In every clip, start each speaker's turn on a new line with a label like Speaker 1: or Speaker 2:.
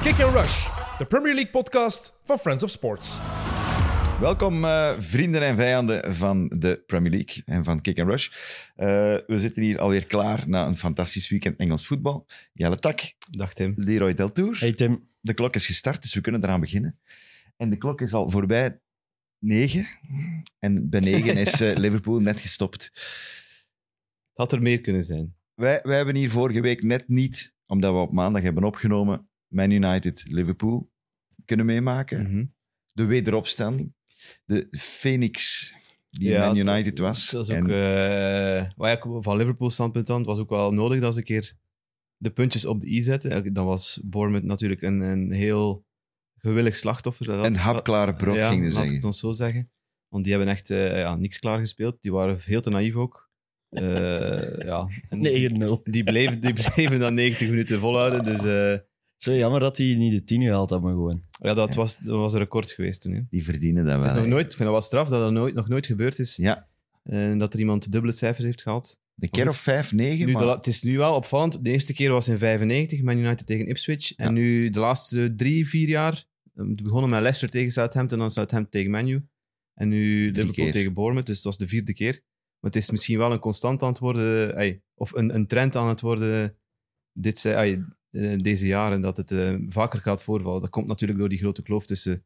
Speaker 1: Kick and Rush, de Premier League podcast van Friends of Sports.
Speaker 2: Welkom, eh, vrienden en vijanden van de Premier League en van Kick and Rush. Eh, we zitten hier alweer klaar na een fantastisch weekend Engels voetbal. Jelle Tak,
Speaker 3: Dag Tim.
Speaker 2: Leroy Deltour.
Speaker 4: Hey Tim,
Speaker 2: De klok is gestart, dus we kunnen eraan beginnen. En de klok is al voorbij negen. En bij negen is eh, Liverpool net gestopt.
Speaker 3: Had er meer kunnen zijn.
Speaker 2: Wij, wij hebben hier vorige week net niet, omdat we op maandag hebben opgenomen, Man United Liverpool kunnen meemaken. De wederopstanding. De Phoenix die
Speaker 3: Ja,
Speaker 2: Man
Speaker 3: het
Speaker 2: United was.
Speaker 3: Dat is
Speaker 2: En-
Speaker 3: ook, eh, maar ja, van Liverpool standpunt dan, het was ook wel nodig dat ze een keer de puntjes op de i zetten. Dan was Bournemouth natuurlijk een, een heel gewillig slachtoffer. Dat-
Speaker 2: Een hapklare brok,
Speaker 3: ja,
Speaker 2: gingen
Speaker 3: laat ik het
Speaker 2: zeggen.
Speaker 3: ons zo zeggen. Want die hebben echt eh, ja, niks klaargespeeld. Die waren veel te naïef ook. Eh, ja. En
Speaker 4: 9-0.
Speaker 3: Die bleven, die bleven dan 90 minuten volhouden. Dus eh,
Speaker 4: Zo jammer dat hij niet de 10 gehaald had, maar gewoon.
Speaker 3: ja, dat,
Speaker 2: Ja.
Speaker 3: Was, dat was een record geweest toen. Hè.
Speaker 2: Die verdienen dat
Speaker 3: Dat
Speaker 2: wel.
Speaker 3: is nog
Speaker 2: hè.
Speaker 3: nooit, ik vind dat wel straf dat dat nooit, nog nooit gebeurd is.
Speaker 2: Ja,
Speaker 3: En Eh, dat er iemand de dubbele cijfers heeft gehad.
Speaker 2: een keer of vijf, negen,
Speaker 3: Nu, de la-
Speaker 2: maar
Speaker 3: het is nu wel opvallend. De eerste keer was in 95, Man United tegen Ipswich. En nu de laatste drie, vier jaar. eh, begonnen met Leicester tegen Southampton, dan Southampton tegen Man U. En nu Liverpool
Speaker 2: keer.
Speaker 3: tegen Bournemouth, dus dat was de vierde keer. Maar het is misschien wel een constant aan het worden, eh, ey, of een, een trend aan het worden dit, se- ey, eh, deze jaren, dat het eh, vaker gaat voorvallen. Dat komt natuurlijk door die grote kloof tussen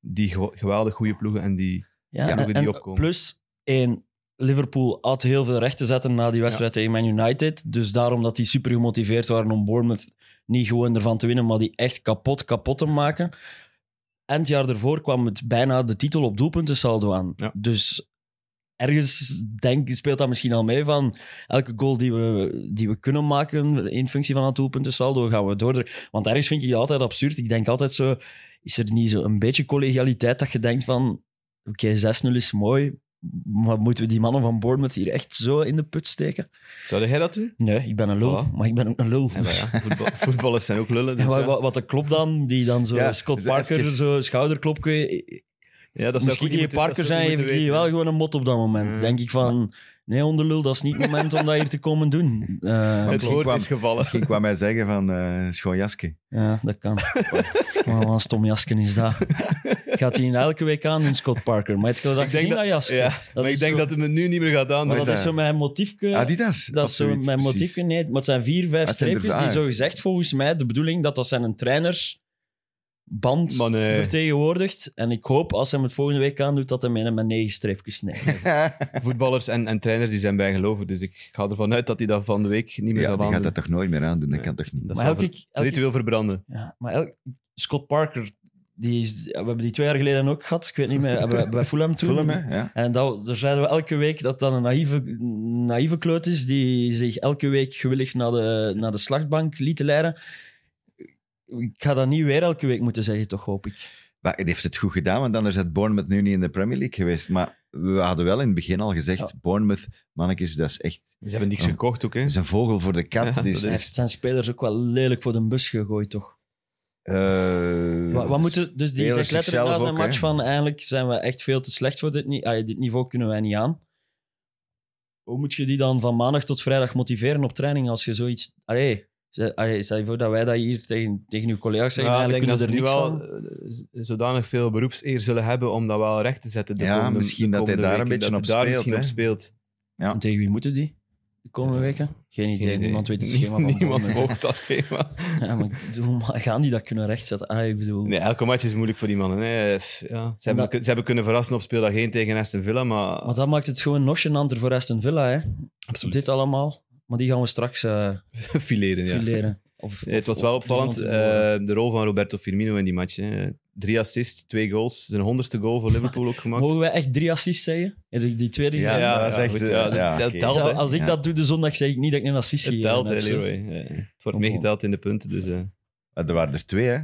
Speaker 3: die gew- geweldig goede ploegen en die...
Speaker 4: Ja,
Speaker 3: ploegen
Speaker 4: en,
Speaker 3: die
Speaker 4: en
Speaker 3: opkomen.
Speaker 4: plus één. Liverpool had heel veel recht te zetten na die wedstrijd tegen Man United. Dus daarom dat die super gemotiveerd waren om Bournemouth niet gewoon ervan te winnen, maar die echt kapot, kapot te maken. En het jaar ervoor kwam het bijna de titel op doelpuntensaldo aan.
Speaker 3: Ja.
Speaker 4: Dus ergens denk, speelt dat misschien al mee van elke goal die we, die we kunnen maken in functie van dat doelpuntensaldo gaan we door. Want ergens vind ik het altijd absurd. Ik denk altijd zo, is er niet zo een beetje collegialiteit dat je denkt van oké, 6-0 is mooi, maar moeten we die mannen van Bournemouth hier echt zo in de put steken?
Speaker 3: Zou jij dat doen?
Speaker 4: Nee, ik ben een lul,
Speaker 3: Voilà.
Speaker 4: maar ik ben ook een lul.
Speaker 3: Ja, maar ja, voetbal- voetballers zijn ook lullen. dus
Speaker 4: En wa- wa-
Speaker 3: ja.
Speaker 4: wat, de klop dan, die dan zo
Speaker 2: Ja,
Speaker 4: Scott
Speaker 2: dus
Speaker 4: Parker,
Speaker 2: even-
Speaker 4: zo schouderklopje.
Speaker 3: Ja, dat zou
Speaker 4: Misschien
Speaker 3: ik ook
Speaker 4: die
Speaker 3: niet moeten-
Speaker 4: Parker
Speaker 3: dat zou
Speaker 4: zijn,
Speaker 3: ik
Speaker 4: heeft
Speaker 3: niet
Speaker 4: die
Speaker 3: moeten
Speaker 4: wel
Speaker 3: weten.
Speaker 4: gewoon een mot op dat moment.
Speaker 3: Ja.
Speaker 4: Denk ik van, nee onderlul, dat is niet het moment om dat hier te komen doen. Eh,
Speaker 2: Want
Speaker 3: Het
Speaker 2: misschien
Speaker 3: woord
Speaker 2: kwam-
Speaker 3: is gevallen.
Speaker 2: misschien kwam hij zeggen van eh schoon jasje.
Speaker 4: ja, dat kan. Maar wat een stom jasken is dat. Gaat hij in elke week aan doen, Scott Parker? Maar het gaat dat
Speaker 3: Ik denk
Speaker 4: gezien, dat,
Speaker 3: dat-
Speaker 4: jasken.
Speaker 3: Ja,
Speaker 4: Dat
Speaker 3: maar
Speaker 4: is
Speaker 3: ik denk
Speaker 4: zo-
Speaker 3: dat het me nu niet meer gaat
Speaker 2: Wat
Speaker 3: aandoen.
Speaker 2: is
Speaker 4: dat is zo mijn motiefje.
Speaker 2: Adidas.
Speaker 4: Dat
Speaker 2: of
Speaker 4: is zo
Speaker 2: zoiets,
Speaker 4: mijn
Speaker 2: precies.
Speaker 4: motief. Nee, maar het zijn vier, vijf
Speaker 2: Ah, het zijn er
Speaker 4: streepjes
Speaker 2: vijf.
Speaker 4: die zo gezegd volgens mij de bedoeling dat dat zijn een trainersband
Speaker 3: Maar eh, nee.
Speaker 4: vertegenwoordigt. En ik hoop als hij hem het volgende week aandoet dat hij mij met negen streepjes neemt.
Speaker 3: Voetballers en, en trainers die zijn bijgeloven. Dus ik ga ervan uit dat hij dat van de week niet
Speaker 2: ja,
Speaker 3: meer zal
Speaker 2: die gaat
Speaker 3: aandoen.
Speaker 2: dat toch nooit meer aandoen? Dat
Speaker 3: Nee.
Speaker 2: kan toch niet?
Speaker 3: Dat
Speaker 4: maar
Speaker 3: zal
Speaker 4: elke,
Speaker 3: ver-
Speaker 4: elke,
Speaker 3: ritueel verbranden.
Speaker 4: ja, maar elk- Scott Parker, die is, we hebben die twee jaar geleden ook gehad. Ik weet niet meer, bij, bij Fulham toen.
Speaker 2: Film, hè? Ja.
Speaker 4: En dat, daar zeiden we elke week dat dat een naïeve, naïeve kleut is die zich elke week gewillig naar de, naar de slachtbank liet leiden. Ik ga dat niet weer elke week moeten zeggen, toch hoop ik.
Speaker 2: Maar hij heeft het goed gedaan, want anders had Bournemouth nu niet in de Premier League geweest. Maar we hadden wel in het begin al gezegd, Bournemouth, mannetjes, dat is echt
Speaker 3: Ze hebben niks
Speaker 2: Ja.
Speaker 3: gekocht ook, hè.
Speaker 2: dat is een vogel voor de kat.
Speaker 3: Ja,
Speaker 2: dat is,
Speaker 3: dat
Speaker 4: Het zijn spelers ook wel lelijk voor de bus gegooid, toch?
Speaker 2: eh,
Speaker 4: Wat, wat
Speaker 2: dus-
Speaker 4: moeten, dus die
Speaker 2: spelers
Speaker 4: zegt letterlijk na
Speaker 2: zichzelf
Speaker 4: zijn
Speaker 2: ook,
Speaker 4: match
Speaker 2: hè?
Speaker 4: van eigenlijk zijn we echt veel te slecht voor dit, ni ah, dit niveau, kunnen wij niet aan. Hoe moet je die dan van maandag tot vrijdag motiveren op training als je zoiets... Allee, ze- allee, stel je voor dat wij dat hier tegen, tegen uw collega's zeggen,
Speaker 3: Ja, ik
Speaker 4: eigenlijk
Speaker 3: denk dat
Speaker 4: kunnen
Speaker 3: ze
Speaker 4: we
Speaker 3: nu
Speaker 4: er niks
Speaker 3: wel
Speaker 4: van.
Speaker 3: eh, zodanig veel beroepseer zullen hebben om dat wel recht te zetten. de
Speaker 2: Ja,
Speaker 3: komende-
Speaker 2: misschien
Speaker 3: de
Speaker 2: dat hij
Speaker 3: komende
Speaker 2: daar een
Speaker 3: weken,
Speaker 2: beetje
Speaker 3: dat hij
Speaker 2: op
Speaker 3: daar
Speaker 2: speelt,
Speaker 3: misschien op speelt.
Speaker 4: En tegen wie moeten die de komende weken? Geen idee,
Speaker 3: Geen idee.
Speaker 4: niemand weet het schema van
Speaker 3: Niemand
Speaker 4: Bournemouth.
Speaker 3: volgt dat schema.
Speaker 4: Ja, maar ik bedoel, maar gaan die dat kunnen rechtzetten? Ah, ik bedoel...
Speaker 3: Nee, elke match is moeilijk voor die mannen. hè. F- Ja. Ze, hebben,
Speaker 4: Dat-
Speaker 3: ze hebben kunnen verrassen op speeldag 1 tegen Aston Villa, maar...
Speaker 4: Maar dat maakt het gewoon nog gênanter voor Aston Villa, hè?
Speaker 3: Absoluut.
Speaker 4: Dit allemaal. Maar die gaan we straks eh
Speaker 3: fileren, ja.
Speaker 4: fileren. Of,
Speaker 3: Nee, het was
Speaker 4: of-
Speaker 3: wel
Speaker 4: of
Speaker 3: opvallend,
Speaker 4: iemand in de-
Speaker 3: eh, de rol van Roberto Firmino in die match. Hè. Drie assists, twee goals. Zijn honderdste goal voor Liverpool ook gemaakt.
Speaker 4: Mogen wij echt drie assists zeggen? Ja, Die, die tweede.
Speaker 2: Ja,
Speaker 4: die-
Speaker 3: Ja,
Speaker 2: dat is
Speaker 3: ja,
Speaker 2: echt...
Speaker 3: goed,
Speaker 2: eh,
Speaker 3: ja,
Speaker 2: ja,
Speaker 3: dat-
Speaker 2: oké.
Speaker 3: dat-
Speaker 4: Zou- als ik
Speaker 2: Ja.
Speaker 4: dat doe de zondag, zeg ik niet dat ik een assist
Speaker 3: Het
Speaker 4: geef.
Speaker 3: telt, hè, Leroy. Ja. Het wordt
Speaker 4: Oh,
Speaker 3: meegeteld in de punten, dus... eh,
Speaker 2: Er waren er twee, hè?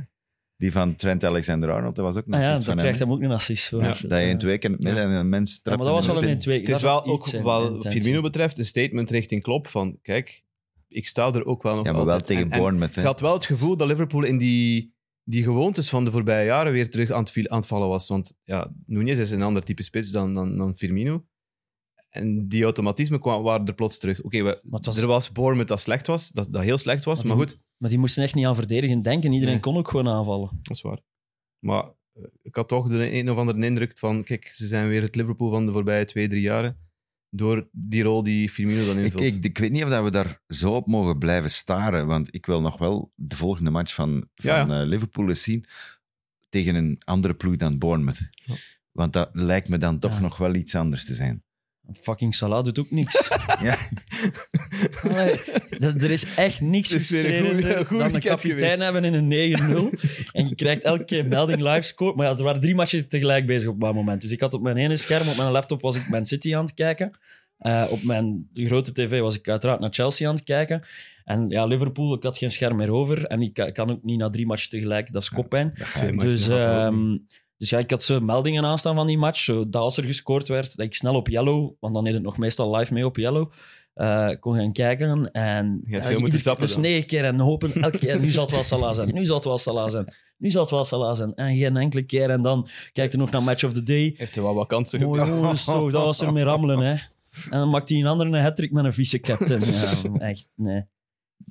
Speaker 2: Die van Trent Alexander-Arnold, dat was ook nog
Speaker 4: Ah, ja,
Speaker 2: zoiets
Speaker 4: dan
Speaker 2: van
Speaker 4: krijgt
Speaker 2: hem.
Speaker 4: hem ook een assist. voor.
Speaker 2: hè? Ja, dat je in twee keer in het midden en een mens
Speaker 4: Ja,
Speaker 2: trapt
Speaker 4: maar dat was
Speaker 2: hem
Speaker 4: wel een
Speaker 2: in.
Speaker 4: in twee.
Speaker 3: Het is
Speaker 4: Dat
Speaker 3: wel
Speaker 4: had
Speaker 3: ook
Speaker 4: iets, hè,
Speaker 3: wat
Speaker 4: intentie.
Speaker 3: Firmino betreft een statement richting Klopp van kijk, ik sta er ook wel nog
Speaker 2: Ja, maar wel
Speaker 3: altijd.
Speaker 2: tegen
Speaker 3: En- en
Speaker 2: Bournemouth, hè.
Speaker 3: Ik had wel het gevoel dat Liverpool in die, die gewoontes van de voorbije jaren weer terug aan het, viel- aan het vallen was. Want ja, Nunez is een ander type spits dan, dan, dan Firmino. En die automatismen kwamen, waren er plots terug. Oké, we-
Speaker 4: Maar het was-
Speaker 3: er was Bournemouth dat slecht was, dat, dat heel slecht was.
Speaker 4: Maar
Speaker 3: Maar
Speaker 4: die-
Speaker 3: goed,
Speaker 4: Maar die moesten echt niet aan verdedigen denken. Iedereen
Speaker 3: Nee.
Speaker 4: kon ook gewoon aanvallen.
Speaker 3: Dat is waar. Maar eh, ik had toch de een of andere indruk van, kijk, ze zijn weer het Liverpool van de voorbije twee, drie jaren. Door die rol die Firmino dan
Speaker 2: Ik,
Speaker 3: invult.
Speaker 2: ik, ik weet niet of dat we daar zo op mogen blijven staren, want ik wil nog wel de volgende match van, van
Speaker 3: Ja,
Speaker 2: eh, Liverpool eens zien tegen een andere ploeg dan Bournemouth.
Speaker 3: Ja.
Speaker 2: Want dat lijkt me dan toch
Speaker 4: Ja.
Speaker 2: nog wel iets anders te zijn.
Speaker 4: Fucking Salah doet ook niks.
Speaker 2: Ja.
Speaker 4: Allee, dat, er is echt niks
Speaker 3: Het is weer een goeie-
Speaker 4: frustrerender
Speaker 3: goeie
Speaker 4: dan een
Speaker 3: weekend
Speaker 4: kapitein
Speaker 3: geweest.
Speaker 4: hebben in een 9-0. en je krijgt elke keer melding live score. Maar ja, er waren drie matchen tegelijk bezig op dat moment. Dus ik had op mijn ene scherm, op mijn laptop, was ik Man City aan het kijken. Eh, op mijn grote tv was ik uiteraard naar Chelsea aan het kijken. En ja, Liverpool, ik had geen scherm meer over. En ik ka- kan ook niet na drie matchen tegelijk, dat is koppijn.
Speaker 3: Twee matchen
Speaker 4: Dus,
Speaker 3: had dat ook niet.
Speaker 4: ehm, dus ja, ik had zo meldingen aanstaan van die match. Zo, dat als er gescoord werd, dat ik snel op yellow, want dan deed het nog meestal live mee op yellow, eh, kon gaan kijken. En
Speaker 3: Je had
Speaker 4: ja,
Speaker 3: veel moeten
Speaker 4: iedere-
Speaker 3: zappen
Speaker 4: Dus
Speaker 3: dan.
Speaker 4: negen keer en hopen, elke keer, nu zal het wel Salah zijn, nu zal het wel Salah zijn, nu zal het wel Salah zijn. En geen enkele keer. En dan kijk je nog naar Match of the Day.
Speaker 3: Heeft hij wel wat kansen
Speaker 4: Mooi
Speaker 3: gehad.
Speaker 4: jongens, toch, dat was er mee rammelen, hè. En dan maakt hij een andere een hat met een vice-captain. Ja, echt, nee.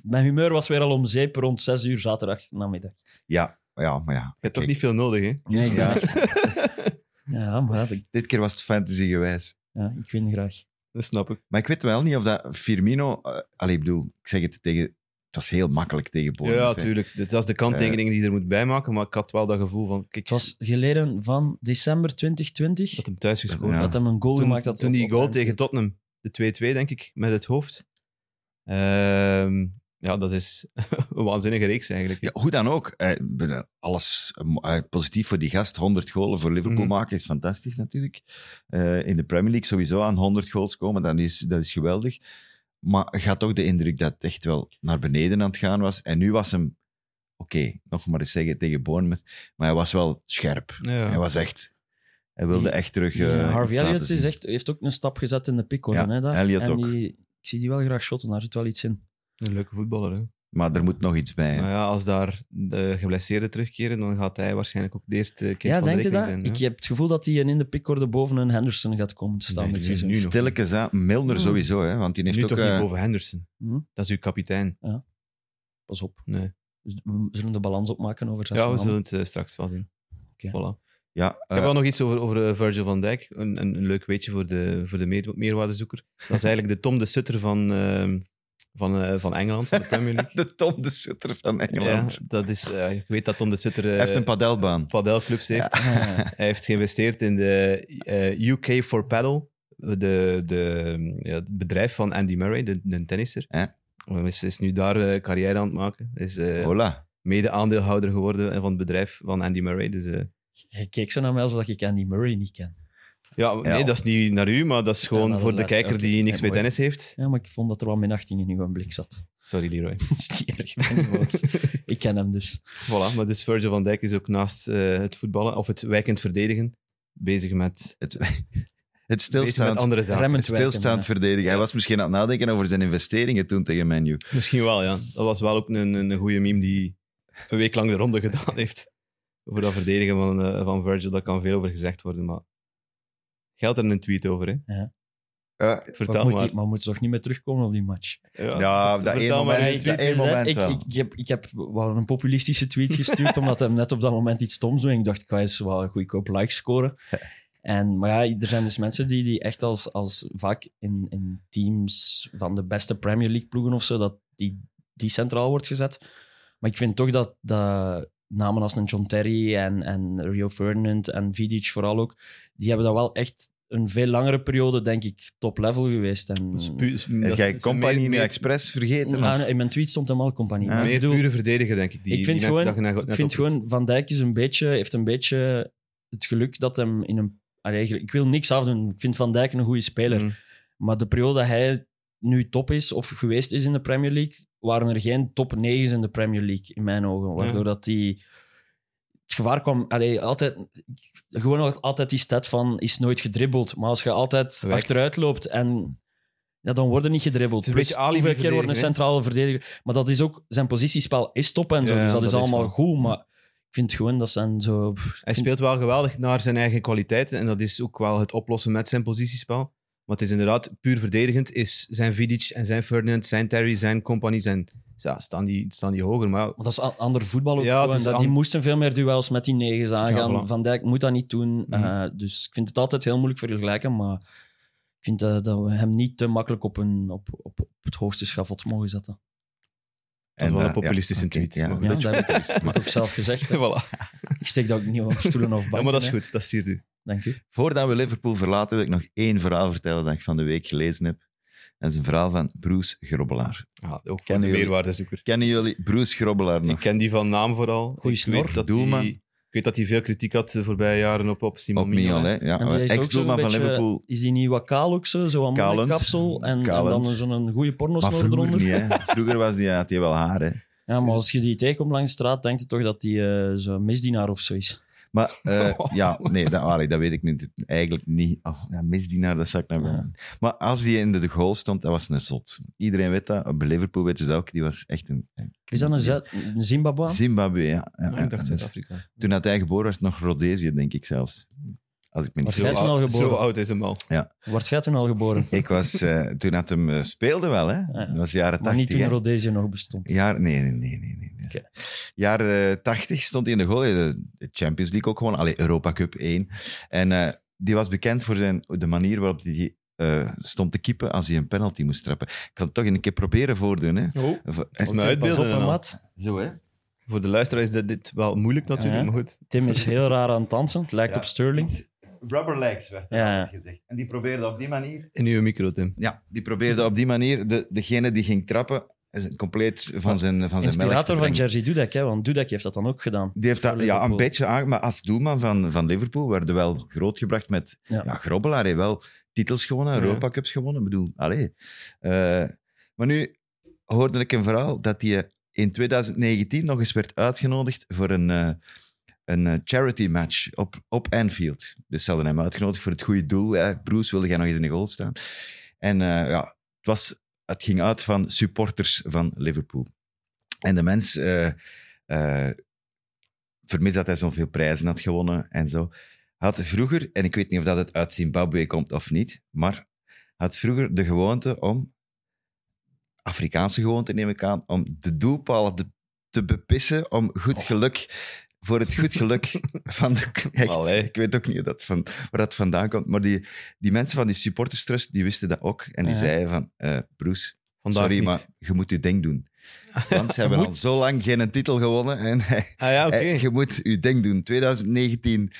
Speaker 4: Mijn humeur was weer al om zeep rond 6 uur zaterdag namiddag.
Speaker 2: Ja, ja, maar ja.
Speaker 3: Je hebt toch
Speaker 2: Oké.
Speaker 3: niet veel nodig, hè?
Speaker 4: Nee, ik ben
Speaker 2: Ja.
Speaker 4: echt- Ja, maar ik,
Speaker 2: Dit keer was het fantasy gewijs.
Speaker 4: ja, ik win graag.
Speaker 3: Dat snap ik.
Speaker 2: Maar ik weet wel niet of dat Firmino... eh, allee, ik bedoel, ik zeg het tegen... Het was heel makkelijk tegen
Speaker 3: Ja,
Speaker 2: Bournemouth. hè.
Speaker 3: tuurlijk. Dat is de kanttekening die je er moet bijmaken. Maar ik had wel dat gevoel van, kijk,
Speaker 4: Het was geleden van december 2020
Speaker 3: dat hem thuis gescoord
Speaker 2: Ja.
Speaker 3: had.
Speaker 4: dat hem een goal
Speaker 3: Toen,
Speaker 4: gemaakt had.
Speaker 3: toen
Speaker 4: op-
Speaker 3: die
Speaker 4: op
Speaker 3: goal
Speaker 4: Anfield.
Speaker 3: tegen Tottenham, de 2-2 denk ik, met het hoofd. Ehm, ja, dat is een waanzinnige reeks eigenlijk.
Speaker 2: Ja, hoe dan ook. eh, bedoel, alles eh, positief voor die gast. 100 goalen voor Liverpool
Speaker 3: Mhm.
Speaker 2: maken is fantastisch natuurlijk. Eh, in de Premier League sowieso aan 100 goals komen, dat is, dat is geweldig. Maar je had ook de indruk dat het echt wel naar beneden aan het gaan was. En nu was hem, oké, nog maar eens zeggen tegen Bournemouth, maar hij was wel scherp.
Speaker 3: Ja.
Speaker 2: Hij was echt, hij wilde echt terug. eh,
Speaker 4: Ja,
Speaker 2: iets
Speaker 4: Harvey
Speaker 2: laten
Speaker 4: Elliott is
Speaker 2: zien.
Speaker 4: echt, heeft ook een stap gezet in de pickorde.
Speaker 2: Ja,
Speaker 4: hè, daar.
Speaker 2: Elliott
Speaker 4: en
Speaker 2: ook.
Speaker 4: Die, ik zie die wel graag shotten, daar zit wel iets in.
Speaker 3: Een leuke voetballer, hè?
Speaker 2: Maar er moet nog iets bij. hè.
Speaker 3: Maar ja, als daar de geblesseerden terugkeren, dan gaat hij waarschijnlijk ook de eerste kind
Speaker 4: ja,
Speaker 3: van de
Speaker 4: denk je
Speaker 3: rekening
Speaker 4: dat?
Speaker 3: zijn. hè?
Speaker 4: ik heb het gevoel dat hij in de pickorde boven een Henderson gaat komen te staan
Speaker 3: Nee,
Speaker 4: dit
Speaker 3: nu-
Speaker 4: seizoen.
Speaker 3: nu nog
Speaker 2: Stilletjes aan. Milner
Speaker 4: Hmm.
Speaker 2: sowieso, hè, want die heeft
Speaker 3: nu
Speaker 2: ook...
Speaker 3: toch
Speaker 2: eh,
Speaker 3: niet boven Henderson.
Speaker 4: Hm?
Speaker 3: Dat is uw kapitein.
Speaker 4: Pas op.
Speaker 3: Nee.
Speaker 4: Dus we zullen de balans opmaken over zes
Speaker 3: Ja, we
Speaker 4: maanden.
Speaker 3: zullen het eh, straks wel zien.
Speaker 4: Oké.
Speaker 3: Voilà.
Speaker 2: ja,
Speaker 3: Ik
Speaker 2: eh,
Speaker 3: heb wel nog iets over, over eh, Virgil van Dijk. Een, een, een leuk weetje voor de, voor de meer- meerwaardezoeker. Dat is eigenlijk de Tom de Sutter van, ehm, van, eh, van Engeland, van de Premier League.
Speaker 2: de Tom de Sutter van
Speaker 3: ja,
Speaker 2: Engeland.
Speaker 3: dat is, eh, ik weet dat Tom de Sutter
Speaker 2: Hij heeft
Speaker 3: eh
Speaker 2: een padelbaan.
Speaker 3: padelclubs heeft.
Speaker 4: Ah,
Speaker 3: Hij heeft geïnvesteerd in de eh, UK for Paddle, de, de, ja, het bedrijf van Andy Murray, de, de tennisser.
Speaker 2: Ja.
Speaker 3: Hij is, is nu daar eh, carrière aan het maken. Hij is eh,
Speaker 2: Hola.
Speaker 3: mede-aandeelhouder geworden van het bedrijf van Andy Murray. Dus, eh,
Speaker 4: Je keek zo naar mij alsof ik Andy Murray niet ken.
Speaker 3: ja, nee, dat is niet naar u, maar dat is gewoon
Speaker 4: Ja, maar
Speaker 3: voor
Speaker 4: dat
Speaker 3: de
Speaker 4: laatste,
Speaker 3: kijker
Speaker 4: oké.
Speaker 3: die niks
Speaker 4: Ja,
Speaker 3: met
Speaker 4: mooi.
Speaker 3: tennis heeft.
Speaker 4: Ja, maar ik vond dat er wel min 18 in uw blik zat.
Speaker 3: Sorry, Leroy.
Speaker 4: Dat is niet erg, ik ben niet boos. ik ken hem dus.
Speaker 3: voilà, maar dus Virgil van Dijk is ook naast eh, het voetballen, of het wijkend verdedigen, bezig met,
Speaker 2: Het, het
Speaker 3: bezig met
Speaker 2: stilstaand,
Speaker 3: andere zaken.
Speaker 4: Remmend
Speaker 2: het stilstaand
Speaker 4: werken,
Speaker 2: verdedigen. Hij was misschien aan het nadenken over zijn investeringen toen tegen Menu.
Speaker 3: Misschien wel, ja. Dat was wel ook een, een goede meme die een week lang de ronde gedaan heeft. Over dat verdedigen van, eh, van Virgil, daar kan veel over gezegd worden, maar... Geldt er een tweet over, hè? Eh,
Speaker 4: ja.
Speaker 3: Vertel
Speaker 4: maar, moet
Speaker 3: maar.
Speaker 4: hij- maar moet toch niet meer terugkomen op die match?
Speaker 3: Ja,
Speaker 2: Ja, dat één
Speaker 3: vertel maar
Speaker 2: moment,
Speaker 3: die
Speaker 2: dat
Speaker 3: tweet.
Speaker 2: één moment
Speaker 4: ik,
Speaker 2: wel.
Speaker 4: ik, ik heb, ik heb wel een populistische tweet gestuurd, omdat hij net op dat moment iets stoms doet. En ik dacht, ik ga eens wel een goedkoop like scoren. En, maar ja, er zijn dus mensen die, die echt als, als vaak in, in teams van de beste Premier League ploegen of zo, dat die, die centraal wordt gezet. Maar ik vind toch dat, dat namen als een John Terry en, en Rio Ferdinand en Vidic vooral ook, die hebben dat wel echt een veel langere periode, denk ik, top level geweest. En,
Speaker 3: Dat is pu- is-
Speaker 2: Heb
Speaker 3: dat
Speaker 2: jij
Speaker 3: is
Speaker 2: Company
Speaker 3: meer-
Speaker 2: nu
Speaker 3: meer- Nou,
Speaker 2: expres vergeten?
Speaker 4: Ah,
Speaker 2: of-
Speaker 4: nee, in mijn tweet stond hem al compagnie.
Speaker 2: Ja.
Speaker 4: Maar ik
Speaker 3: Meer
Speaker 4: bedoel-
Speaker 3: pure verdediger, denk ik. Die,
Speaker 4: ik vind,
Speaker 3: die mensen
Speaker 4: gewoon,
Speaker 3: dat je net- net
Speaker 4: ik vind
Speaker 3: opdoet.
Speaker 4: gewoon, Van Dijk is een beetje, heeft een beetje het geluk dat hem in een... allee, eigenlijk- ik wil niks afdoen. Ik vind Van Dijk een goede speler.
Speaker 2: Mm.
Speaker 3: Mhm.
Speaker 4: Maar de periode dat hij nu top is of geweest is in de Premier League, waren er geen top 9's in de Premier League, in mijn ogen. Waardoor dat die... Het gevaar kwam... Allee, altijd, gewoon al- altijd die stat van is nooit gedribbeld. Maar als je altijd
Speaker 3: Werkt.
Speaker 4: achteruit loopt en... Ja, dan worden niet gedribbeld.
Speaker 3: Het is een
Speaker 4: Plus,
Speaker 3: beetje alibi
Speaker 4: Hoeveel keer wordt een
Speaker 3: verdedigen, hè?
Speaker 4: centrale verdediger... Maar dat is ook... Zijn positiespel is top en zo.
Speaker 3: Ja,
Speaker 4: dus dat,
Speaker 3: dat
Speaker 4: is
Speaker 3: is
Speaker 4: allemaal
Speaker 3: wel.
Speaker 4: goed, maar... Ik vind gewoon dat zijn zo... pff,
Speaker 3: Hij speelt wel geweldig naar zijn eigen kwaliteiten. En dat is ook wel het oplossen met zijn positiespel. Maar het is inderdaad puur verdedigend. Is zijn Vidic en zijn Ferdinand, zijn Terry, zijn Company, zijn ja, staan, die, staan die hoger. Maar ja,
Speaker 4: Want dat is a- ander voetbal ook.
Speaker 3: Ja, het
Speaker 4: gewoon.
Speaker 3: is
Speaker 4: Dat-
Speaker 3: an-
Speaker 4: Die moesten veel meer duels met die negens aangaan.
Speaker 3: Ja, voilà.
Speaker 4: Van Dijk moet dat niet doen.
Speaker 3: Mhm.
Speaker 4: Eh, dus ik vind het altijd heel moeilijk vergelijken. Maar ik vind eh, dat we hem niet te makkelijk op, een, op, op, op het hoogste schavot mogen zetten.
Speaker 3: dat is wel
Speaker 2: eh,
Speaker 3: een populistische
Speaker 2: ja, oké,
Speaker 3: tweet.
Speaker 2: ja.
Speaker 3: maar goed.
Speaker 4: Ja, dat heb ik, dat heb ik ook zelf gezegd. hè.
Speaker 3: Voilà.
Speaker 4: Ik steek dat ook niet onder stoelen of banken.
Speaker 3: Ja, maar dat is
Speaker 4: hè.
Speaker 3: goed. Dat siert u.
Speaker 4: Dank u.
Speaker 2: Voordat we Liverpool verlaten, wil ik nog één verhaal vertellen dat ik van de week gelezen heb. Dat is een verhaal van Bruce Grobbelaar.
Speaker 3: Ja, ook voor
Speaker 2: Kennen
Speaker 3: de
Speaker 2: jullie-
Speaker 3: meerwaardezoeker.
Speaker 2: Kennen jullie Bruce Grobbelaar nog?
Speaker 3: Ik ken die van naam vooral.
Speaker 4: Goeie
Speaker 3: Ik weet
Speaker 4: snor.
Speaker 3: dat
Speaker 2: Doelman.
Speaker 3: die- Ik weet dat hij veel kritiek had de voorbije jaren op, op Simon
Speaker 2: Op Milan,
Speaker 3: Mignolet.
Speaker 2: hè? Ja,
Speaker 4: En die heeft ook
Speaker 2: Ex-doelman
Speaker 4: zo'n
Speaker 2: van
Speaker 4: beetje-
Speaker 2: Liverpool.
Speaker 3: eh,
Speaker 4: Is die niet wat kaal ook zo? Zo'n mooie
Speaker 2: Kalend.
Speaker 4: kapsel en, en
Speaker 2: Kalend.
Speaker 4: dan zo'n goede
Speaker 2: Maar
Speaker 4: pornosnor
Speaker 2: vroeger
Speaker 4: eronder.
Speaker 2: niet, hè? Vroeger was die, had hij wel haar, hè?
Speaker 4: Ja, maar als je die tegenkomt langs de straat, denk je toch dat die eh, zo'n misdienaar of zo is.
Speaker 2: Maar eh,
Speaker 4: Oh.
Speaker 2: ja, nee, dat, allee, dat weet ik niet. Eigenlijk niet. Oh, ja, misdienaar, dat zou ik nou wel.
Speaker 4: Ja.
Speaker 2: Maar als die in de, de goal stond, dat was een zot. Iedereen weet dat. Bij Liverpool weten ze dat ook. Die was echt een...
Speaker 4: Is dat een, Zuid- een Zimbabwe?
Speaker 2: Zimbabwe, ja. ja,
Speaker 3: Ja,
Speaker 2: ja.
Speaker 3: ik
Speaker 2: Dus
Speaker 3: dacht Zuid-Afrika.
Speaker 2: toen dat hij geboren werd, nog Rhodesië, denk ik zelfs. Als ik me niet
Speaker 4: Was jij
Speaker 2: vergis.
Speaker 4: toen al geboren?
Speaker 3: Zo oud is hem al.
Speaker 4: Wordt jij toen al geboren?
Speaker 2: Ik was... eh, toen dat hem eh, speelde wel, hè. Dat was de jaren
Speaker 4: Maar niet
Speaker 2: tachtig,
Speaker 4: toen
Speaker 2: hè.
Speaker 4: Rhodesië nog bestond.
Speaker 2: Jaar, nee, nee, nee. nee, nee. nee.
Speaker 4: Oké.
Speaker 2: Jaar eh, 80 stond hij in de goal. Hij had De Champions League ook gewoon. Allee, Europa Cup 1. En eh, die was bekend voor zijn, de manier waarop hij eh, stond te keepen als hij een penalty moest trappen. Ik kan het toch een keer proberen voordoen. Hè?
Speaker 3: Oh.
Speaker 2: Of- eh,
Speaker 3: Het is me
Speaker 4: Pas op,
Speaker 3: uitbeelden.
Speaker 4: hè,
Speaker 3: en al.
Speaker 4: maat.
Speaker 2: Zo, hè?
Speaker 3: Voor de luisteraar is dit, dit wel moeilijk natuurlijk,
Speaker 4: Ja.
Speaker 3: maar goed.
Speaker 4: Tim is heel raar aan het dansen. Het lijkt
Speaker 2: Ja.
Speaker 4: op Sterling.
Speaker 2: Rubber legs werd
Speaker 4: er Ja. altijd
Speaker 2: gezegd. En die probeerde op die manier...
Speaker 3: In uw micro, Tim.
Speaker 2: Ja, die probeerde op die manier de, degene die ging trappen eh, compleet van zijn, van zijn melk te
Speaker 4: Inspirator van
Speaker 2: brengen.
Speaker 4: Jerzy Dudek, hè, want Dudek heeft dat dan ook gedaan.
Speaker 2: Die heeft dat
Speaker 4: Voor
Speaker 2: ja, een
Speaker 4: Liverpool.
Speaker 2: beetje aange... Maar als doelman van, van Liverpool werden wel grootgebracht met... Ja,
Speaker 4: Ja.
Speaker 2: Grobbelaar heeft wel titels gewonnen,
Speaker 3: Ja.
Speaker 2: Europa Cups gewonnen. Ik bedoel, allee. Eh, maar nu hoorde ik een verhaal dat hij in 2019 nog eens werd uitgenodigd voor een, eh, een eh, charity match op, op Anfield. Dus ze hadden hem uitgenodigd voor het goede doel. Hè. Bruce wilde jij nog eens in de goal staan. En eh, ja, het, was, het ging uit van supporters van Liverpool. En de mens... eh eh, vermits dat hij zoveel prijzen had gewonnen en zo, had vroeger, en ik weet niet of dat het uit Zimbabwe komt of niet, maar had vroeger de gewoonte om, Afrikaanse gewoonte neem ik aan, om de doelpalen te, te bepissen om goed geluk, voor het goed geluk van de... echt,
Speaker 3: Allee.
Speaker 2: ik weet ook niet hoe dat van, waar dat vandaan komt, maar die, die mensen van die supporterstrust, die wisten dat ook. En die
Speaker 4: Ja.
Speaker 2: zeiden van, eh Bruce,
Speaker 3: Vandaag
Speaker 2: sorry,
Speaker 3: niet.
Speaker 2: maar je moet je ding doen. Want ze hebben
Speaker 3: Moet.
Speaker 2: al zo lang geen titel gewonnen en hij,
Speaker 3: Ah ja, oké.
Speaker 2: Hey, je moet je ding doen. 2019.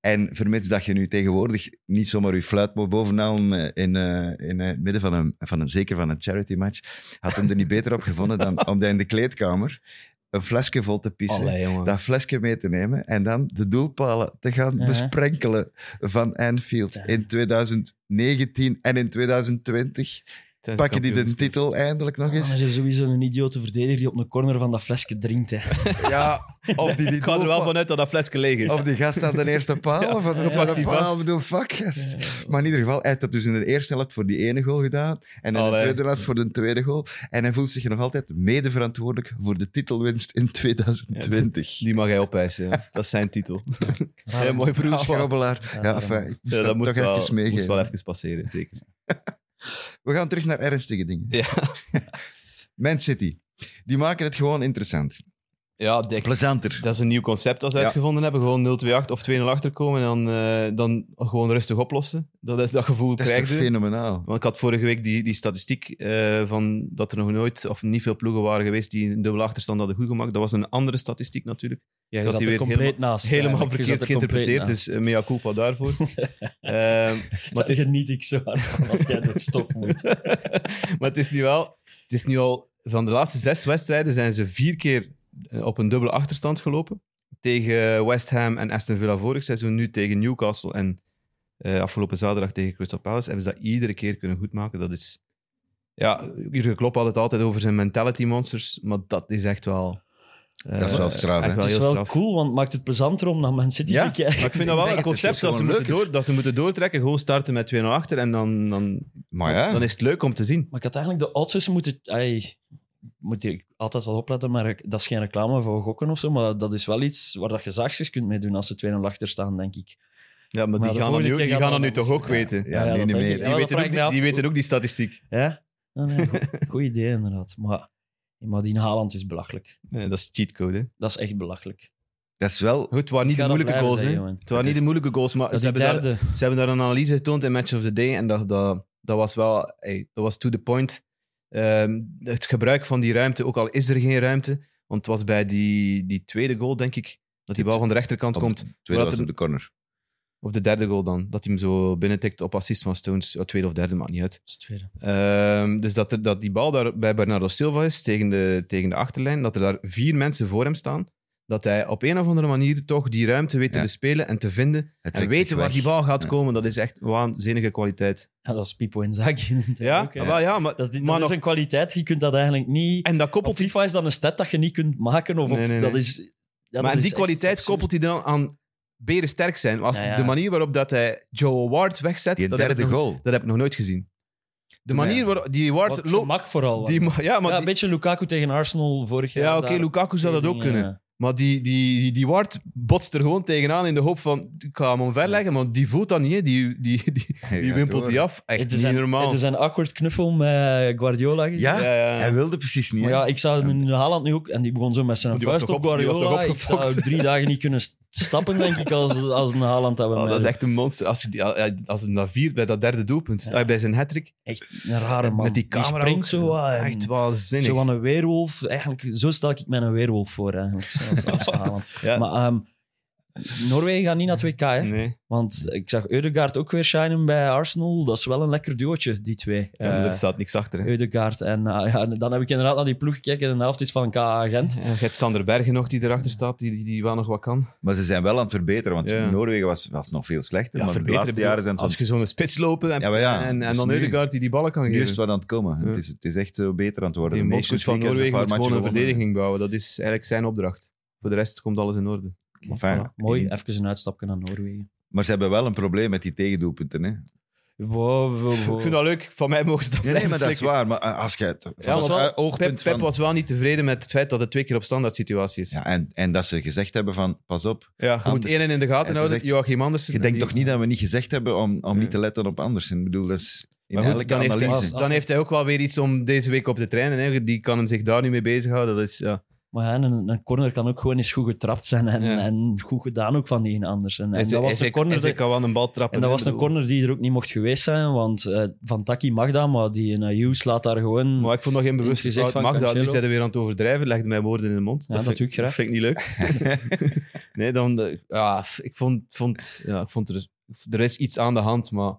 Speaker 2: En vermits dat je nu tegenwoordig niet zomaar je fluit moet bovenaan eh, in, eh, in eh, het midden van een, van een, zeker van een charity match, had hem er niet beter op gevonden dan om dat in de kleedkamer een flesje vol te pissen.
Speaker 3: Allee, jongen.
Speaker 2: Dat flesje mee te nemen en dan de doelpalen te gaan
Speaker 4: Ja.
Speaker 2: besprenkelen van Anfield in 2019 en in 2020.
Speaker 3: Zijn ze
Speaker 2: Pakken die de
Speaker 3: kampioen.
Speaker 2: titel eindelijk nog
Speaker 4: Ah,
Speaker 2: eens?
Speaker 4: Er is sowieso een idiote verdediger die op een corner van dat flesje drinkt. Hè.
Speaker 2: Ja, of die, die
Speaker 3: Ik ga er wel
Speaker 2: doelpa-
Speaker 3: vanuit dat dat flesje leeg is.
Speaker 2: Of die gast aan de eerste paal, of aan de
Speaker 4: Ja,
Speaker 2: tweede
Speaker 3: pakt die
Speaker 2: paal.
Speaker 3: vast.
Speaker 2: Ik bedoel, fuck, gast. Maar in ieder geval, hij heeft dat dus in de eerste helft voor die ene goal gedaan. En in de
Speaker 3: Allee.
Speaker 2: tweede helft voor de tweede goal. En hij voelt zich nog altijd medeverantwoordelijk voor de titelwinst in 2020.
Speaker 3: Die mag hij opeisen. ja. Dat is zijn titel.
Speaker 2: Ah,
Speaker 3: Ja, mooi verhaal.
Speaker 2: Bruce Grobbelaar. Ja,
Speaker 4: Ja,
Speaker 2: enfin, ik moest
Speaker 3: Ja, dat
Speaker 2: Dus dat
Speaker 3: moet
Speaker 2: toch
Speaker 3: wel,
Speaker 2: even
Speaker 3: moet
Speaker 2: meegeven.
Speaker 3: wel even passeren, zeker.
Speaker 2: We gaan terug naar ernstige dingen.
Speaker 3: Ja.
Speaker 2: Man City. Die maken het gewoon interessant.
Speaker 3: Ja, dik.
Speaker 2: Plezanter.
Speaker 3: Dat is een nieuw concept dat ze
Speaker 2: Ja.
Speaker 3: uitgevonden hebben. Gewoon 0-2-8 of 2-0 achterkomen en dan, eh, dan gewoon rustig oplossen. Dat, is, dat gevoel
Speaker 2: Dat is toch
Speaker 3: krijg je.
Speaker 2: fenomenaal.
Speaker 3: Want ik had vorige week die, die statistiek eh, van dat er nog nooit of niet veel ploegen waren geweest die een dubbele achterstand hadden goed gemaakt. Dat was een andere statistiek natuurlijk.
Speaker 4: Ja, je
Speaker 3: Dat
Speaker 4: zat
Speaker 3: die
Speaker 4: er
Speaker 3: weer
Speaker 4: compleet
Speaker 3: helemaal-
Speaker 4: naast.
Speaker 3: Helemaal
Speaker 4: eigenlijk. Je zat
Speaker 3: verkeerd
Speaker 4: er compleet
Speaker 3: geïnterpreteerd, dus eh, mea culpa daarvoor. Ehm, maar,
Speaker 4: naast.
Speaker 3: het is,
Speaker 4: Daar geniet ik zo hard van als jij dat stop moet.
Speaker 3: maar het is nu wel... Het is nu al... Van de laatste zes wedstrijden zijn ze vier keer eh, op een dubbele achterstand gelopen. Tegen West Ham en Aston Villa vorig seizoen, nu tegen Newcastle en eh, afgelopen zaterdag tegen Crystal Palace. Hebben ze dat iedere keer kunnen goedmaken. Dat is... Ja, Jurgen Klopp had het altijd over zijn mentality monsters, maar dat is echt wel... eh,
Speaker 2: Dat is wel straf,
Speaker 3: echt
Speaker 2: hè?
Speaker 3: wel
Speaker 4: Het is
Speaker 3: heel
Speaker 4: wel
Speaker 3: straf.
Speaker 4: cool, want het maakt het plezanter om naar Man City
Speaker 2: Ja.
Speaker 4: te kijken.
Speaker 3: Maar ik vind dat wel
Speaker 2: Het
Speaker 3: een
Speaker 2: is
Speaker 3: concept dat ze,
Speaker 2: gewoon
Speaker 3: moeten
Speaker 2: leuker.
Speaker 3: door, dat ze moeten doortrekken. Gewoon starten met 2-0 achter en dan, dan,
Speaker 2: Maar ja,
Speaker 3: dan is het leuk om te zien.
Speaker 4: Maar ik had eigenlijk de oudste moeten... ai, ik moet hier altijd wel opletten, maar ik- dat is geen reclame voor gokken of zo, maar dat is wel iets waar dat je zachtjes kunt mee doen als ze 2-0 achter staan, denk ik.
Speaker 3: Ja, maar,
Speaker 4: Maar
Speaker 3: die
Speaker 4: de
Speaker 3: gaan dat nu,
Speaker 4: volgende keer
Speaker 3: die
Speaker 4: gaat
Speaker 3: gaan
Speaker 4: dat
Speaker 3: dat nu
Speaker 4: anders.
Speaker 3: toch ook weten.
Speaker 2: ja,
Speaker 4: dus- Ja,
Speaker 2: nu
Speaker 4: dat
Speaker 2: niet
Speaker 4: denk ik.
Speaker 2: meer.
Speaker 3: Die,
Speaker 4: dat
Speaker 3: weten
Speaker 4: vraag
Speaker 3: ook
Speaker 4: ik
Speaker 3: die,
Speaker 4: me af.
Speaker 3: die weten ook die statistiek.
Speaker 4: Ja? Ah, nee, goed idee, inderdaad. Maar Maar die Haaland is belachelijk.
Speaker 3: Nee, dat is cheatcode. hè.
Speaker 4: Dat is echt belachelijk.
Speaker 2: Dat is wel...
Speaker 3: Goed, het waren niet
Speaker 4: Ik
Speaker 3: de
Speaker 4: ga dat
Speaker 3: moeilijke
Speaker 4: blijven
Speaker 3: goals.
Speaker 4: zeggen,
Speaker 3: hè.
Speaker 4: man.
Speaker 3: Het waren
Speaker 2: Het
Speaker 3: niet
Speaker 2: is-
Speaker 3: de moeilijke goals, maar
Speaker 4: Dat
Speaker 3: ze
Speaker 4: die
Speaker 3: hebben, daar,
Speaker 4: derde...
Speaker 3: ze hebben daar een analyse getoond in Match of the Day. En dat, dat, dat was wel ey, dat was to the point. Ehm, het gebruik van die ruimte, ook al is er geen ruimte. Want het was bij die, die tweede goal, denk ik, dat die bal van de rechterkant komt.
Speaker 2: Tweede
Speaker 3: Wat
Speaker 2: was
Speaker 3: er-
Speaker 2: op de corner.
Speaker 3: Of de derde goal dan. Dat hij hem zo binnentikt op assist van Stones. Ja, tweede of derde, maakt niet uit.
Speaker 4: Dat is het tweede.
Speaker 3: Ehm, dus dat, er, dat die bal daar bij Bernardo Silva is tegen de, tegen de achterlijn. Dat er daar vier mensen voor hem staan. Dat hij op een of andere manier toch die ruimte weet te
Speaker 2: Ja.
Speaker 3: bespelen en te vinden.
Speaker 2: Hij
Speaker 3: En
Speaker 2: trekt
Speaker 3: weten
Speaker 2: zich
Speaker 3: waar
Speaker 2: weg.
Speaker 3: die bal gaat
Speaker 2: Ja.
Speaker 3: komen. Dat is echt waanzinnige kwaliteit.
Speaker 4: Ja, dat is Pipo Inzaghi.
Speaker 3: Ja,
Speaker 4: Ook, hè.
Speaker 3: Ah, wel, ja maar,
Speaker 4: Dat, dat
Speaker 3: maar
Speaker 4: is
Speaker 3: nog-
Speaker 4: een kwaliteit. Je kunt dat eigenlijk niet...
Speaker 3: en dat
Speaker 4: Op
Speaker 3: koppelt hij.
Speaker 4: FIFA is dat een stat dat je niet kunt maken. Of op-
Speaker 3: Nee, nee,
Speaker 4: Dat
Speaker 3: nee.
Speaker 4: is, ja, dat
Speaker 3: maar en
Speaker 4: is
Speaker 3: die
Speaker 4: echt
Speaker 3: kwaliteit
Speaker 4: absurd.
Speaker 3: koppelt hij dan aan beren sterk zijn. Als
Speaker 4: Ja, ja.
Speaker 3: De manier waarop dat hij Joe Ward wegzet,
Speaker 2: Die
Speaker 3: dat heb, ik
Speaker 2: derde
Speaker 3: nog,
Speaker 2: goal.
Speaker 3: dat heb ik nog nooit gezien. De
Speaker 2: Toen
Speaker 3: manier
Speaker 2: hij-
Speaker 3: waarop die Ward
Speaker 4: Wat
Speaker 3: loopt-
Speaker 4: gemak vooral.
Speaker 3: Die,
Speaker 4: ja,
Speaker 3: ma- ja, maar
Speaker 4: een
Speaker 3: die-
Speaker 4: beetje Lukaku tegen Arsenal vorig jaar.
Speaker 3: ja, oké,
Speaker 4: daar.
Speaker 3: Lukaku zou dat ook
Speaker 4: Ja.
Speaker 3: kunnen. Maar die, die, die, die Ward botst er gewoon tegenaan in de hoop van, ik ga hem omverleggen, maar die voelt dat niet, hè. die, die, die,
Speaker 2: Hij
Speaker 3: die
Speaker 2: gaat
Speaker 3: wimpelt
Speaker 2: door.
Speaker 3: die af. Echt
Speaker 4: Het
Speaker 3: niet
Speaker 4: is, een,
Speaker 3: normaal.
Speaker 4: het is een awkward knuffel met Guardiola. gezien.
Speaker 2: Ja?
Speaker 3: ja, ja.
Speaker 2: Hij wilde precies niet.
Speaker 4: Maar
Speaker 2: hè.
Speaker 4: ja, ik zou nu Haaland nu ook... En die begon zo met zijn
Speaker 3: Oh, Die was
Speaker 4: vuist
Speaker 3: toch
Speaker 4: op
Speaker 3: op- die was
Speaker 4: Guardiola.
Speaker 3: toch
Speaker 4: Ik zou
Speaker 3: opgefokt?
Speaker 4: drie dagen niet kunnen st- stappen, denk ik, als, als een Haaland dat we
Speaker 3: Oh,
Speaker 4: mij-
Speaker 3: dat is echt een monster. Als, je die, als hij dat viert bij dat derde doelpunt,
Speaker 4: Ja.
Speaker 3: ah, bij zijn hattrick
Speaker 4: echt een rare man.
Speaker 3: met die camera
Speaker 4: springt
Speaker 3: ook.
Speaker 4: zo wat en-
Speaker 3: echt waanzinnig.
Speaker 4: Zo van een weerwolf. Eigenlijk, zo stel ik mij een weerwolf voor, eigenlijk. Zoals- als Haaland.
Speaker 3: Ja.
Speaker 4: Maar ehm, Noorwegen gaat niet naar 2K, hè?
Speaker 3: nee.
Speaker 4: Want ik zag Eudegaard ook weer shinen bij Arsenal. Dat is wel een lekker duootje, die twee.
Speaker 3: ja, maar
Speaker 4: Eh,
Speaker 3: er staat niks achter. Hè.
Speaker 4: Eudegaard. En ah, ja, en dan heb ik inderdaad naar die ploeg gekeken. En de helft is van KA Gent.
Speaker 3: Ja, je hebt Sander Bergen nog die erachter staat, die, die, die wel nog wat kan.
Speaker 2: Maar ze zijn wel aan het verbeteren, want
Speaker 3: Ja.
Speaker 2: Noorwegen was, was nog veel slechter. maar de
Speaker 3: verbeteren,
Speaker 2: laatste
Speaker 3: bedoel,
Speaker 2: jaren zijn ze
Speaker 3: Als je zo'n spits lopen hebt
Speaker 2: Ja, maar ja,
Speaker 3: en, en
Speaker 2: dus
Speaker 3: dan
Speaker 2: nu-
Speaker 3: Eudegaard die die ballen kan
Speaker 2: nu
Speaker 3: geven.
Speaker 2: is het wat aan het komen.
Speaker 3: Ja.
Speaker 2: Het, is, het is echt eh, beter aan het worden.
Speaker 3: Die
Speaker 2: De
Speaker 3: bondscoach
Speaker 2: Nations
Speaker 3: van
Speaker 2: League
Speaker 3: Noorwegen moet
Speaker 2: hebben ze
Speaker 3: gewoon
Speaker 2: een paar
Speaker 3: een
Speaker 2: matchen
Speaker 3: verdediging bouwen. Dat is eigenlijk zijn opdracht. Voor de rest komt alles in orde.
Speaker 2: gewonnen. Enfin,
Speaker 4: Voilà. Mooi, even een uitstapje naar Noorwegen.
Speaker 2: Maar ze hebben wel een probleem met die tegendoelpunten. Hè?
Speaker 4: Wow, wow, wow.
Speaker 3: Ik vind dat leuk. Van mij mogen ze dat
Speaker 2: Nee, nee,
Speaker 3: blijven
Speaker 2: maar dat is
Speaker 3: slikken.
Speaker 2: waar. Maar eh, als je het
Speaker 3: Ja,
Speaker 2: van het
Speaker 3: want
Speaker 2: eh, oogpunt
Speaker 3: Pep,
Speaker 2: van...
Speaker 3: Pep was wel niet tevreden met het feit dat het twee keer op standaard situatie is.
Speaker 2: ja,
Speaker 3: Ja,
Speaker 2: en, en dat ze gezegd hebben van, pas op.
Speaker 3: je moet
Speaker 2: Anders-
Speaker 3: één en in de gaten
Speaker 2: Het is
Speaker 3: houden.
Speaker 2: echt-
Speaker 3: Joachim Andersen.
Speaker 2: Je denkt
Speaker 3: Die-
Speaker 2: toch niet dat we niet gezegd hebben om, om
Speaker 3: Ja.
Speaker 2: niet te letten op Andersen? Ik bedoel, dat is in
Speaker 3: Maar goed,
Speaker 2: elke
Speaker 3: dan, heeft hij,
Speaker 2: analyse.
Speaker 4: als-
Speaker 3: dan heeft hij ook wel weer iets om deze week op te trainen. Hè. Die kan hem zich daar niet mee bezighouden. Dat is, ja.
Speaker 4: Maar ja, een, een corner kan ook gewoon eens goed getrapt zijn. En,
Speaker 3: Ja.
Speaker 4: en goed gedaan ook van die een anders. En, en
Speaker 3: Hij is-
Speaker 4: dat
Speaker 3: hij
Speaker 4: was
Speaker 3: is-
Speaker 4: een corner...
Speaker 3: hij is-
Speaker 4: die-
Speaker 3: hij kan wel een bal trappen.
Speaker 4: En dat
Speaker 3: hè,
Speaker 4: was een
Speaker 3: bedoel.
Speaker 4: corner die er ook niet mocht geweest zijn, want eh, Van Taki mag dat, maar die in Hughes laat daar gewoon...
Speaker 3: Maar ik vond nog geen bewust
Speaker 4: In het gezicht
Speaker 3: gezicht van
Speaker 4: Hm. van
Speaker 3: Magda. Nu
Speaker 4: Cancelo.
Speaker 3: zijn we weer aan het overdrijven. Legde mij woorden in de mond.
Speaker 4: Ja, dat
Speaker 3: vind,
Speaker 4: doe ik graag.
Speaker 3: vind ik niet leuk. nee, dan... eh, Ja, f- ik vond... vond ja, ik vond er... Er is iets aan de hand, maar...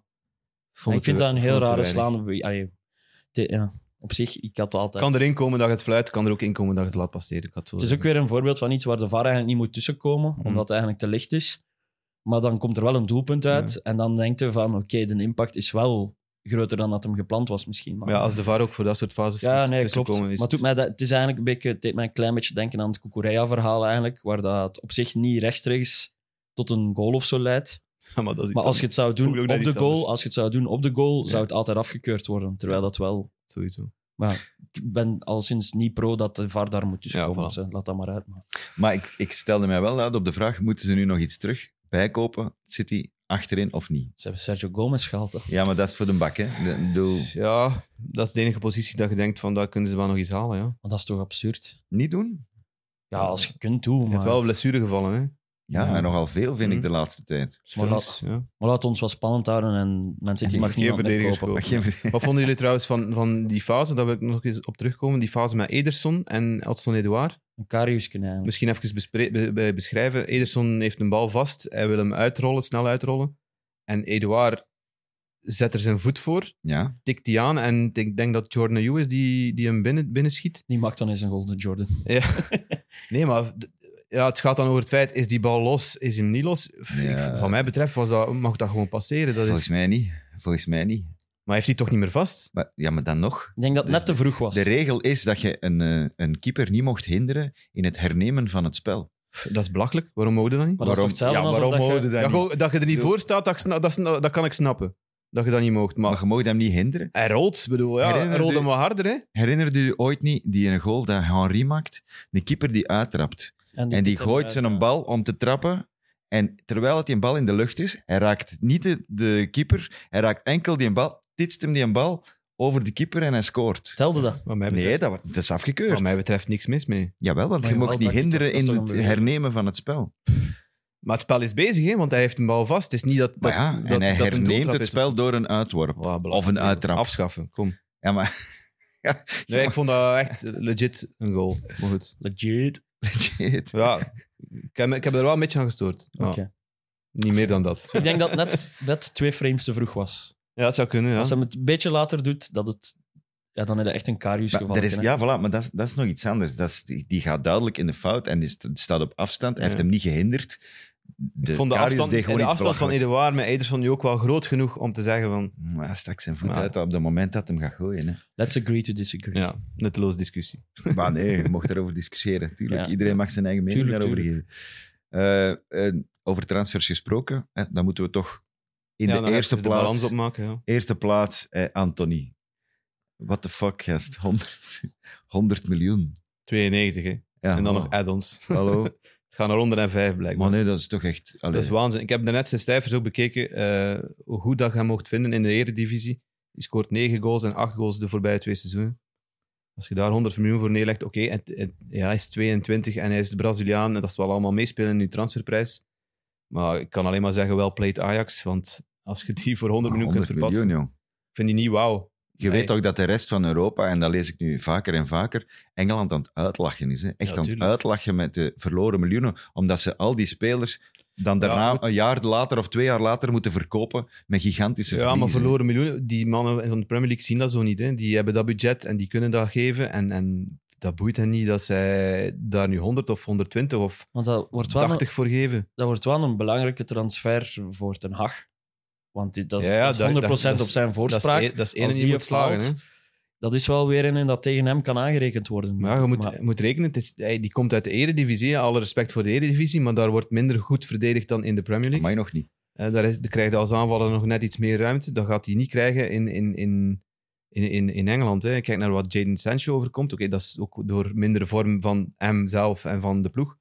Speaker 3: vond
Speaker 4: ik
Speaker 3: het
Speaker 4: vind
Speaker 3: te-
Speaker 4: dat een heel
Speaker 3: vond het te
Speaker 4: rare
Speaker 3: weinig.
Speaker 4: slaande... bewe- Allee, te- ja, op zich, ik had altijd...
Speaker 3: Kan erin komen dat je het fluit, kan er ook in komen dat je het laat passeren. Ik had
Speaker 4: Het is ook weer een voorbeeld van iets waar de VAR eigenlijk niet moet tussenkomen,
Speaker 3: Mhm.
Speaker 4: omdat het eigenlijk te licht is. Maar dan komt er wel een doelpunt uit en dan denkt je van, oké, de impact is wel groter dan dat hem gepland was misschien. Maar...
Speaker 3: Maar ja, als de VAR ook voor dat soort fases
Speaker 4: Ja,
Speaker 3: moet
Speaker 4: nee, klopt.
Speaker 3: tussenkomen,
Speaker 4: Maar
Speaker 3: is
Speaker 4: het doet mij dat, het is eigenlijk een beetje, het deed mij een klein beetje denken aan het Kukureya-verhaal eigenlijk, waar dat op zich niet rechtstreeks tot een goal of zo leidt.
Speaker 3: Ja, maar dat is iets
Speaker 4: Maar als
Speaker 3: anders.
Speaker 4: je het zou
Speaker 3: Voel
Speaker 4: doen
Speaker 3: je
Speaker 4: op
Speaker 3: ook dat
Speaker 4: de
Speaker 3: iets
Speaker 4: goal,
Speaker 3: anders?
Speaker 4: als je het zou doen op de goal,
Speaker 3: Ja.
Speaker 4: zou het altijd afgekeurd worden. Terwijl dat wel...
Speaker 3: Sowieso.
Speaker 4: Ik ben al sinds niet pro dat de VAR daar moet tussenkomen.
Speaker 3: Ja, voilà.
Speaker 4: dus, eh, laat dat maar uit. Maar.
Speaker 2: Maar ik, ik stelde mij wel uit op de vraag, moeten ze nu nog iets terug bijkopen? City achterin of niet?
Speaker 4: Ze hebben Sergio Gomez gehaald. hè.
Speaker 2: Ja, maar dat is voor de bak, hè. De- ik bedoel,
Speaker 3: Ja, dat is de enige positie dat je denkt van, daar kunnen ze wel nog iets halen, ja.
Speaker 4: Maar dat is toch absurd?
Speaker 2: niet doen?
Speaker 4: Ja, als je kunt doen,
Speaker 3: Je hebt
Speaker 4: maar...
Speaker 3: wel blessure gevallen, hè.
Speaker 2: Ja,
Speaker 3: Ja.
Speaker 2: en nogal veel vind ik
Speaker 3: Hm.
Speaker 2: de laatste tijd.
Speaker 4: Maar dat-
Speaker 3: Spelers, ja.
Speaker 4: Maar laat ons wel spannend houden en Man City mag
Speaker 3: Geen
Speaker 4: niemand meer
Speaker 3: verdedigers
Speaker 4: kopen.
Speaker 2: Maar geen-
Speaker 3: Wat vonden jullie trouwens van, van die fase, daar wil ik nog eens op terugkomen, die fase met Ederson en Elson Edouard?
Speaker 4: Een Karius kunnen eigenlijk.
Speaker 3: Misschien even bespre- be- be- beschrijven. Ederson heeft een bal vast, hij wil hem uitrollen, snel uitrollen. En Edouard zet er zijn voet voor,
Speaker 2: Ja,
Speaker 3: tikt die aan en ik denk dat Jordan Ayew is die, die hem binnen, binnen schiet.
Speaker 4: Die maakt dan eens een golden Jordan.
Speaker 3: Nee, maar d- ja, het gaat dan over het feit, is die bal los, is hem niet los? Pff, ik-
Speaker 2: Ja.
Speaker 3: van mij betreft was dat, mag dat gewoon passeren. Dat
Speaker 2: volgens
Speaker 3: is,
Speaker 2: mij niet. Volgens mij niet.
Speaker 3: maar heeft hij toch niet meer vast?
Speaker 2: Maar, ja, maar dan nog.
Speaker 4: Ik denk dat het net te vroeg was.
Speaker 2: De regel is dat je een, eh, een keeper niet mocht hinderen in het hernemen van het spel.
Speaker 3: Pff, Dat is belachelijk, waarom mogen we dat niet?
Speaker 4: Maar dat is toch hetzelfde
Speaker 2: ja,
Speaker 4: alsof
Speaker 2: waarom
Speaker 4: dat je-
Speaker 2: mogen we dat
Speaker 3: Dat,
Speaker 2: niet?
Speaker 3: gewoon- dat je er niet
Speaker 2: bedoel-
Speaker 3: voor staat, dat, ik sna- dat, sna- dat kan ik snappen. Dat je dat niet mocht.
Speaker 2: Maar
Speaker 3: Maar
Speaker 2: je mocht hem niet hinderen.
Speaker 3: hij rolt, bedoel, ja,
Speaker 2: Herinner
Speaker 3: hij rolt
Speaker 2: de-
Speaker 3: hem wat harder, hè?
Speaker 2: Herinnerde u ooit niet die een goal dat Henry maakt? Een keeper die uittrapt. en die
Speaker 4: tikt hem
Speaker 2: gooit
Speaker 4: uit,
Speaker 2: zijn
Speaker 4: ja.
Speaker 2: bal om te trappen. En terwijl het die bal in de lucht is, hij raakt niet de, de keeper, hij raakt enkel die bal, titst hem die bal over de keeper en hij scoort.
Speaker 4: Telde dat?
Speaker 3: Wat mij betreft,
Speaker 2: Nee, dat, wa- dat is afgekeurd.
Speaker 3: wat mij betreft niks mis mee.
Speaker 2: Jawel, want
Speaker 4: Maar
Speaker 2: je
Speaker 4: ja,
Speaker 2: mocht
Speaker 4: wel,
Speaker 2: niet
Speaker 4: dat-
Speaker 2: hinderen
Speaker 4: dat is
Speaker 2: in
Speaker 4: toch
Speaker 2: het
Speaker 4: een-
Speaker 2: hernemen van het spel.
Speaker 3: Maar het spel is bezig, hè, want hij heeft een bal vast. Het is niet dat, dat,
Speaker 2: Maar ja,
Speaker 3: dat,
Speaker 2: en hij
Speaker 3: dat een
Speaker 2: herneemt
Speaker 3: doeltrap
Speaker 2: het
Speaker 3: is.
Speaker 2: spel door een uitworp.
Speaker 3: Wat belachelijk.
Speaker 2: Of een uittrap.
Speaker 3: Afschaffen, kom.
Speaker 2: Ja, maar... Ja,
Speaker 3: Nee, ik vond dat echt legit een goal. Maar goed.
Speaker 4: Legit.
Speaker 2: shit.
Speaker 3: Ja, ik heb, me- ik heb er wel een beetje aan gestoord. Ja,
Speaker 4: Oké.
Speaker 3: Niet meer dan dat.
Speaker 4: Ik denk dat net, net twee frames te vroeg was.
Speaker 3: Ja, dat zou kunnen, ja.
Speaker 4: Als hij het een beetje later doet, dat het, ja, dan heb je echt een karius
Speaker 2: Maar
Speaker 4: gevallen.
Speaker 2: er is,
Speaker 4: hè.
Speaker 2: ja, voilà, maar dat is, dat is nog iets anders. Dat is, die, die gaat duidelijk in de fout en die st- staat op afstand. Hij heeft
Speaker 3: Ja.
Speaker 2: hem niet gehinderd. De
Speaker 3: ik vond de
Speaker 2: Karius
Speaker 3: afstand,
Speaker 2: deed gewoon
Speaker 3: de
Speaker 2: iets
Speaker 3: afstand van
Speaker 2: belachelijk.
Speaker 3: Eduard met Ederson nu ook wel groot genoeg om te zeggen van...
Speaker 2: Maar hij stak zijn voet
Speaker 3: Ja.
Speaker 2: uit op het moment dat hij hem gaat gooien. Hè.
Speaker 4: Let's agree to disagree.
Speaker 3: Ja, nutteloos discussie.
Speaker 2: Maar nee, je mocht daarover discussiëren. Tuurlijk,
Speaker 4: Ja.
Speaker 2: iedereen mag zijn eigen mening
Speaker 4: Tuurlijk,
Speaker 2: daarover geven. Eh, eh, over transfers gesproken, eh, dan moeten we toch in
Speaker 3: Ja,
Speaker 2: de
Speaker 3: dan
Speaker 2: eerste
Speaker 3: even de
Speaker 2: plaats...
Speaker 3: balans opmaken, ja.
Speaker 2: Eerste plaats, eh, Anthony. What the fuck, gast. 100, 100 miljoen.
Speaker 3: 92, hè.
Speaker 2: Ja,
Speaker 3: en dan
Speaker 2: oh,
Speaker 3: nog add-ons.
Speaker 2: Hallo.
Speaker 3: Het gaan er onder en vijf, blijkbaar.
Speaker 2: Maar nee, dat is toch echt... Allee,
Speaker 3: Dat is waanzin. Ik heb daarnet zijn cijfers ook bekeken, eh, hoe goed dat je hem mocht vinden in de eredivisie. Die scoort 9 goals en 8 goals de voorbije twee seizoenen. Als je daar 100 miljoen voor neerlegt, oké, en- en- ja, hij is 22 en hij is de Braziliaan en dat is wel allemaal meespelen in je transferprijs. Maar ik kan alleen maar zeggen, wel played Ajax, want als je die voor 100 miljoen kunt
Speaker 2: 100
Speaker 3: verpatsen,
Speaker 2: Ah, miljoen, jong.
Speaker 3: ik vind die niet wauw.
Speaker 2: Je
Speaker 3: Nee.
Speaker 2: weet ook dat de rest van Europa, en dat lees ik nu vaker en vaker, Engeland aan het uitlachen is. Hè? Echt
Speaker 3: Ja,
Speaker 2: aan het
Speaker 3: tuurlijk.
Speaker 2: uitlachen met de verloren miljoenen, omdat ze al die spelers dan daarna
Speaker 3: goed.
Speaker 2: een jaar later of twee jaar later moeten verkopen met gigantische
Speaker 3: Ja, maar
Speaker 2: verliezen.
Speaker 3: verloren miljoenen, die mannen van de Premier League zien dat zo niet. Hè. Die hebben dat budget en die kunnen dat geven en... en dat boeit hen niet dat zij daar nu 100 of 120 of
Speaker 4: Want dat wordt, wel
Speaker 3: 80 voor geven.
Speaker 4: Een, dat wordt wel een belangrijke transfer voor Ten Hag. Want dit, dat, is-
Speaker 3: Ja, ja,
Speaker 4: dat is
Speaker 3: dat-
Speaker 4: 100%
Speaker 3: dat- dat
Speaker 4: op
Speaker 3: is-
Speaker 4: zijn
Speaker 3: Dat
Speaker 4: voorspraak.
Speaker 3: is, e- dat is
Speaker 4: Als
Speaker 3: één die
Speaker 4: die
Speaker 3: moet
Speaker 4: het faalt,
Speaker 3: slagen. Hè?
Speaker 4: Dat is wel weer een en dat tegen hem kan aangerekend worden.
Speaker 3: Maar ja, je moet,
Speaker 4: Maar-
Speaker 3: je moet rekenen, het is, hij- die komt uit de eredivisie. hè. Alle respect voor de eredivisie, maar daar wordt minder goed verdedigd dan in de Premier
Speaker 2: Dat
Speaker 3: League.
Speaker 2: mag je nog niet.
Speaker 3: Eh, daar, is, daar krijg je als aanvaller nog net iets meer ruimte. Dat gaat hij niet krijgen in, in, in, in, in, in Engeland. Hè. Kijk naar wat Jaden Sancho overkomt. Oké, dat is ook door mindere vorm van hemzelf en van de ploeg.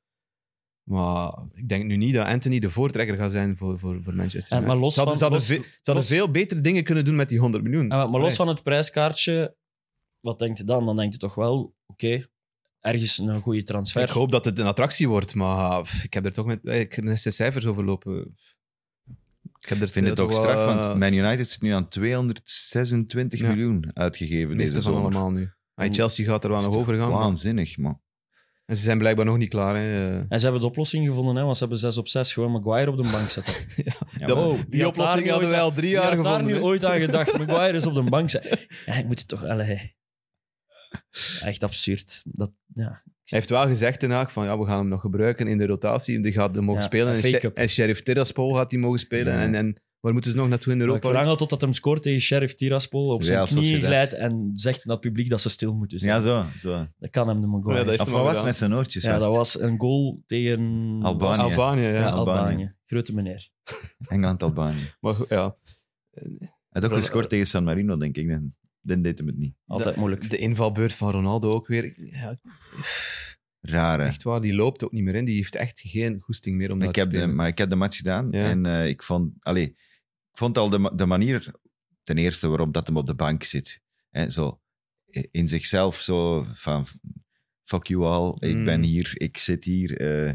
Speaker 3: Maar ik denk nu niet dat Anthony de voortrekker gaat zijn voor, voor, voor Manchester
Speaker 4: Eh,
Speaker 3: United.
Speaker 4: maar los
Speaker 3: ze hadden,
Speaker 4: van-
Speaker 3: ze hadden
Speaker 4: los-
Speaker 3: ve- ze hadden
Speaker 4: los-
Speaker 3: veel betere dingen kunnen doen met die 100 miljoen.
Speaker 4: Ah, maar- maar los
Speaker 3: Nee.
Speaker 4: van het prijskaartje, wat denkt je dan? Dan denkt je toch wel, oké, ergens een goede transfer.
Speaker 3: Ik hoop dat het een attractie wordt, maar pff, ik heb er toch met eh, ik heb net de cijfers over lopen. Ik heb er
Speaker 2: Ik vind het ook
Speaker 3: wel,
Speaker 2: straf,
Speaker 3: eh,
Speaker 2: want Man United zit nu aan 226
Speaker 3: Ja.
Speaker 2: miljoen uitgegeven
Speaker 3: het meeste
Speaker 2: deze
Speaker 3: van
Speaker 2: zomer.
Speaker 3: allemaal nu. Ah, Chelsea gaat er wel
Speaker 2: Dat is
Speaker 3: nog
Speaker 2: toch
Speaker 3: over gaan. maar-
Speaker 2: Waanzinnig, man.
Speaker 3: En ze zijn blijkbaar nog niet klaar. Hè. Eh,
Speaker 4: En ze hebben de oplossing gevonden, hè, want ze hebben 6 op 6 gewoon Maguire op de bank zetten.
Speaker 2: Ja,
Speaker 3: Dat-
Speaker 2: maar-
Speaker 4: Oh, die had daar nu ooit
Speaker 3: al drie
Speaker 4: Ik had daar nu ooit aan gedacht. Maguire is op de bank. Ze- Ja, ik moet het toch... Allee. Echt absurd. Dat, ja.
Speaker 3: Hij heeft wel gezegd ten Haag van ja, we gaan hem nog gebruiken in de rotatie. Die gaat hem mogen
Speaker 4: Ja,
Speaker 3: spelen.
Speaker 4: een
Speaker 3: En,
Speaker 4: fake
Speaker 3: Sher-
Speaker 4: up.
Speaker 3: en Sheriff Tiraspol gaat die mogen spelen.
Speaker 2: Ja.
Speaker 3: En, en waar moeten ze nog naartoe in
Speaker 4: Maar ik
Speaker 3: Europa?
Speaker 4: verlang al totdat hem scoort tegen Sheriff Tiraspol op zijn
Speaker 2: Real
Speaker 4: knie
Speaker 2: Sociedad.
Speaker 4: glijdt en zegt naar het publiek dat ze stil moeten zijn.
Speaker 2: Ja, zo. zo.
Speaker 4: Dat kan hem de Maguire.
Speaker 3: Ja,
Speaker 4: Ja,
Speaker 3: dat
Speaker 4: dat,
Speaker 3: heeft
Speaker 2: Of
Speaker 3: hem
Speaker 2: wat was
Speaker 3: al
Speaker 2: het
Speaker 3: gedaan.
Speaker 2: met zijn oortjes? vast?
Speaker 4: was een goal tegen...
Speaker 2: Albanië.
Speaker 3: Albanië, ja.
Speaker 4: Ja, Albanië.
Speaker 2: Albanië.
Speaker 4: Grote meneer.
Speaker 2: Engeland-Albanië.
Speaker 3: Maar goed, ja.
Speaker 2: Hij had ook
Speaker 3: Wel, eh,
Speaker 2: gescoord tegen San Marino, denk ik. Dan, dan deed hem het niet.
Speaker 4: Altijd
Speaker 3: de,
Speaker 4: moeilijk.
Speaker 3: De invalbeurt van Ronaldo ook weer. Ja,
Speaker 2: Raar, hè?
Speaker 3: Echt waar, die loopt ook niet meer in. Die heeft echt geen goesting meer om dat
Speaker 2: ik
Speaker 3: te
Speaker 2: heb de,
Speaker 3: spelen.
Speaker 2: maar ik heb de match gedaan
Speaker 3: Ja.
Speaker 2: en eh, ik vond, allee, ik vond al de, ma- de manier, ten eerste waarop dat hem op de bank zit. Hè, zo, eh, in zichzelf zo van, fuck you all, ik
Speaker 3: Mm.
Speaker 2: ben hier, ik zit hier, eh,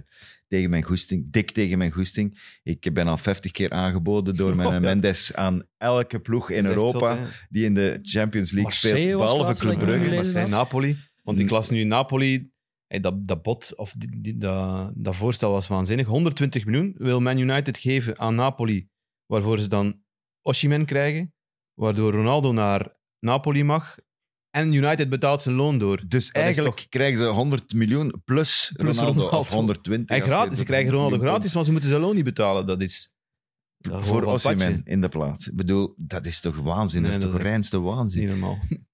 Speaker 2: tegen mijn goesting, dik tegen mijn goesting. Ik ben al 50 keer aangeboden door mijn
Speaker 3: Oh, ja.
Speaker 2: Mendes aan elke ploeg in
Speaker 3: Dat is echt
Speaker 2: Europa
Speaker 3: zot, hè.
Speaker 2: die in de Champions League
Speaker 4: Marseille
Speaker 2: speelt,
Speaker 4: was
Speaker 2: behalve
Speaker 4: laatst
Speaker 2: Club
Speaker 4: dat ik
Speaker 2: Brugge.
Speaker 4: gelezen
Speaker 3: Maar zijn
Speaker 4: had.
Speaker 3: Napoli. Want ik las nu Napoli. Hey, dat, dat bot, of die, die- dat, dat voorstel was waanzinnig. 120 miljoen wil Man United geven aan Napoli. Waarvoor ze dan Osimhen krijgen. Waardoor Ronaldo naar Napoli mag. En United betaalt zijn loon door.
Speaker 2: Dus
Speaker 3: is
Speaker 2: eigenlijk
Speaker 3: toch-
Speaker 2: krijgen ze 100 miljoen plus, Ronaldo, of
Speaker 3: Ronaldo.
Speaker 2: 120.
Speaker 3: En
Speaker 2: als je
Speaker 3: gratis. Ze
Speaker 2: dat-
Speaker 3: krijgen Ronaldo
Speaker 2: miljoen
Speaker 3: gratis, maar ze moeten zijn loon niet betalen. Dat is... dat is
Speaker 2: voor
Speaker 3: gewoon van het
Speaker 2: Osimhen
Speaker 3: padje.
Speaker 2: in de plaats. Ik bedoel, dat is toch waanzin?
Speaker 3: Nee,
Speaker 2: dat is
Speaker 3: dat
Speaker 2: toch
Speaker 3: is echt-
Speaker 2: reinste
Speaker 3: Dat is
Speaker 2: waanzin?
Speaker 3: niet normaal.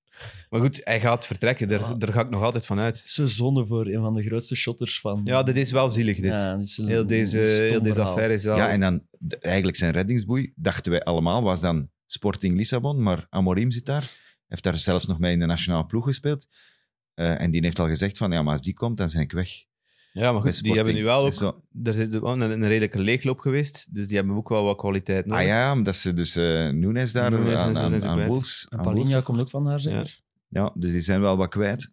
Speaker 3: Maar goed, hij gaat vertrekken. Daar,
Speaker 4: Ja.
Speaker 3: daar ga ik nog altijd van uit.
Speaker 4: Ze zonde voor een van de grootste shotters van...
Speaker 3: Ja, dit is wel zielig, dit.
Speaker 4: Ja, dit is een
Speaker 3: heel, deze,
Speaker 4: stom
Speaker 3: heel deze
Speaker 4: verhaal.
Speaker 3: affaire is wel...
Speaker 2: Ja, en dan de- eigenlijk zijn reddingsboei, dachten wij allemaal, was dan Sporting Lissabon, maar Amorim zit daar. Heeft daar zelfs nog mee in de nationale ploeg gespeeld. Eh, en die heeft al gezegd van, ja, maar als die komt, dan zijn ik weg.
Speaker 3: Ja, maar
Speaker 2: bij
Speaker 3: goed, die
Speaker 2: Sporting.
Speaker 3: hebben nu wel ook...
Speaker 2: Dus dat-
Speaker 3: Er zit wel een, een redelijke leegloop geweest, dus die hebben ook wel wat kwaliteit
Speaker 2: ah
Speaker 3: nodig.
Speaker 2: ja, omdat ze dus eh Nunes daar
Speaker 3: Nunes en
Speaker 2: aan,
Speaker 3: zo zijn
Speaker 2: aan,
Speaker 3: ze
Speaker 2: aan
Speaker 3: kwijt.
Speaker 2: Wolves...
Speaker 4: En
Speaker 2: aan
Speaker 4: Palinja
Speaker 2: Wolves-
Speaker 4: komt ook van haar, zeker?
Speaker 2: Ja, dus die zijn wel wat kwijt.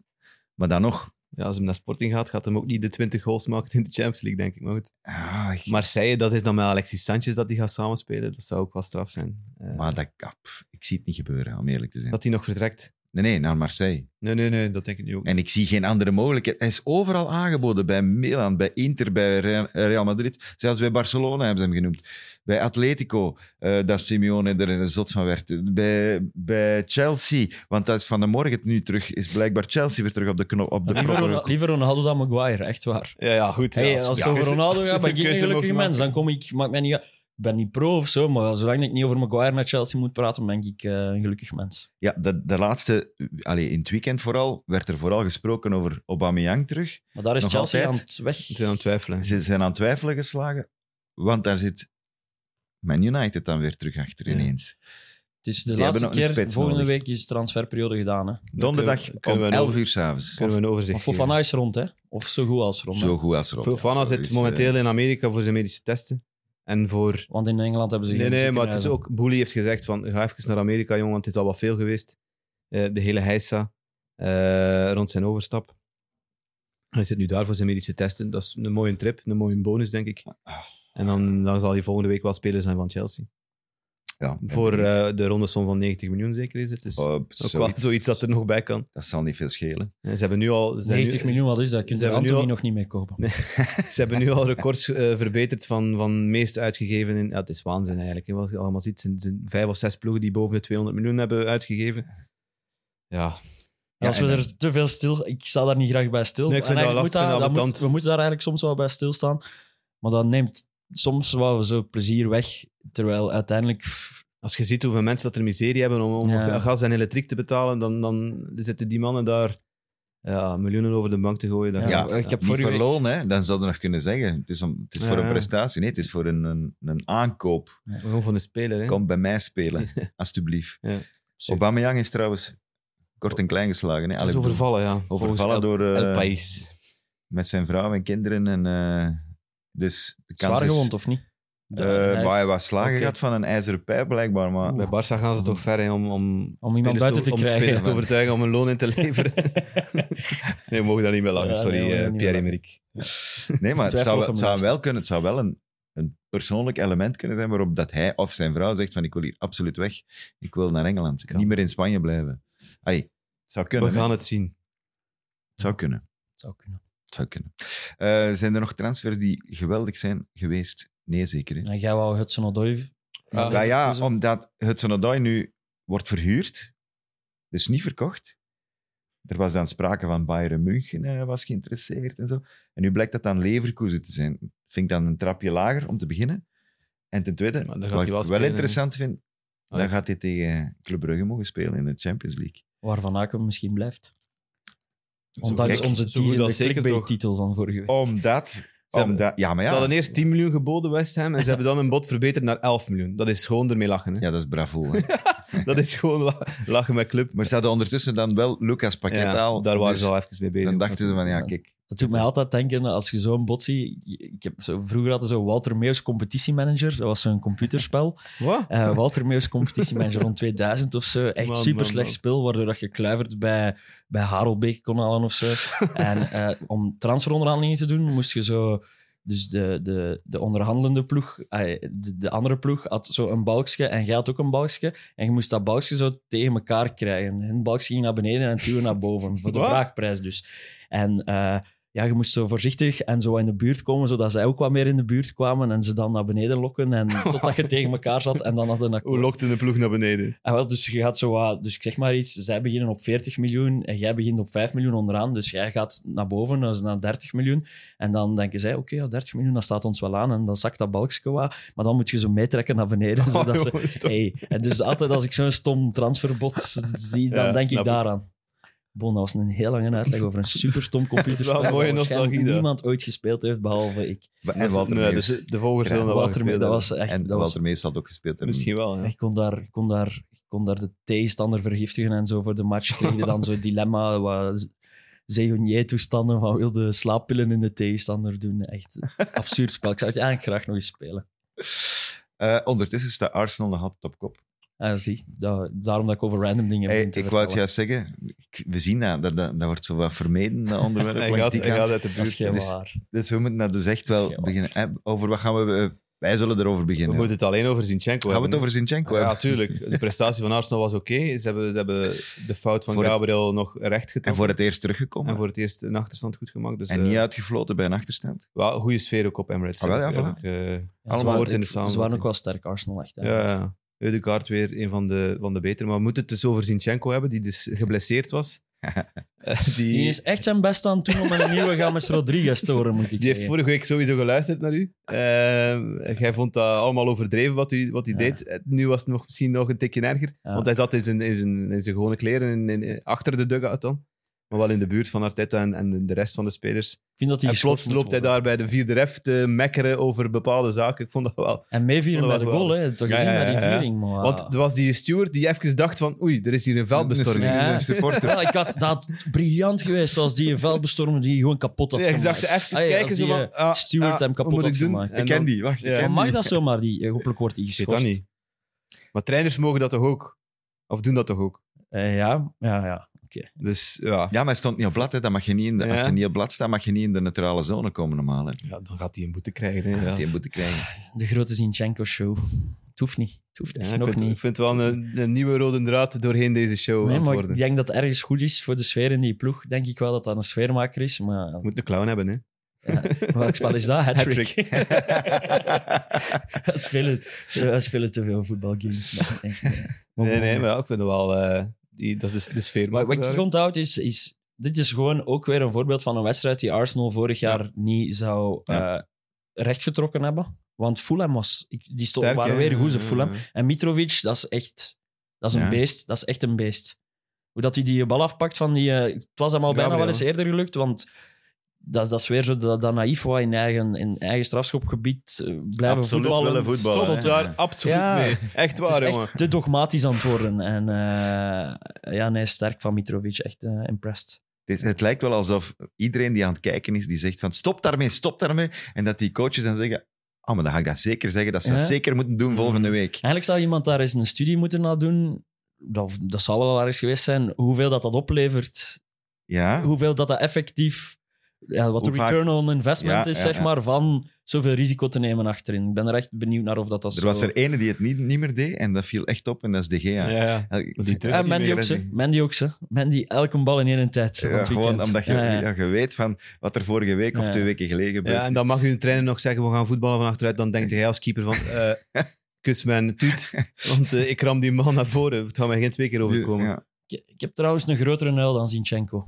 Speaker 2: Maar dan nog...
Speaker 3: Ja, als hem naar Sporting gaat, gaat hem ook niet de 20 goals maken in de Champions League, denk ik. Maar goed.
Speaker 2: Ah, ik-
Speaker 3: Marseille, dat is dan met Alexis Sanchez dat hij gaat samenspelen. Dat zou ook wel straf zijn. Eh,
Speaker 2: maar dat, ah, pff, ik zie het niet gebeuren, om eerlijk te zijn.
Speaker 3: Dat hij nog vertrekt.
Speaker 2: Nee, nee, naar Marseille.
Speaker 3: Nee, nee, nee, dat denk ik nu ook niet.
Speaker 2: En ik zie geen andere mogelijkheid. Hij is overal aangeboden. Bij Milan, bij Inter, bij Re- Real Madrid. Zelfs bij Barcelona hebben ze hem genoemd. Bij Atletico, eh dat Simeone er een zot van werd. Bij, bij Chelsea, want dat is van de morgen nu terug. Is blijkbaar Chelsea weer terug op de knop. Op de
Speaker 4: Liever,
Speaker 2: proppen.
Speaker 4: Ronaldo, liever Ronaldo dan Maguire, echt waar.
Speaker 3: Ja, ja, goed.
Speaker 4: Hey,
Speaker 3: ja,
Speaker 4: als
Speaker 3: ja,
Speaker 4: het over
Speaker 3: is-
Speaker 4: Ronaldo
Speaker 3: als het
Speaker 4: gaat, ben
Speaker 3: een
Speaker 4: ik een
Speaker 3: keuze
Speaker 4: gelukkige
Speaker 3: mogen
Speaker 4: mens. Dan
Speaker 3: maken.
Speaker 4: kom ik, maakt mij niet uit. Ik ben niet pro of zo, maar zolang ik niet over Maguire naar Chelsea moet praten, ben ik eh, een gelukkig mens.
Speaker 2: Ja, de, de laatste, allee, in het weekend vooral, werd er vooral gesproken over Aubameyang terug.
Speaker 4: Maar daar is
Speaker 2: Nog
Speaker 4: Chelsea
Speaker 2: altijd?
Speaker 4: aan het weg.
Speaker 3: Ik ben aan het twijfelen.
Speaker 2: Ze zijn aan het twijfelen geslagen, want daar zit Man United dan weer terug achter
Speaker 3: Ja.
Speaker 2: ineens.
Speaker 4: Het is de
Speaker 2: Die hebben
Speaker 4: laatste
Speaker 2: nog een
Speaker 4: keer,
Speaker 2: spits
Speaker 4: volgende
Speaker 2: nodig.
Speaker 4: week is transferperiode gedaan. Hè.
Speaker 2: Donderdag
Speaker 3: kunnen- kunnen
Speaker 2: om
Speaker 3: we nog-
Speaker 2: 11 uur s'avonds.
Speaker 3: Kunnen we een overzicht
Speaker 4: Maar Fofana is rond, hè? Of zo goed als rond. hè.
Speaker 2: Zo goed als erop. dus, eh,
Speaker 3: Fofana zit momenteel
Speaker 4: eh,
Speaker 3: in Amerika voor zijn medische testen. En voor...
Speaker 4: Want in Engeland hebben ze
Speaker 3: Nee,
Speaker 4: geen
Speaker 3: nee, maar het is
Speaker 4: ziekenhuizen.
Speaker 3: ook... Boeli heeft gezegd van, ga even naar Amerika, jongen, want het is al wat veel geweest. Eh, de hele heisa eh, rond zijn overstap. Hij zit nu daar voor zijn medische testen. Dat is een mooie trip, een mooie bonus, denk ik. En dan, dan zal hij volgende week wel speler zijn van Chelsea.
Speaker 2: Ja,
Speaker 3: Voor eh, de ronde som van 90 miljoen zeker is het. Dus ook
Speaker 2: Oh,
Speaker 3: wel
Speaker 2: zoiets.
Speaker 3: zoiets dat er nog bij kan.
Speaker 2: Dat zal niet veel schelen.
Speaker 3: En ze hebben nu al... ze zijn nu-
Speaker 4: 90 miljoen, wat is dat? Kun
Speaker 3: Ze
Speaker 4: je
Speaker 3: hebben nu
Speaker 4: Anthony
Speaker 3: al-
Speaker 4: nog niet mee kopen?
Speaker 3: Ze hebben nu al records eh, verbeterd van, van meest uitgegeven. In, ja, het is waanzin eigenlijk. hè, Wat je allemaal ziet, zijn, zijn vijf of zes ploegen die boven de 200 miljoen hebben uitgegeven. Ja,
Speaker 2: Ja,
Speaker 4: als we
Speaker 2: en dan-
Speaker 4: er te veel stil... Ik sta daar niet graag bij stil.
Speaker 3: Nee, ik vind
Speaker 4: En
Speaker 3: dat
Speaker 4: eigenlijk
Speaker 3: lastig, vind dat
Speaker 4: moet dat- dat
Speaker 3: ambetant.
Speaker 4: moet- We moeten daar eigenlijk soms wel bij stilstaan. Maar dat neemt soms wel zo plezier weg. Terwijl uiteindelijk... pff,
Speaker 3: als je ziet hoeveel mensen dat er miserie hebben om, om
Speaker 4: Ja.
Speaker 3: op gas en elektriek te betalen, dan, dan zitten die mannen daar ja, miljoenen over de bank te gooien. Dan-
Speaker 2: Ja,
Speaker 4: ik heb
Speaker 2: Niet
Speaker 4: vorige
Speaker 2: voor
Speaker 4: week-
Speaker 2: loon, hè? dan zou je nog kunnen zeggen. Het is, om, het is
Speaker 3: Ja,
Speaker 2: voor een
Speaker 3: ja.
Speaker 2: prestatie. Nee, het is voor een, een, een aankoop.
Speaker 3: Gewoon van de speler. Hè.
Speaker 2: Kom bij mij spelen, alsjeblieft.
Speaker 3: Ja.
Speaker 2: Aubameyang is trouwens kort en klein geslagen. Hè?
Speaker 3: Hij is
Speaker 2: Allee, ik bedoel,
Speaker 3: overvallen, ja. Volgens
Speaker 2: overvallen
Speaker 3: El-
Speaker 2: door, eh,
Speaker 3: El País.
Speaker 2: met zijn vrouw en kinderen. En, eh, dus de kans
Speaker 4: Zwaar
Speaker 2: is...
Speaker 4: gewond, of niet?
Speaker 2: eh,
Speaker 4: Hij is-
Speaker 2: maar hij was slagen
Speaker 3: Oké.
Speaker 2: gehad van een ijzeren pijp, blijkbaar. Maar
Speaker 3: Bij Barça gaan ze toch ver hè, om, om,
Speaker 4: iemand
Speaker 3: spelers
Speaker 4: buiten te
Speaker 3: om
Speaker 4: krijgen.
Speaker 3: spelers te overtuigen om een loon in te leveren. nee, we mogen daar niet meer lachen.
Speaker 4: Ja,
Speaker 3: Sorry,
Speaker 4: nee, we
Speaker 3: eh,
Speaker 4: mogen niet meer
Speaker 3: Pierre-Emerick.
Speaker 2: Nee, maar het
Speaker 4: Twijfel
Speaker 2: zou,
Speaker 4: of
Speaker 2: wel- het
Speaker 4: hem
Speaker 2: zou
Speaker 4: luistert.
Speaker 2: wel, kunnen, het zou wel een, een persoonlijk element kunnen zijn waarop dat hij of zijn vrouw zegt van ik wil hier absoluut weg. Ik wil naar Engeland.
Speaker 3: Kan.
Speaker 2: Niet meer in Spanje blijven. Ai, het zou kunnen.
Speaker 3: We
Speaker 2: hè.
Speaker 3: gaan het zien.
Speaker 2: Het zou kunnen.
Speaker 4: Zou kunnen.
Speaker 2: Het zou kunnen. Eh, zijn er nog transfers die geweldig zijn geweest? Nee, zeker. Hè?
Speaker 4: Ja, jij wou Hudson Odoi.
Speaker 3: Ja,
Speaker 2: Ja, ja, omdat Hudson Odoi nu wordt verhuurd, dus niet verkocht. Er was dan sprake van Bayern München, eh, was geïnteresseerd en zo. En nu blijkt dat dan Leverkusen te zijn. Vind ik dan een trapje lager om te beginnen. En ten tweede,
Speaker 3: Maar dan
Speaker 2: wat
Speaker 3: gaat hij
Speaker 2: ik
Speaker 3: wel
Speaker 2: wel
Speaker 3: spelen, hè?
Speaker 2: interessant vind,
Speaker 3: Ah,
Speaker 2: dan
Speaker 3: ja.
Speaker 2: gaat hij tegen Club Brugge mogen spelen in de Champions League.
Speaker 4: Waarvan Aken misschien blijft.
Speaker 2: Zo
Speaker 4: Ondanks
Speaker 2: gek.
Speaker 4: onze
Speaker 3: zo goed als zeker toch.
Speaker 4: clickbait-titel van vorige week.
Speaker 2: Omdat...
Speaker 3: hebben-
Speaker 2: omdat ja, maar
Speaker 3: Ze
Speaker 2: ja.
Speaker 3: hadden eerst 10 miljoen geboden, West Ham, en ze hebben dan een bod verbeterd naar 11 miljoen. Dat is gewoon ermee lachen. Hè.
Speaker 2: Ja, dat is bravo. hè.
Speaker 3: Dat is gewoon la- lachen met club.
Speaker 2: maar ze hadden ondertussen dan wel Lucas Paquet
Speaker 3: Ja,
Speaker 2: al.
Speaker 3: daar waren
Speaker 2: dus
Speaker 3: ze al even mee bezig.
Speaker 2: Dan dachten ze van, ja, kijk.
Speaker 4: Het doet mij altijd denken, als je zo'n bot ziet... Ik heb zo, vroeger hadden we zo Walter Meus competitiemanager. Dat was zo'n computerspel.
Speaker 3: Wat?
Speaker 4: Eh, Walter Meus competitiemanager rond 2000 of zo. Echt
Speaker 3: Man,
Speaker 4: super
Speaker 3: man,
Speaker 4: slecht
Speaker 3: man.
Speaker 4: spel, waardoor dat je kluivert bij, bij Harelbeek kon halen of zo. en eh, om transferonderhandelingen te doen, moest je zo... Dus de, de, de onderhandelende ploeg, eh, de, de andere ploeg, had zo een balkje en jij had ook een balkje. En je moest dat balkje zo tegen elkaar krijgen. Hun balkje ging naar beneden en toen naar boven, voor de
Speaker 3: Wat?
Speaker 4: vraagprijs dus. En eh, ja, je moest zo voorzichtig en zo in de buurt komen, zodat zij ook wat meer in de buurt kwamen en ze dan naar beneden lokken. En totdat je tegen elkaar zat en dan hadden een
Speaker 3: Hoe
Speaker 4: akkoord.
Speaker 3: lokte de ploeg naar beneden?
Speaker 4: Ah, wel, dus je gaat zo wat, dus ik zeg maar iets, zij beginnen op 40 miljoen en jij begint op 5 miljoen onderaan. Dus jij gaat naar boven, dat is naar 30 miljoen. En dan denken zij, oké, ja, 30 miljoen, dat staat ons wel aan. En dan zakt dat balkje wat. Maar dan moet je zo meetrekken naar
Speaker 3: Oh,
Speaker 4: beneden. zodat ze,
Speaker 3: jongens, toch.
Speaker 4: hey. En dus altijd als ik zo'n stom transferbod zie, dan
Speaker 3: Ja,
Speaker 4: denk
Speaker 3: snap
Speaker 4: ik
Speaker 3: ik.
Speaker 4: daaraan. Bon, dat was een heel lange uitleg over een superstom computerspel.
Speaker 3: Wel een mooie
Speaker 4: dat waarschijnlijk
Speaker 3: nostalgie, dat.
Speaker 4: niemand ooit gespeeld heeft, behalve ik.
Speaker 2: En Walter
Speaker 3: Nee,
Speaker 2: Meus.
Speaker 3: dus de volgers zullen dat wel
Speaker 4: Walter,
Speaker 3: gespeeld
Speaker 4: dat
Speaker 3: hebben.
Speaker 4: was echt...
Speaker 2: en
Speaker 4: dat was eh,
Speaker 2: Walter Meus had ook gespeeld. En
Speaker 3: Misschien wel, ja.
Speaker 4: Ik kon daar, ik kon daar, ik kon daar de tegenstander vergiftigen en zo voor de match. Ik kreeg je dan zo'n dilemma. wat Zegonier-toestanden van wilde slaappillen in de tegenstander doen. Echt absurd spel. Ik zou het eigenlijk graag nog eens spelen.
Speaker 2: Eh, ondertussen staat Arsenal nog altijd op kop.
Speaker 4: Ah, zie, da- daarom dat ik over random dingen
Speaker 2: Hey,
Speaker 4: begin te
Speaker 2: ik wou het
Speaker 4: vertellen.
Speaker 2: juist zeggen, ik- we zien dat, dat, dat, dat wordt zo wat vermeden, dat onderwerp
Speaker 3: Hij
Speaker 2: langs
Speaker 3: gaat,
Speaker 2: die
Speaker 3: hij
Speaker 2: kant.
Speaker 3: gaat uit de
Speaker 4: Dat is
Speaker 3: buurt.
Speaker 4: geen
Speaker 2: dus-
Speaker 4: waar.
Speaker 2: Dus we moeten dat dus echt
Speaker 4: Dat
Speaker 2: wel
Speaker 4: is geen
Speaker 2: beginnen. Eh, over wat gaan we... eh, wij zullen erover
Speaker 3: We
Speaker 2: beginnen.
Speaker 3: moeten het alleen over Zinchenko
Speaker 2: gaan we
Speaker 3: hebben.
Speaker 2: het over Zinchenko
Speaker 3: Ja,
Speaker 2: hebben?
Speaker 3: natuurlijk. De prestatie van Arsenal was oké. Ze, hebben, ze hebben de fout van
Speaker 2: Voor het-
Speaker 3: Gabriel nog recht
Speaker 2: En
Speaker 3: getrokken.
Speaker 2: voor het eerst teruggekomen.
Speaker 3: En
Speaker 2: En,
Speaker 3: voor het eerst een achterstand goed gemaakt. Dus, eh,
Speaker 2: niet uitgefloten bij een achterstand.
Speaker 3: wel, goede sfeer ook op Emirates.
Speaker 2: Ah, wel,
Speaker 3: heb
Speaker 2: ja,
Speaker 3: ik- heb ik, eh,
Speaker 4: Ja,
Speaker 3: allemaal
Speaker 4: ze waren-
Speaker 3: hoort in de
Speaker 4: Ze waren
Speaker 3: samenvatting.
Speaker 4: ook wel sterk, Arsenal echt. hè.
Speaker 3: Ja, ja. Eudegaard weer een van de, van de betere. Maar we moeten het dus over Zinchenko hebben, die dus geblesseerd was. Eh,
Speaker 4: Die
Speaker 3: die,
Speaker 4: is echt zijn best aan het doen om een nieuwe Games Rodriguez te horen, moet
Speaker 3: die
Speaker 4: ik
Speaker 3: heeft
Speaker 4: zeggen.
Speaker 3: vorige week sowieso geluisterd naar u. Eh, jij vond dat allemaal overdreven wat hij wat hij
Speaker 4: Ja.
Speaker 3: deed. Eh, Nu was het nog, misschien nog een tikje erger.
Speaker 4: Ja.
Speaker 3: Want hij zat in zijn, in zijn, in zijn gewone kleren, in, in- in- achter de dugout dan. Maar wel in de buurt van Arteta en, en de rest van de spelers.
Speaker 4: Ik vind dat die
Speaker 3: En
Speaker 4: geschopt
Speaker 3: plots
Speaker 4: moet
Speaker 3: loopt hij
Speaker 4: worden.
Speaker 3: daar bij de vierde ref te mekkeren over bepaalde zaken. Ik vond dat wel...
Speaker 4: En meevieren
Speaker 3: Oh,
Speaker 4: bij
Speaker 3: dat
Speaker 4: de
Speaker 3: wel.
Speaker 4: goal, hè. Toch
Speaker 3: Ja,
Speaker 4: gezien
Speaker 3: ja,
Speaker 4: bij die
Speaker 3: ja, ja.
Speaker 4: viering, Ah. maar...
Speaker 3: Want er was die steward die even dacht van oei, er is hier een veldbestorming.
Speaker 4: Ja.
Speaker 2: Een supporter.
Speaker 4: Wel, ik had dat had briljant geweest als die veldbestormer die gewoon kapot had
Speaker 3: Ja, ik
Speaker 4: gemaakt.
Speaker 3: zag ze even
Speaker 4: Ah, ja,
Speaker 3: kijken.
Speaker 4: als
Speaker 3: Zo
Speaker 4: die,
Speaker 3: van,
Speaker 4: eh, steward hem
Speaker 3: wat
Speaker 4: kapot
Speaker 3: moet
Speaker 4: had
Speaker 3: ik doen?
Speaker 4: gemaakt.
Speaker 3: En
Speaker 2: Ik ken
Speaker 3: dan-
Speaker 2: die, wacht. ik
Speaker 3: Ja.
Speaker 2: ken
Speaker 4: Maar
Speaker 2: die.
Speaker 4: mag dat zomaar, die eh, hopelijk wordt die
Speaker 3: Ik weet dat
Speaker 4: geschorst?
Speaker 3: niet. Maar trainers mogen dat toch ook? Of doen dat toch ook?
Speaker 4: Eh, ja, ja, ja.
Speaker 3: Dus ja,
Speaker 2: Ja, maar hij stond niet op blad. Hè. Dat mag je niet in de, Als
Speaker 3: Ja.
Speaker 2: je niet op blad staat, mag je niet in de neutrale zone komen normaal. Hè.
Speaker 3: ja dan gaat hij een boete krijgen. Hè, ja.
Speaker 2: Die moeten krijgen.
Speaker 4: De grote Zinchenko-show. Het hoeft niet. Het hoeft
Speaker 3: Ja,
Speaker 4: echt
Speaker 3: ik,
Speaker 4: nog
Speaker 3: vind,
Speaker 4: niet.
Speaker 3: ik vind wel een, een nieuwe rode draad doorheen deze show
Speaker 4: Nee,
Speaker 3: aan het
Speaker 4: maar ik
Speaker 3: worden.
Speaker 4: denk dat het ergens goed is voor de sfeer in die ploeg. Denk ik wel dat dat een sfeermaker is, maar
Speaker 3: Moet een clown hebben, hè?
Speaker 4: welk spel is dat? Hattrick. we, spelen, we spelen te veel voetbalgames. maar echt, nee. Maar
Speaker 3: Nee,
Speaker 4: bon.
Speaker 3: nee, maar ja, ik vind het wel... eh, die, dat is de, de sfeer.
Speaker 4: Wat, wat ik onthoud is, is, dit is gewoon ook weer een voorbeeld van een wedstrijd die Arsenal vorig jaar niet zou
Speaker 2: Ja.
Speaker 4: eh, rechtgetrokken hebben. Want Fulham was, ik- die stond,
Speaker 3: Sterk,
Speaker 4: waren
Speaker 3: hè?
Speaker 4: weer goed, ze
Speaker 3: Ja,
Speaker 4: Fulham.
Speaker 3: ja, ja.
Speaker 4: En Mitrovic, dat is echt dat is een
Speaker 2: Ja.
Speaker 4: beest. Dat is echt een beest. Hoe dat hij die bal afpakt van die... eh, het was hem al bijna wel
Speaker 3: Gabriel,
Speaker 4: eens eerder gelukt, want dat, dat is weer zo dat, dat naïef wat in eigen, in eigen strafschopgebied eh, blijven
Speaker 2: Absoluut
Speaker 4: voetballen.
Speaker 2: willen voetballen,
Speaker 4: Stoppelt
Speaker 2: hè.
Speaker 4: daar.
Speaker 3: Daar absoluut
Speaker 4: Ja.
Speaker 3: mee. Echt
Speaker 4: Het
Speaker 3: waar,
Speaker 4: is
Speaker 3: jongen.
Speaker 4: echt te dogmatisch aan het worden. En eh, ja, nee, sterk van Mitrovic. Echt eh, impressed.
Speaker 2: Het, het lijkt wel alsof iedereen die aan het kijken is, die zegt van stop daarmee, stop daarmee. En dat die coaches dan zeggen, ah, maar dan ga ik dat zeker zeggen. Dat ze
Speaker 4: Ja. Mhm.
Speaker 2: dat zeker moeten doen volgende week.
Speaker 4: Eigenlijk zou iemand daar eens een studie moeten naar doen. Dat, dat zou wel al ergens geweest zijn. Hoeveel dat dat oplevert.
Speaker 2: Ja,
Speaker 4: Hoeveel dat dat effectief... Ja, wat
Speaker 2: Ah. Hoe
Speaker 4: de
Speaker 2: vaak-
Speaker 4: return on investment
Speaker 2: Ja,
Speaker 4: is,
Speaker 2: ja,
Speaker 4: zeg
Speaker 2: ja.
Speaker 4: maar, van zoveel risico te nemen achterin. Ik ben er echt benieuwd naar of dat dat
Speaker 2: er
Speaker 4: zo... Eh,
Speaker 2: was er ene die het niet, niet meer deed en dat viel echt op en dat is de GA.
Speaker 3: ja. die terug-
Speaker 4: en Mandy ook, ze. Mandy ook, ze. Mandy, elke bal in één tijd. van
Speaker 2: Ja,
Speaker 4: het
Speaker 2: gewoon
Speaker 4: weekend.
Speaker 2: omdat je,
Speaker 4: Ja, ja.
Speaker 2: ja, je weet van wat er vorige week of
Speaker 4: Ja.
Speaker 2: twee weken geleden gebeurd
Speaker 3: Ja, en dan mag je een trainer nog zeggen, we gaan voetballen van achteruit. Dan denkt jij als keeper van, eh, kus mijn tuut, want eh, ik ram die man naar voren. Het gaat mij geen twee keer
Speaker 2: is.
Speaker 3: overkomen.
Speaker 2: Ja.
Speaker 4: Ik, ik heb trouwens een grotere nuil dan Zinchenko.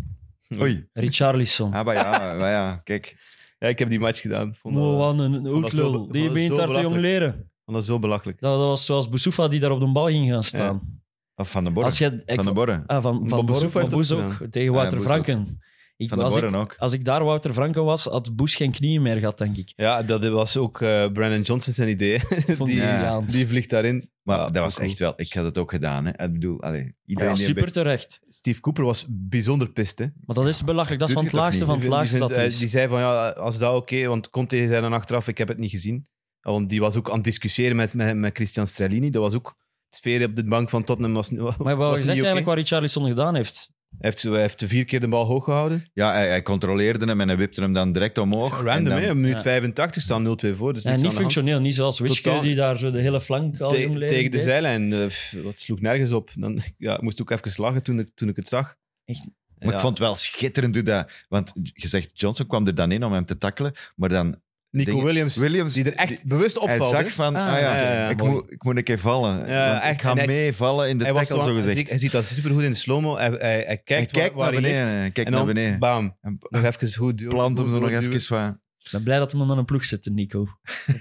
Speaker 2: Oei.
Speaker 4: Richarlison.
Speaker 2: Ah, maar ja, maar ja, kijk.
Speaker 3: Ja, ik heb die match gedaan. Ik Vond dat,
Speaker 4: Moe, wat een
Speaker 3: vond dat zo-
Speaker 4: oetlul.
Speaker 3: vond
Speaker 4: Die
Speaker 3: dat
Speaker 4: begint
Speaker 3: zo
Speaker 4: daar te jong
Speaker 3: belachelijk.
Speaker 4: leren.
Speaker 3: vond dat zo belachelijk.
Speaker 4: Dat, dat was zoals Boussoufa die daar op de bal ging gaan staan.
Speaker 2: Of Van de Borren.
Speaker 4: Als je, ik,
Speaker 2: Van de Borren.
Speaker 4: ah, van,
Speaker 3: Maar
Speaker 4: van
Speaker 3: Boussoufa
Speaker 4: Borre-
Speaker 3: heeft
Speaker 4: van
Speaker 3: dat
Speaker 4: Boes
Speaker 3: gedaan.
Speaker 4: ook, tegen
Speaker 2: Ah,
Speaker 4: Wouter
Speaker 2: Boes ook.
Speaker 4: Franken. Ik,
Speaker 2: Van de
Speaker 4: als, ik,
Speaker 2: Borren ook.
Speaker 4: als ik daar Wouter Franken was, had Boes geen knieën meer gehad, denk ik.
Speaker 3: Ja, dat was ook eh Brandon Johnson zijn idee.
Speaker 4: Vond
Speaker 3: die, eh,
Speaker 4: ik
Speaker 2: ja.
Speaker 4: briljant.
Speaker 3: die vliegt daarin.
Speaker 2: Maar
Speaker 3: Ja,
Speaker 2: dat was
Speaker 3: cool.
Speaker 2: echt wel... Ik had het ook gedaan, hè. Ik bedoel, allee,
Speaker 4: Ja,
Speaker 2: iedereen... die
Speaker 4: super
Speaker 2: een
Speaker 4: terecht.
Speaker 3: Steve Cooper was bijzonder pist, hè.
Speaker 4: Maar dat is belachelijk. Dat is
Speaker 2: Doet je
Speaker 4: van het
Speaker 2: dat
Speaker 4: laagste
Speaker 2: niet?
Speaker 4: van het
Speaker 3: Die
Speaker 4: laagste
Speaker 3: vindt-
Speaker 4: dat er
Speaker 3: eh,
Speaker 4: is.
Speaker 3: Die zei van, ja, als dat oké, want Conte zei dan achteraf, ik heb het niet gezien. Want die was ook aan het discussiëren met, met, met Christian Strellini. Dat was ook... De sfeer op de bank van Tottenham was, was
Speaker 4: Maar wat
Speaker 3: niet
Speaker 4: je zegt
Speaker 3: oké.
Speaker 4: eigenlijk wat Richarlison gedaan heeft.
Speaker 3: Hij heeft, hij heeft vier keer de bal hoog gehouden.
Speaker 2: Ja, hij, hij controleerde hem en hij wipte hem dan direct omhoog. en
Speaker 3: Random,
Speaker 2: dan,
Speaker 3: hè? Op minuut
Speaker 4: Ja.
Speaker 3: 85 staan 0-2 voor. Dus niks
Speaker 4: En niet
Speaker 3: aan de hand.
Speaker 4: functioneel, niet zoals Witschke
Speaker 3: Totaal.
Speaker 4: die daar zo de hele flank al
Speaker 3: Te-
Speaker 4: jong leren
Speaker 3: tegen de
Speaker 4: deed.
Speaker 3: zijlijn. eh, pff, dat sloeg nergens op. Dan, ja, ik moest ook even lachen toen ik, toen ik het zag.
Speaker 4: Echt?
Speaker 2: Maar ik
Speaker 3: Ja.
Speaker 2: vond het wel schitterend hoe dat... Want je zegt, Johnson kwam er dan in om hem te tackelen, maar dan...
Speaker 3: Nico
Speaker 2: dingen-
Speaker 3: Williams,
Speaker 2: Williams,
Speaker 3: die er echt bewust
Speaker 2: hij
Speaker 3: opvalt.
Speaker 2: zag van,
Speaker 4: Ah,
Speaker 2: ah, ja,
Speaker 3: ja, ja,
Speaker 2: ik,
Speaker 3: mooi.
Speaker 2: moet, ik moet een keer vallen.
Speaker 3: Ja,
Speaker 2: want
Speaker 3: echt.
Speaker 2: ik ga
Speaker 3: En hij-
Speaker 2: meevallen in de
Speaker 3: hij, was
Speaker 2: tackle,
Speaker 3: zo-
Speaker 2: zo
Speaker 3: hij, ziet- hij
Speaker 2: gezegd.
Speaker 3: ziet dat supergoed in de slow-mo. Hij, hij, hij kijkt,
Speaker 2: Hij kijkt naar
Speaker 3: waar, waar hij ligt.
Speaker 2: beneden. hij Kijkt
Speaker 3: en
Speaker 2: naar
Speaker 3: dan,
Speaker 2: beneden.
Speaker 3: bam,
Speaker 2: En
Speaker 3: nog even goed duwen.
Speaker 2: plant hem
Speaker 3: goed
Speaker 2: zo nog
Speaker 3: doorduwen.
Speaker 2: even van...
Speaker 4: Ik ben blij dat we hem aan een ploeg zitten, Nico.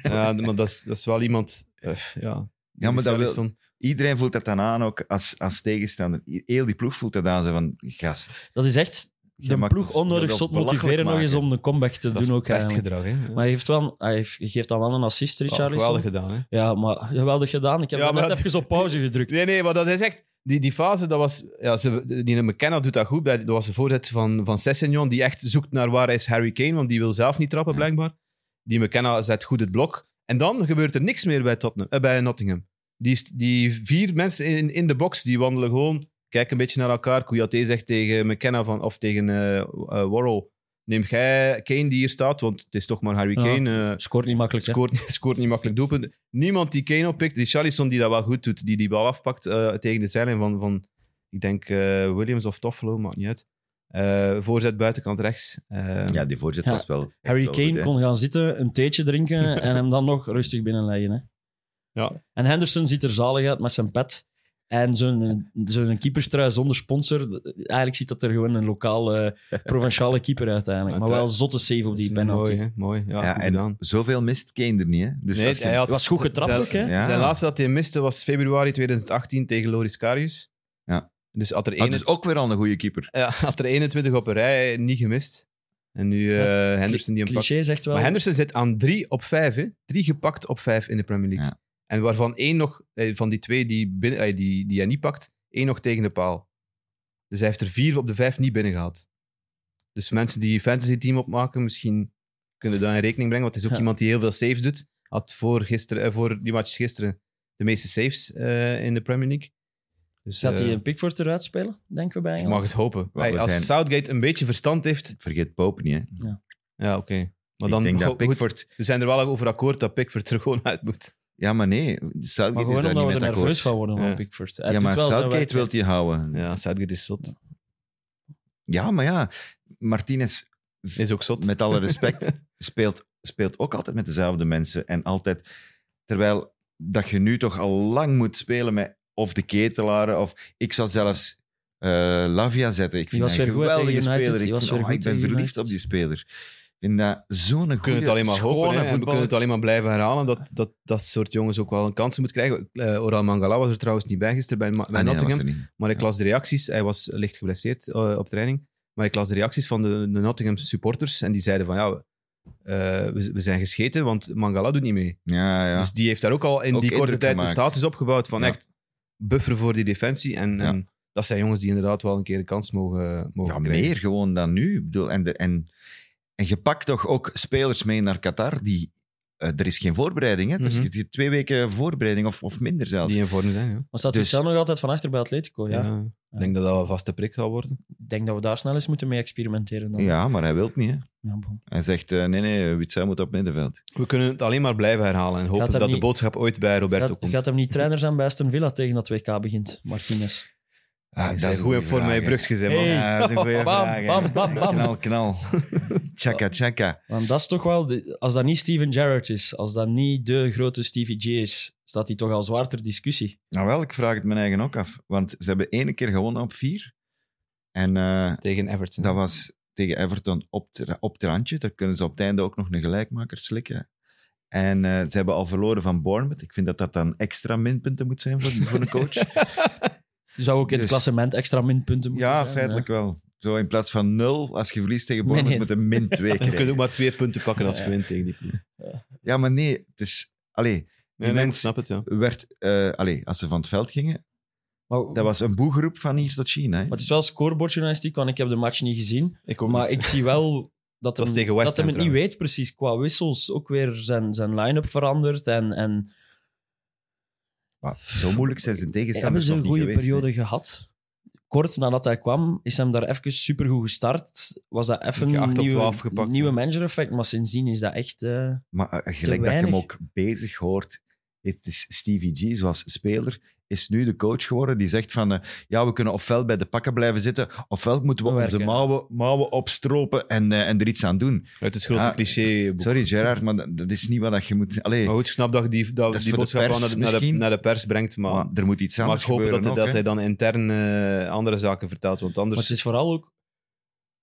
Speaker 3: Ja, maar dat is, dat is wel iemand... eh, ja,
Speaker 2: Ja, maar dat wil-
Speaker 3: Richarlison.
Speaker 2: Iedereen voelt dat dan aan, ook als, als tegenstander. Heel die ploeg voelt dat aan, ze van, gast.
Speaker 4: Dat is echt
Speaker 2: je
Speaker 4: de
Speaker 2: maakt
Speaker 4: ploeg
Speaker 2: ons-
Speaker 4: onnodig
Speaker 2: wilt
Speaker 4: zot
Speaker 2: ons belachelijk
Speaker 4: motiveren nog eens
Speaker 2: maken.
Speaker 4: om de comeback te
Speaker 3: Dat is
Speaker 4: doen. Ook,
Speaker 3: best
Speaker 4: eigenlijk.
Speaker 3: gedrag, hè.
Speaker 4: maar hij, heeft wel, hij heeft- hij geeft dan wel een assist,
Speaker 3: Ja,
Speaker 4: Richarlison.
Speaker 3: geweldig gedaan, hè.
Speaker 4: Ja, maar geweldig gedaan. Ik heb
Speaker 3: Ja,
Speaker 4: dat
Speaker 3: maar
Speaker 4: net
Speaker 3: dat-
Speaker 4: even op pauze gedrukt.
Speaker 3: Nee, nee, maar dat is echt... die, die fase, dat was... Ja, ze, die McKenna doet dat goed. bij- Dat was de voorzet van, van Sessignon, die echt zoekt naar waar is Harry Kane, want die wil zelf niet trappen,
Speaker 2: Ja.
Speaker 3: blijkbaar. Die McKenna zet goed het blok. En dan gebeurt er niks meer bij, Tottenham, eh, bij Nottingham. Die, st- die vier mensen in, in de box, die wandelen gewoon, kijken een beetje naar elkaar. Kouyaté zegt tegen McKenna van, of tegen eh eh, Worrell, neem jij Kane die hier staat, want het is toch maar Harry
Speaker 4: Ja.
Speaker 3: Kane. eh,
Speaker 4: Scoort niet makkelijk, hè?
Speaker 3: Scoort, scoort niet makkelijk doelpunten. Niemand die Kane oppikt. Richarlison die dat wel goed doet, die die bal afpakt eh, tegen de zijlijn van, van ik denk, eh, Williams of Toffolo, maakt niet uit. Eh, voorzet buitenkant rechts. Eh,
Speaker 2: Ja, die voorzet
Speaker 4: Ja.
Speaker 2: was wel. echt
Speaker 4: Harry
Speaker 2: wel
Speaker 4: Kane
Speaker 2: goed, hè.
Speaker 4: kon gaan zitten, een theetje drinken en hem dan nog rustig binnenleggen. Hè.
Speaker 3: Ja.
Speaker 4: En Henderson ziet er zalig uit met zijn pet. En zo'n, zo'n keeperstrui zonder sponsor. d- Eigenlijk ziet dat er gewoon een lokaal, eh, provinciale keeper uit eigenlijk. Maar wel zotte save op
Speaker 3: dat
Speaker 4: die
Speaker 3: is
Speaker 4: penalty.
Speaker 3: Mooi, hè? mooi. Ja,
Speaker 2: Ja,
Speaker 3: goed
Speaker 2: en
Speaker 3: gedaan.
Speaker 2: zoveel mist Kane er niet, hè? Dus
Speaker 3: Nee,
Speaker 2: als je-
Speaker 3: hij had-
Speaker 4: was goed getrapt
Speaker 3: zijn-
Speaker 4: ook, hè?
Speaker 2: Ja.
Speaker 3: Zijn laatste dat hij miste was februari 2018 tegen Loris Karius.
Speaker 2: Ja.
Speaker 3: Dus had er,
Speaker 2: Ah, het
Speaker 3: 21
Speaker 2: is ook weer al een goede keeper.
Speaker 3: ja, had er 21 op een rij niet gemist. En nu eh, Henderson die hem pakt.
Speaker 4: Cliché zegt wel.
Speaker 3: Maar Henderson zit aan drie op vijf, hè? Drie gepakt op vijf in de Premier League.
Speaker 2: Ja.
Speaker 3: En waarvan één nog, eh, van die twee die, binnen, eh, die, die hij niet pakt, één nog tegen de paal. Dus hij heeft er vier op de vijf niet binnengehaald. Dus mensen die fantasy team opmaken, misschien kunnen daar in rekening brengen. Want het is ook
Speaker 4: Ja.
Speaker 3: iemand die heel veel saves doet. Had voor, gisteren, eh, voor die match gisteren de meeste saves eh, in de Premier League. Dus
Speaker 4: Gaat
Speaker 3: eh,
Speaker 4: hij een Pickford eruit spelen, denken we bij
Speaker 3: ik
Speaker 4: Engeland?
Speaker 3: mag het hopen.
Speaker 2: we
Speaker 3: Hey, als
Speaker 2: zijn-
Speaker 3: Southgate een beetje verstand heeft,
Speaker 2: Vergeet Pope niet, hè?
Speaker 3: ja, oké. Maar
Speaker 2: ik
Speaker 3: dan
Speaker 2: denk dat
Speaker 3: goed,
Speaker 2: Pickford...
Speaker 3: we zijn er wel over akkoord dat Pickford er gewoon uit moet.
Speaker 2: Ja, maar nee,
Speaker 4: Maar
Speaker 2: Southgate is
Speaker 4: gewoon
Speaker 2: daar niet
Speaker 4: omdat we
Speaker 2: mee
Speaker 4: er
Speaker 2: akkoord.
Speaker 4: nerveus van worden van
Speaker 3: Ja.
Speaker 4: Pickford. Hij
Speaker 2: Ja,
Speaker 4: doet
Speaker 2: maar
Speaker 4: wel zijn
Speaker 2: Southgate wil
Speaker 4: werk.
Speaker 2: die houden. Ja.
Speaker 3: Ja, Southgate is zot.
Speaker 2: maar ja, Martinez,
Speaker 3: Is ook zot.
Speaker 2: met alle respect, speelt, speelt ook altijd met dezelfde mensen. En altijd, terwijl dat je nu toch al lang moet spelen met of de ketelaren, of ik zou zelfs eh, Lavia zetten. Ik
Speaker 4: Die
Speaker 2: vind
Speaker 4: was
Speaker 2: dat een
Speaker 4: weer goed, hè,
Speaker 2: geweldige
Speaker 4: tegen United.
Speaker 2: speler.
Speaker 4: Die
Speaker 2: Ik,
Speaker 4: was
Speaker 2: vind,
Speaker 4: weer
Speaker 2: oh,
Speaker 4: goed
Speaker 2: ik ben
Speaker 4: tegen
Speaker 2: verliefd
Speaker 4: United.
Speaker 2: op die speler. Ik vind dat zo'n goede,
Speaker 3: we kunnen het alleen maar hopen.
Speaker 2: schone
Speaker 3: hè. En We kunnen
Speaker 2: voetballer.
Speaker 3: het alleen maar blijven herhalen dat dat, dat soort jongens ook wel een kans moeten krijgen. Eh, Oral Mangala was er trouwens niet bij gisteren bij, Ma- bij
Speaker 2: Ah, nee, dat was
Speaker 3: Nottingham.
Speaker 2: er niet.
Speaker 3: Maar ik las de reacties. Hij was licht geblesseerd eh, op training. Maar ik las de reacties van de, de Nottingham supporters. En die zeiden van ja, eh, we, we zijn gescheten, want Mangala doet niet mee.
Speaker 2: Ja, ja.
Speaker 3: Dus die heeft daar ook al in
Speaker 2: Ook
Speaker 3: die korte
Speaker 2: indruk
Speaker 3: tijd
Speaker 2: gemaakt.
Speaker 3: een status opgebouwd van
Speaker 2: Ja.
Speaker 3: echt buffer voor die defensie. En,
Speaker 2: Ja.
Speaker 3: en dat zijn jongens die inderdaad wel een keer een kans mogen, mogen
Speaker 2: Ja,
Speaker 3: krijgen.
Speaker 2: meer gewoon dan nu. Ik bedoel, en, de, en, en je pakt toch ook spelers mee naar Qatar die... eh, er is geen voorbereiding, hè? Er is
Speaker 3: Mhm.
Speaker 2: ge- twee weken voorbereiding of, of minder zelfs.
Speaker 3: Die in vorm zijn, ja.
Speaker 4: Maar staat
Speaker 2: Dus-
Speaker 4: dus... nog altijd van achter bij Atletico? Ja.
Speaker 3: Ja. Ik denk dat dat een vaste prik zal worden.
Speaker 4: Ik denk dat we daar snel eens moeten mee experimenteren. Dan.
Speaker 2: Ja, maar hij wil het niet. Hè?
Speaker 4: Ja, bon.
Speaker 2: Hij zegt, eh, nee, nee, Witzel moet op middenveld.
Speaker 3: We kunnen het alleen maar blijven herhalen en hopen
Speaker 4: Gaat hem
Speaker 3: dat de
Speaker 4: niet-
Speaker 3: boodschap ooit bij Roberto
Speaker 4: Gaat,
Speaker 3: komt.
Speaker 4: gaat hem niet trainer zijn bij Aston Villa tegen dat WK begint, Martinez?
Speaker 2: Ah,
Speaker 3: Hij is goed in vorm met je brugjes, hè, man.
Speaker 4: Hey.
Speaker 2: Ja, dat is een goede
Speaker 4: Bam,
Speaker 2: vraag. hè.
Speaker 4: bam, bam, bam.
Speaker 2: Knal, knal. Tjaka, tjaka.
Speaker 4: Want dat is toch wel... de- Als dat niet Steven Gerrard is, als dat niet de grote Stevie J is, staat hij toch al zwaar ter discussie.
Speaker 2: Nou wel, ik vraag het mijn eigen ook af. Want ze hebben één keer gewonnen op vier. En eh,
Speaker 3: Tegen Everton.
Speaker 2: dat was tegen Everton op, het- op het randje. Daar kunnen ze op het einde ook nog een gelijkmaker slikken. En eh, ze hebben al verloren van Bournemouth. Ik vind dat dat dan extra minpunten moet zijn voor, voor een coach.
Speaker 4: Zou ook in het
Speaker 2: Dus-
Speaker 4: klassement extra minpunten moeten
Speaker 2: ja,
Speaker 4: zijn,
Speaker 2: feitelijk wel. Zo in plaats van nul, als je verliest tegen
Speaker 4: Nee,
Speaker 2: Bournemouth,
Speaker 4: nee.
Speaker 2: moet een min twee
Speaker 3: Je kunt ook
Speaker 2: krijgen.
Speaker 3: maar twee punten pakken als je
Speaker 4: Ja.
Speaker 3: wint tegen die ploeg. Nee,
Speaker 2: Ja, maar nee, het is... Allee,
Speaker 3: nee, ik
Speaker 2: mensen-
Speaker 3: snap het, ja.
Speaker 2: werd, eh, allee, als ze van het veld gingen,
Speaker 4: hè. Maar,
Speaker 2: dat was een boegroep van hier tot China. Hè?
Speaker 4: maar het is wel scorebordjournalistiek, want ik heb de match niet gezien.
Speaker 3: Ik ook
Speaker 4: Maar
Speaker 3: niet.
Speaker 4: ik zie wel dat
Speaker 3: was
Speaker 4: hem,
Speaker 3: tegen West
Speaker 4: dat hem
Speaker 3: Ham
Speaker 4: het niet weet precies. Qua wissels ook weer zijn, zijn line-up veranderd. En, en
Speaker 2: Maar zo moeilijk zijn ze
Speaker 4: hebben
Speaker 3: dus
Speaker 2: tegenstanders
Speaker 4: ze
Speaker 2: nog
Speaker 4: dus een
Speaker 2: niet
Speaker 4: goede
Speaker 2: geweest,
Speaker 4: periode gehad. Kort nadat hij kwam, is hem daar even supergoed gestart. Was dat even
Speaker 3: Heb je acht
Speaker 4: een
Speaker 3: op
Speaker 4: nieuwe,
Speaker 3: 12 gepakt, Dus-
Speaker 4: nieuwe
Speaker 3: ja.
Speaker 4: manager-effect. Maar sindsdien is dat echt... eh,
Speaker 2: hè. Maar eh, gelijk dat je hem
Speaker 4: weinig.
Speaker 2: ook bezig hoort, het is Stevie G, zoals speler, is nu de coach geworden die zegt van, eh, ja, we kunnen ofwel bij de pakken blijven zitten, ofwel moeten we
Speaker 4: Werken.
Speaker 2: onze mouwen, mouwen opstropen en, eh, en er iets aan doen.
Speaker 3: Uit het grote
Speaker 2: Ah,
Speaker 3: cliché. boek. Oh,
Speaker 2: Sorry Gerard, maar dat, dat is niet wat dat je moet... Allee,
Speaker 3: Maar goed, ik snap dat je die, dat,
Speaker 2: is
Speaker 3: die
Speaker 2: voor de
Speaker 3: boodschap wel
Speaker 2: pers
Speaker 3: naar de, naar, de,
Speaker 2: misschien.
Speaker 3: naar de pers brengt. Maar,
Speaker 2: maar er moet iets
Speaker 3: maar ik
Speaker 2: anders
Speaker 3: hoop dat,
Speaker 2: gebeuren
Speaker 3: hij-
Speaker 2: ook,
Speaker 3: dat
Speaker 2: hè.
Speaker 3: hij dan intern eh, andere zaken vertelt. Want anders...
Speaker 4: Maar het is vooral ook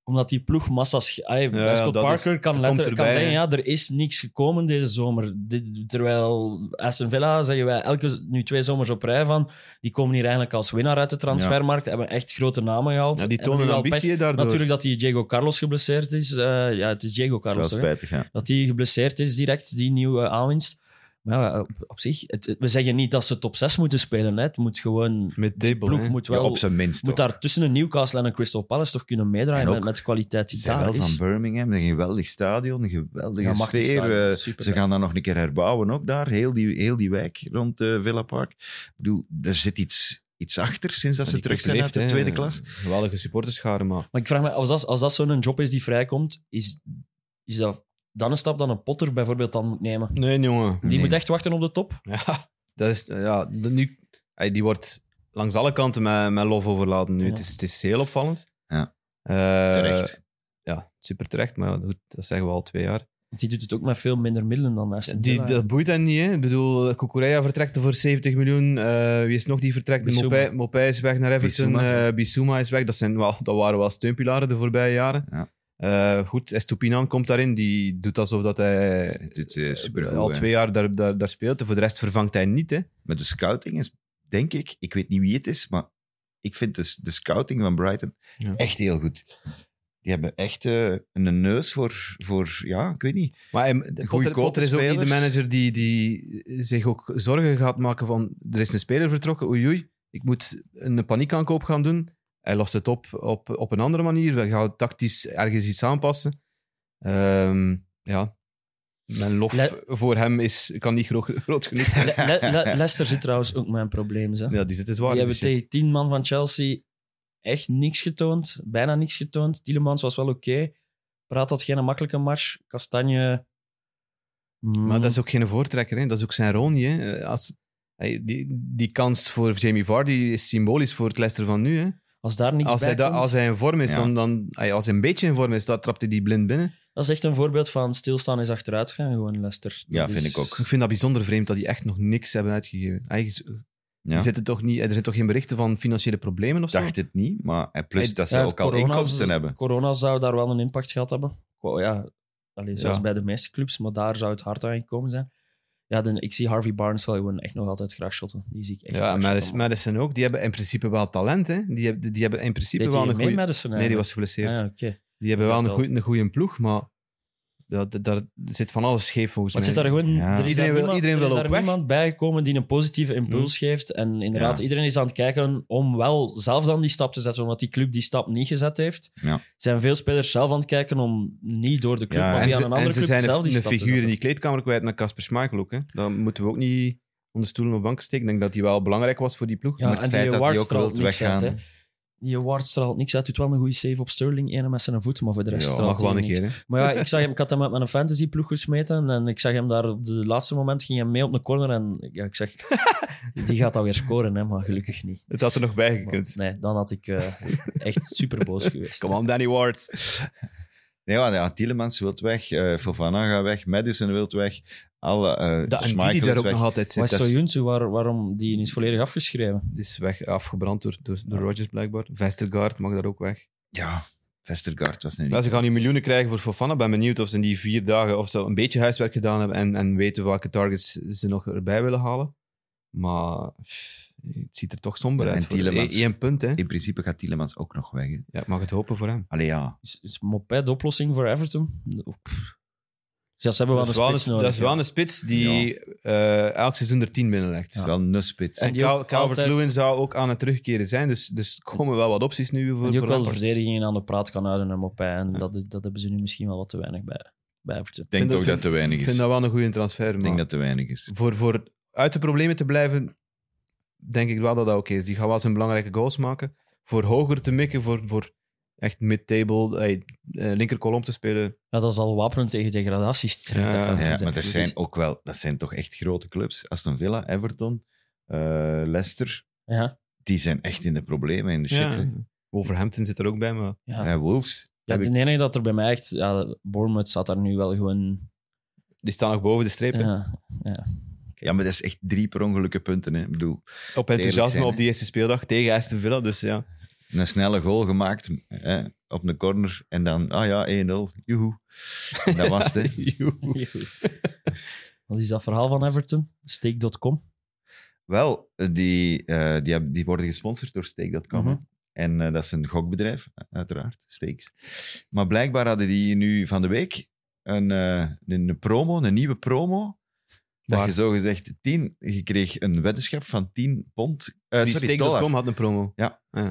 Speaker 4: omdat die ploeg massa's... ge- Ay,
Speaker 3: ja,
Speaker 4: Scott
Speaker 3: dat
Speaker 4: Parker
Speaker 3: is-
Speaker 4: kan,
Speaker 3: dat
Speaker 4: letter,
Speaker 3: komt
Speaker 4: kan
Speaker 3: erbij,
Speaker 4: zeggen,
Speaker 3: hè.
Speaker 4: ja, er is niks gekomen deze zomer. Dit, terwijl Aston Villa, zeggen wij elke, nu twee zomers op rij van, die komen hier eigenlijk als winnaar uit de transfermarkt, hebben echt grote namen gehaald.
Speaker 3: Ja, die
Speaker 4: Hebben
Speaker 3: tonen
Speaker 4: nu al pech.
Speaker 3: ambitie daardoor.
Speaker 4: Natuurlijk dat die Diego Carlos geblesseerd is. Eh, ja, het is Diego
Speaker 2: Dat is wel
Speaker 4: Carlos. hè.
Speaker 2: spijtig, ja.
Speaker 4: Dat die geblesseerd is direct, die nieuwe aanwinst. Maar eh, Maar ja, op, op zich, het- het- we zeggen niet dat ze top 6 moeten spelen. Hè. Het moet gewoon...
Speaker 3: Met Dable.
Speaker 4: ploeg
Speaker 3: hè.
Speaker 4: moet
Speaker 2: Ja,
Speaker 4: wel...
Speaker 2: op zijn minst
Speaker 4: moet
Speaker 2: toch.
Speaker 4: daar tussen een Newcastle en een Crystal Palace toch kunnen meedraaien
Speaker 2: En ook,
Speaker 4: met, met de kwaliteit die
Speaker 2: Ze zijn
Speaker 4: daar
Speaker 2: wel van
Speaker 4: is.
Speaker 2: Birmingham, een geweldig stadion, een geweldige
Speaker 4: Ja, machtig
Speaker 2: sfeer.
Speaker 4: stadion,
Speaker 2: eh,
Speaker 4: super
Speaker 2: ze gaan daar nog een keer herbouwen ook daar, heel die, heel die wijk rond eh, Villa Park. Ik bedoel, er zit iets, iets achter sinds dat
Speaker 3: En
Speaker 2: ze
Speaker 3: die
Speaker 2: terug
Speaker 3: club
Speaker 2: zijn uit de
Speaker 3: leeft, hè.
Speaker 2: tweede klas.
Speaker 3: Geweldige supporterscharen, maar
Speaker 4: Maar ik vraag me, als dat, als dat zo'n job is die vrijkomt, is, is dat dan een stap dat een Potter bijvoorbeeld dan moet nemen?
Speaker 3: Nee, jongen.
Speaker 4: Die
Speaker 2: Nee.
Speaker 4: moet echt wachten op de top.
Speaker 3: Ja, dat is, ja de- nu, ey, die wordt langs alle kanten met, met lof overladen nu.
Speaker 4: Ja.
Speaker 3: Het, is, het is heel opvallend.
Speaker 2: Ja.
Speaker 3: Eh,
Speaker 2: Terecht.
Speaker 3: Ja, super terecht, maar goed, dat zeggen we al twee jaar.
Speaker 4: Want die doet het ook met veel minder middelen dan Aston
Speaker 3: Die,
Speaker 4: Villa.
Speaker 3: dat boeit hen niet, hè. Ik bedoel, Kukureya vertrekt voor 70 miljoen. Eh, wie is nog die vertrekt?
Speaker 4: Bissouma.
Speaker 3: Mopay, Mopay is weg naar Everton.
Speaker 2: Bissouma.
Speaker 3: Bissouma, Bissouma is weg. Dat, zijn, wel, dat waren wel steunpilaren de voorbije jaren.
Speaker 2: Ja.
Speaker 3: Eh, goed, Estupinan komt daarin. Die doet alsof dat hij
Speaker 2: Het is eh, supergoed.
Speaker 3: al
Speaker 2: hè.
Speaker 3: eh, twee jaar daar, daar, daar speelt. Voor de rest vervangt hij niet, hè.
Speaker 2: Maar de scouting is, denk ik, ik weet niet wie het is, maar ik vind de, de scouting van Brighton
Speaker 3: Ja.
Speaker 2: echt heel goed. Die hebben echt eh, een neus voor, voor, ja, ik weet niet.
Speaker 3: Maar hij- Potter,
Speaker 2: Goedkope
Speaker 3: Potter is ook niet de
Speaker 2: spelers.
Speaker 3: manager die, die zich ook zorgen gaat maken van er is een speler vertrokken, oei oei, ik moet een paniekaankoop gaan doen. Hij lost het op op, op een andere manier. We gaan tactisch ergens iets aanpassen. Ehm, ja. Mijn lof
Speaker 4: Le-
Speaker 3: voor hem is, kan niet groot, groot genoeg zijn.
Speaker 4: Le- Le- Le- Leicester zit trouwens ook met problemen. Hè?
Speaker 3: Ja, die zitten zwaar.
Speaker 4: die
Speaker 3: in de
Speaker 4: hebben
Speaker 3: shit.
Speaker 4: tegen tien man van Chelsea echt niks getoond. Bijna niks getoond. Tielemans was wel oké. Praat had geen makkelijke match. Kastanje... mm,
Speaker 3: Maar dat is ook geen voortrekker, hè? dat is ook zijn Rooney. Hè? Eh, Als, hij- die, die kans voor Jamie Vardy is symbolisch voor het Leicester van nu. Hè?
Speaker 4: als daar niks
Speaker 3: Als
Speaker 4: bij
Speaker 3: hij, da-
Speaker 4: komt,
Speaker 3: als hij in vorm is,
Speaker 2: Ja.
Speaker 3: dan, dan, ay, als hij een beetje in vorm is, dan trapt hij die blind binnen.
Speaker 4: dat is echt een voorbeeld van stilstaan is achteruit gaan gewoon, Leicester. Dus
Speaker 2: Ja,
Speaker 4: Dat
Speaker 2: vind
Speaker 4: is-
Speaker 2: ik ook.
Speaker 3: Ik vind dat bijzonder vreemd dat die echt nog niks hebben uitgegeven. Eigenlijk,
Speaker 2: Ja.
Speaker 3: er, zitten toch niet, er zijn toch geen berichten van financiële problemen of
Speaker 2: Ik
Speaker 3: zo?
Speaker 2: dacht het niet, maar en plus
Speaker 3: Hij-
Speaker 2: dat ze
Speaker 4: Ja, het
Speaker 2: ook al
Speaker 4: corona-
Speaker 2: inkomsten hebben.
Speaker 4: Corona zou daar wel een impact gehad hebben. Goh, ja, allee, zoals
Speaker 3: Ja.
Speaker 4: bij de meeste clubs, maar daar zou het hard aan gekomen zijn. Ja, dan, ik zie Harvey Barnes wel gewoon echt nog altijd graag shotten. Die zie ik echt
Speaker 3: Ja,
Speaker 4: graag
Speaker 3: en Madis-
Speaker 4: shotten.
Speaker 3: Madison ook. Die hebben in principe wel talent. Hè? Die, hebben, die hebben in principe
Speaker 4: Deed
Speaker 3: wel
Speaker 4: hij
Speaker 3: een
Speaker 4: mee,
Speaker 3: goede...
Speaker 4: Madison?
Speaker 3: Nee, die
Speaker 4: eigenlijk?
Speaker 3: was geblesseerd.
Speaker 4: Ah, oké.
Speaker 3: Die hebben
Speaker 4: Dat
Speaker 3: wel een
Speaker 4: zegt al.
Speaker 3: goede, een goede ploeg, maar ja, d- daar zit van alles scheef volgens
Speaker 4: Maar het
Speaker 3: mij.
Speaker 4: zit daar gewoon...
Speaker 2: Ja.
Speaker 4: Er is
Speaker 3: Iedereen
Speaker 4: daar
Speaker 3: wil-
Speaker 4: niemand,
Speaker 3: iedereen
Speaker 4: er is
Speaker 3: wil
Speaker 4: daar
Speaker 3: ook weg. Hmm.
Speaker 4: niemand bijgekomen die een positieve impuls geeft. En inderdaad,
Speaker 2: Ja.
Speaker 4: iedereen is aan het kijken om wel zelf dan die stap te zetten, omdat die club die stap niet gezet heeft.
Speaker 2: Ja.
Speaker 4: Zijn veel spelers zelf aan het kijken om niet door de club,
Speaker 2: Ja,
Speaker 4: maar
Speaker 2: en
Speaker 4: via
Speaker 3: en ze,
Speaker 4: een
Speaker 3: en
Speaker 4: andere
Speaker 3: ze
Speaker 4: club
Speaker 3: zijn
Speaker 4: zelf
Speaker 3: een,
Speaker 4: die dus
Speaker 3: een
Speaker 4: stap te
Speaker 3: figuur in
Speaker 4: zetten.
Speaker 3: die kleedkamer kwijt naar Casper Schmeichel ook. Hè? Dat moeten we ook niet onder stoelen of banken steken. Ik denk dat hij wel belangrijk was voor die ploeg.
Speaker 4: Ja,
Speaker 2: Maar het
Speaker 4: en
Speaker 2: feit
Speaker 4: die
Speaker 2: dat
Speaker 4: Award
Speaker 2: hij ook
Speaker 4: straalt
Speaker 2: wilt
Speaker 4: niks
Speaker 2: weggaan.
Speaker 4: uit, hè. Die Award straalt niks uit. Doet wel een goede save op Sterling, ene met zijn voet, maar voor de rest
Speaker 2: Ja,
Speaker 3: dat
Speaker 4: straalt
Speaker 3: mag wel
Speaker 4: hij
Speaker 3: een
Speaker 4: niks.
Speaker 3: keer. hè.
Speaker 4: Maar ja, ik, zag hem, ik had hem met mijn fantasyploeg gesmeten en ik zag hem daar op de laatste moment, ging hij mee op een corner en ja, ik zeg, die gaat alweer scoren, hè, maar gelukkig niet.
Speaker 3: Het had er nog bij
Speaker 4: Maar
Speaker 3: gekund.
Speaker 4: nee, dan had ik eh, echt super boos geweest.
Speaker 3: Come on, Danny Ward.
Speaker 2: Nee, want ja, Tielemans wil weg, eh Fofana gaat weg, Madison wil weg, alle eh
Speaker 3: Dat, en die
Speaker 2: Schmeichel
Speaker 3: die daar
Speaker 2: is
Speaker 3: ook
Speaker 2: weg.
Speaker 3: nog altijd
Speaker 4: Maar
Speaker 3: zit, dat is,
Speaker 4: Soyuncu, waar, waarom die is volledig afgeschreven?
Speaker 3: is weg, afgebrand door, door, door Rodgers blijkbaar. Vestergaard mag daar ook weg.
Speaker 2: Ja, Vestergaard was nu niet...
Speaker 3: Ja, ze gaan nu miljoenen krijgen voor Fofana. Ben benieuwd of ze in die vier dagen of ze een beetje huiswerk gedaan hebben en, en weten welke targets ze nog erbij willen halen. Maar pff, het ziet er toch somber
Speaker 2: Ja, en
Speaker 3: uit. voor-
Speaker 2: Tielemans.
Speaker 3: Eén punt, hè.
Speaker 2: In principe gaat Tielemans ook nog weg. hè.
Speaker 3: Ja, ik mag het hopen voor hem.
Speaker 2: Allee, ja.
Speaker 4: Is, is Mopé de oplossing voor Everton? Oh, pff. Dus Ja, ze hebben wel
Speaker 3: Dat
Speaker 4: een
Speaker 3: is wel
Speaker 4: spits
Speaker 3: een,
Speaker 4: nodig.
Speaker 3: dat is
Speaker 4: ja.
Speaker 3: wel een spits die eh, elk seizoen er 10 binnenlegt.
Speaker 2: Het is wel een spits.
Speaker 3: En
Speaker 4: Die ook
Speaker 3: Calvert-Lewin zou ook aan het terugkeren zijn, dus, dus er komen wel wat opties nu voor,
Speaker 4: En die
Speaker 3: voor
Speaker 4: ook wel de
Speaker 3: Lampard.
Speaker 4: verdedigingen aan de praat kan houden en Mopé. En dat, dat hebben ze nu misschien wel wat te weinig bij, bij Everton.
Speaker 2: Ik denk
Speaker 3: vind
Speaker 2: ook
Speaker 3: dat-
Speaker 2: dat te weinig
Speaker 3: Ik
Speaker 2: is.
Speaker 3: vind dat wel een goede transfer,
Speaker 2: Ik
Speaker 3: maar
Speaker 2: denk dat te weinig is.
Speaker 3: voor, voor uit de problemen te blijven, denk ik wel dat dat oké is. Die gaat wel zijn belangrijke goals maken. Voor hoger te mikken, voor, voor echt mid-table, hey, eh, linker kolom te spelen.
Speaker 4: Ja, dat is al wapenen tegen degradaties.
Speaker 3: Ja, ja,
Speaker 2: Ja, maar er zijn ook wel... Dat zijn toch echt grote clubs. Aston Villa, Everton, eh, Leicester.
Speaker 4: Ja,
Speaker 2: Die zijn echt in de problemen, in de shit. hè.
Speaker 3: Wolverhampton zit er ook bij, maar
Speaker 4: ja.
Speaker 2: Eh, Wolves.
Speaker 4: ja
Speaker 2: heb
Speaker 4: de
Speaker 2: ik-
Speaker 4: enige dat er bij mij echt... Ja, Bournemouth zat daar nu wel gewoon...
Speaker 3: die staan nog boven de streep. hè.
Speaker 4: Ja, ja.
Speaker 2: Ja, maar dat is echt drie per ongelukke punten. Hè. Ik bedoel,
Speaker 3: Op
Speaker 2: Eerlijk
Speaker 3: enthousiasme
Speaker 2: zijn, hè.
Speaker 3: op die eerste speeldag tegen Aston Villa, dus ja.
Speaker 2: een snelle goal gemaakt hè, op een corner. En dan, ah ja, 1-0. Joehoe. En Dat was het. hè.
Speaker 3: Joe.
Speaker 4: Wat is dat verhaal van Everton? Steak.com.
Speaker 2: Wel, die, eh, die, hebben- die worden gesponsord door Stake.com. hè.
Speaker 4: Mhm.
Speaker 2: En eh, dat is een gokbedrijf, uiteraard, Stakes. Maar blijkbaar hadden die nu van de week een, eh, een promo, een nieuwe promo Dat
Speaker 3: Waar?
Speaker 2: je zo gezegd 10, je kreeg een weddenschap van 10 pond, eh,
Speaker 3: Die
Speaker 2: sorry, dollar.
Speaker 3: Steak.com had een promo.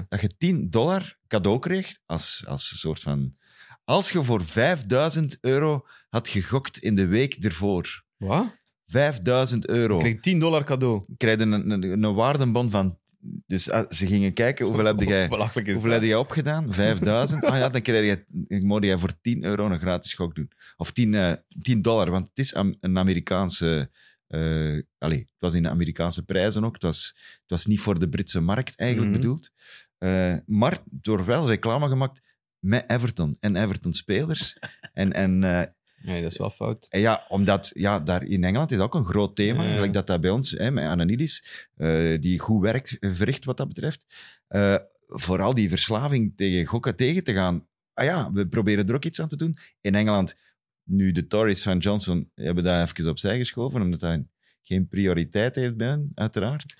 Speaker 2: dat je 10 dollar cadeau kreeg als, als een soort van... Als je voor 5000 euro had gegokt in de week ervoor.
Speaker 3: Wat?
Speaker 2: 5000 euro.
Speaker 3: Ik
Speaker 2: Krijg
Speaker 3: kreeg 10 dollar cadeau.
Speaker 2: je een, een, een waardebon van... Dus ah, ze gingen kijken, hoeveel heb jij,
Speaker 3: Belachelijk is
Speaker 2: hoeveel
Speaker 3: dat.
Speaker 2: heb jij opgedaan? 5000? Ah ja, dan krijg je, mocht jij voor 10 euro een gratis gok doen. Of 10, eh, 10 dollar, want het is am- een Amerikaanse... eh allee, het was in de Amerikaanse prijzen ook. Het was, het was niet voor de Britse markt eigenlijk
Speaker 3: Mhm.
Speaker 2: bedoeld. Eh, maar door wel reclame gemaakt met Everton en Everton-spelers. en, en eh,
Speaker 3: Nee, dat is wel fout.
Speaker 2: en ja, omdat ja, daar in Engeland is dat ook een groot thema,
Speaker 3: Ja, ja.
Speaker 2: gelijk dat dat bij ons, hè, met Ananidis, eh, die goed werkt, eh, verricht wat dat betreft, eh, vooral die verslaving tegen gokken tegen te gaan. Ah ja, we proberen er ook iets aan te doen. In Engeland, nu de Tories van Johnson hebben dat even opzij geschoven, omdat dat geen prioriteit heeft bij hen, uiteraard.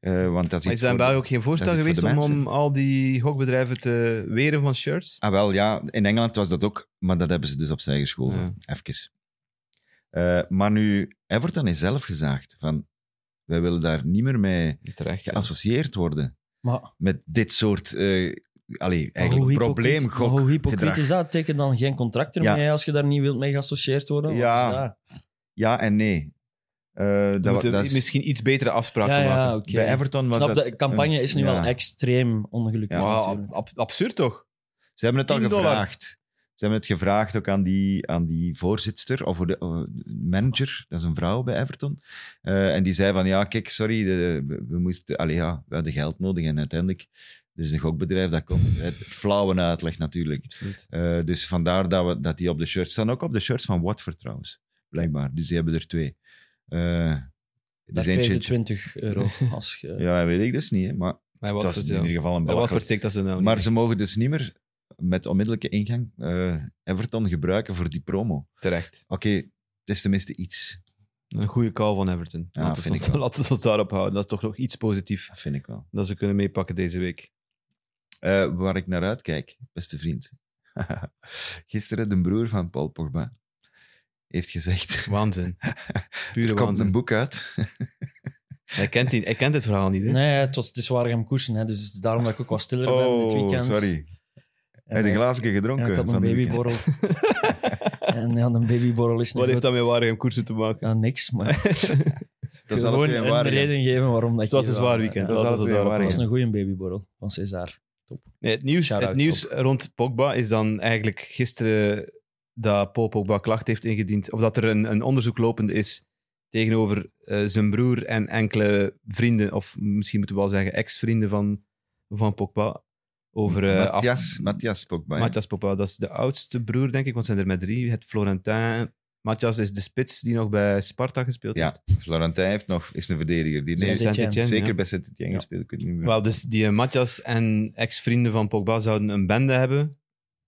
Speaker 2: Eh, want dat is
Speaker 3: Maar
Speaker 2: iets
Speaker 3: is daar in
Speaker 2: voor-
Speaker 3: België ook geen voorstel
Speaker 2: dat is iets
Speaker 3: geweest
Speaker 2: voor de
Speaker 3: om, om
Speaker 2: mensen.
Speaker 3: al die gokbedrijven te weren van shirts?
Speaker 2: Ah, wel, ja. In Engeland was dat ook, maar dat hebben ze dus opzij geschoven.
Speaker 3: Ja.
Speaker 2: Even. Eh, maar nu, Everton is zelf gezaagd van, wij willen daar niet meer mee
Speaker 3: Terecht. ja.
Speaker 2: geassocieerd worden.
Speaker 4: Maar,
Speaker 2: Met dit soort, eh allee,
Speaker 4: maar hoe
Speaker 2: eigenlijk
Speaker 4: hypocriet- maar
Speaker 2: probleemgok
Speaker 4: Hoe hypocriet
Speaker 2: gedrag.
Speaker 4: is dat? Teken dan geen contract
Speaker 2: Ja.
Speaker 4: ermee als je daar niet wilt mee geassocieerd worden? Wat
Speaker 2: Ja.
Speaker 4: is dat?
Speaker 2: Ja en nee. Eh,
Speaker 3: Dan
Speaker 2: dat,
Speaker 3: moeten we
Speaker 2: dat is-
Speaker 3: misschien iets betere afspraken
Speaker 4: Ja, ja,
Speaker 3: maken.
Speaker 4: oké.
Speaker 2: Bij Everton was
Speaker 4: Snap,
Speaker 2: dat...
Speaker 4: de campagne
Speaker 2: een-
Speaker 4: is nu
Speaker 2: ja.
Speaker 4: wel extreem ongelukkig.
Speaker 3: Maar
Speaker 4: natuurlijk.
Speaker 3: ab- absurd toch?
Speaker 2: Ze hebben het al
Speaker 3: 10 dollar.
Speaker 2: gevraagd. Ze hebben het gevraagd ook aan die, aan die voorzitter, of hoe de eh, manager, dat is een vrouw bij Everton. Eh, en die zei van, ja, kijk, sorry, de- we, we moesten... Allee, ja, we hadden geld nodig en uiteindelijk... Er is een gokbedrijf dat komt. Het flauwe uitleg natuurlijk.
Speaker 3: Absoluut.
Speaker 2: Eh, dus vandaar dat, we, dat die op de shirts staan. Ook op de shirts van Watford trouwens, blijkbaar. Dus die hebben er twee. Eh
Speaker 4: Daar
Speaker 2: dus
Speaker 4: krijg je
Speaker 2: eentje...
Speaker 4: 20 euro. Als je,
Speaker 2: Ja, dat weet ik dus niet, hè, maar
Speaker 3: Maar
Speaker 2: het
Speaker 3: wat,
Speaker 2: was
Speaker 3: voor,
Speaker 2: in ieder geval een
Speaker 3: wat
Speaker 2: belachelijk
Speaker 3: voor steek dat ze
Speaker 4: Oh,
Speaker 3: nou
Speaker 2: maar
Speaker 3: niet?
Speaker 2: ze mogen dus niet meer met onmiddellijke ingang eh, Everton gebruiken voor die promo. Oké,
Speaker 3: Terecht.
Speaker 2: het is tenminste iets.
Speaker 3: Een goede call van Everton.
Speaker 2: Ja,
Speaker 3: laten, we
Speaker 2: vind
Speaker 3: ons,
Speaker 2: ik wel.
Speaker 3: laten we ons daarop houden. Dat is toch nog iets positiefs
Speaker 2: Dat vind ik wel.
Speaker 3: dat ze kunnen meepakken deze week.
Speaker 2: Eh, waar ik naar uitkijk, beste vriend. Gisteren de broer van Paul Pogba heeft gezegd...
Speaker 3: Waanzin.
Speaker 2: Er
Speaker 3: Pure
Speaker 2: komt een
Speaker 3: waanzin.
Speaker 2: boek uit.
Speaker 3: Hij kent, die, hij kent het verhaal niet. Hè?
Speaker 4: Nee, het, was, het is waar gaan koersen. Hè, dus daarom dat ik ook wat stiller ben dit weekend.
Speaker 2: Oh, sorry. Heb je
Speaker 4: En, eh,
Speaker 2: een glaasje
Speaker 4: ja,
Speaker 2: gedronken?
Speaker 4: ik had een
Speaker 2: van de
Speaker 4: babyborrel. en ja, een babyborrel is niet
Speaker 3: Wat heeft
Speaker 4: goed.
Speaker 3: dat met Waregem koersen te maken?
Speaker 4: Ja, niks, maar ik
Speaker 2: weekend.
Speaker 4: wil
Speaker 2: Dat is altijd
Speaker 4: gewoon
Speaker 2: een
Speaker 4: een
Speaker 2: waar.
Speaker 4: reden geven waarom dat
Speaker 3: Het was
Speaker 4: je
Speaker 3: een
Speaker 4: wel-
Speaker 3: zwaar weekend.
Speaker 4: Ja,
Speaker 2: Dat is
Speaker 3: Laten we ons
Speaker 2: altijd
Speaker 3: daarop
Speaker 2: waar,
Speaker 4: dat
Speaker 2: ja.
Speaker 4: was een goede babyborrel van César.
Speaker 3: Nee, het nieuws,
Speaker 4: Shout-out,
Speaker 3: het nieuws rond Pogba is dan eigenlijk gisteren dat Paul Pogba klacht heeft ingediend. Of dat er een, een onderzoek lopende is tegenover eh, zijn broer en enkele vrienden. Of misschien moeten we wel zeggen ex-vrienden van, van Pogba. Over eh, af-
Speaker 2: Matthias, Matthias Pogba. hè?
Speaker 3: Matthias Pogba. Dat is de oudste broer, denk ik, want het zijn er met drie. Het Florentin. Matthias is de spits die nog bij Sparta gespeeld heeft.
Speaker 2: Ja, Florentijn heeft nog, is een verdediger. Die
Speaker 4: Saint-Étienne.
Speaker 2: heeft
Speaker 3: Saint-Étienne,
Speaker 2: zeker
Speaker 3: ja.
Speaker 2: bij Sint-Etienne
Speaker 4: Ja.
Speaker 2: gespeeld. Ik weet niet meer.
Speaker 3: Wel, dus die eh, Matthias en ex-vrienden van Pogba zouden een bende hebben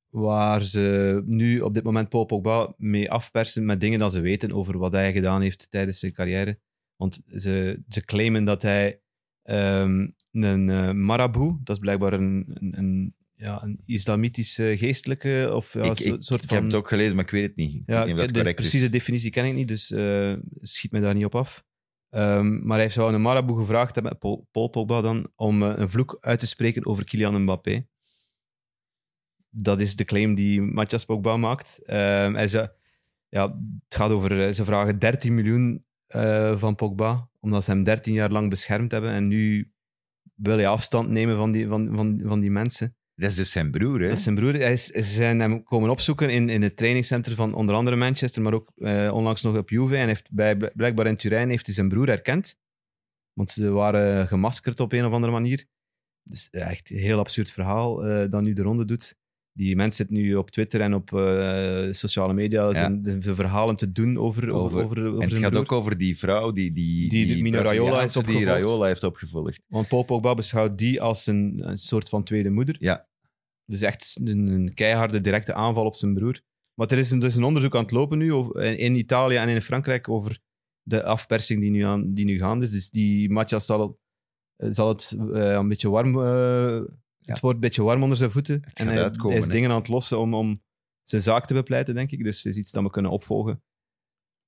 Speaker 3: waar ze nu op dit moment Paul Pogba mee afpersen met dingen dat ze weten over wat hij gedaan heeft tijdens zijn carrière. Want ze, ze claimen dat hij ehm, een eh, maraboe, dat is blijkbaar een, een, een, ja, een islamitische geestelijke of ja,
Speaker 2: ik,
Speaker 3: zo-
Speaker 2: ik-
Speaker 3: soort
Speaker 2: ik
Speaker 3: van...
Speaker 2: heb het ook gelezen, maar ik weet het niet. Ik
Speaker 3: Ja,
Speaker 2: weet niet of dat
Speaker 3: de
Speaker 2: correct is.
Speaker 3: precieze definitie ken ik niet, dus eh, schiet mij daar niet op af. Ehm, maar hij zou een Maraboe gevraagd hebben, Paul, Paul Pogba dan, om eh, een vloek uit te spreken over Kylian Mbappé. Dat is de claim die Matthias Pogba maakt. Ehm, hij zei, ja, het gaat over, eh, ze vragen 13 miljoen eh, van Pogba, omdat ze hem 13 jaar lang beschermd hebben en nu wil hij afstand nemen van die, van, van, van die mensen.
Speaker 2: Dat is dus zijn broer, hè?
Speaker 3: Dat is zijn broer. Hij is, ze zijn hem komen opzoeken in, in het trainingscentrum van onder andere Manchester, maar ook eh, onlangs nog op Juve. En heeft bij, blijkbaar in Turijn heeft hij zijn broer herkend. Want ze waren gemaskerd op een of andere manier. Dus ja, echt een heel absurd verhaal eh, dat nu de ronde doet. Die mens zit nu op Twitter en op eh, sociale media zijn, zijn verhalen te doen over, over,
Speaker 2: Over-
Speaker 3: over, over
Speaker 2: en het
Speaker 3: zijn
Speaker 2: gaat
Speaker 3: broer.
Speaker 2: ook over die vrouw die... Die,
Speaker 3: Die de Mino Raiola
Speaker 2: Braziliaanse
Speaker 3: heeft
Speaker 2: Die
Speaker 3: opgevolgd.
Speaker 2: Raiola heeft opgevolgd.
Speaker 3: Want Paul Pogba beschouwt die als een, een soort van tweede moeder.
Speaker 2: Ja.
Speaker 3: Dus echt een, een keiharde directe aanval op zijn broer. Maar er is een, dus een onderzoek aan het lopen nu over, in, in Italië en in Frankrijk over de afpersing die nu, aan, die nu gaande is. Dus die Matthias zal, zal het eh, een beetje warm... eh,
Speaker 2: Ja.
Speaker 3: Het wordt een beetje warm onder zijn voeten. en
Speaker 2: gaat
Speaker 3: hij,
Speaker 2: uitkomen,
Speaker 3: hij is
Speaker 2: hè.
Speaker 3: dingen aan het lossen om, om zijn zaak te bepleiten, denk ik. Dus het is iets dat we kunnen opvolgen.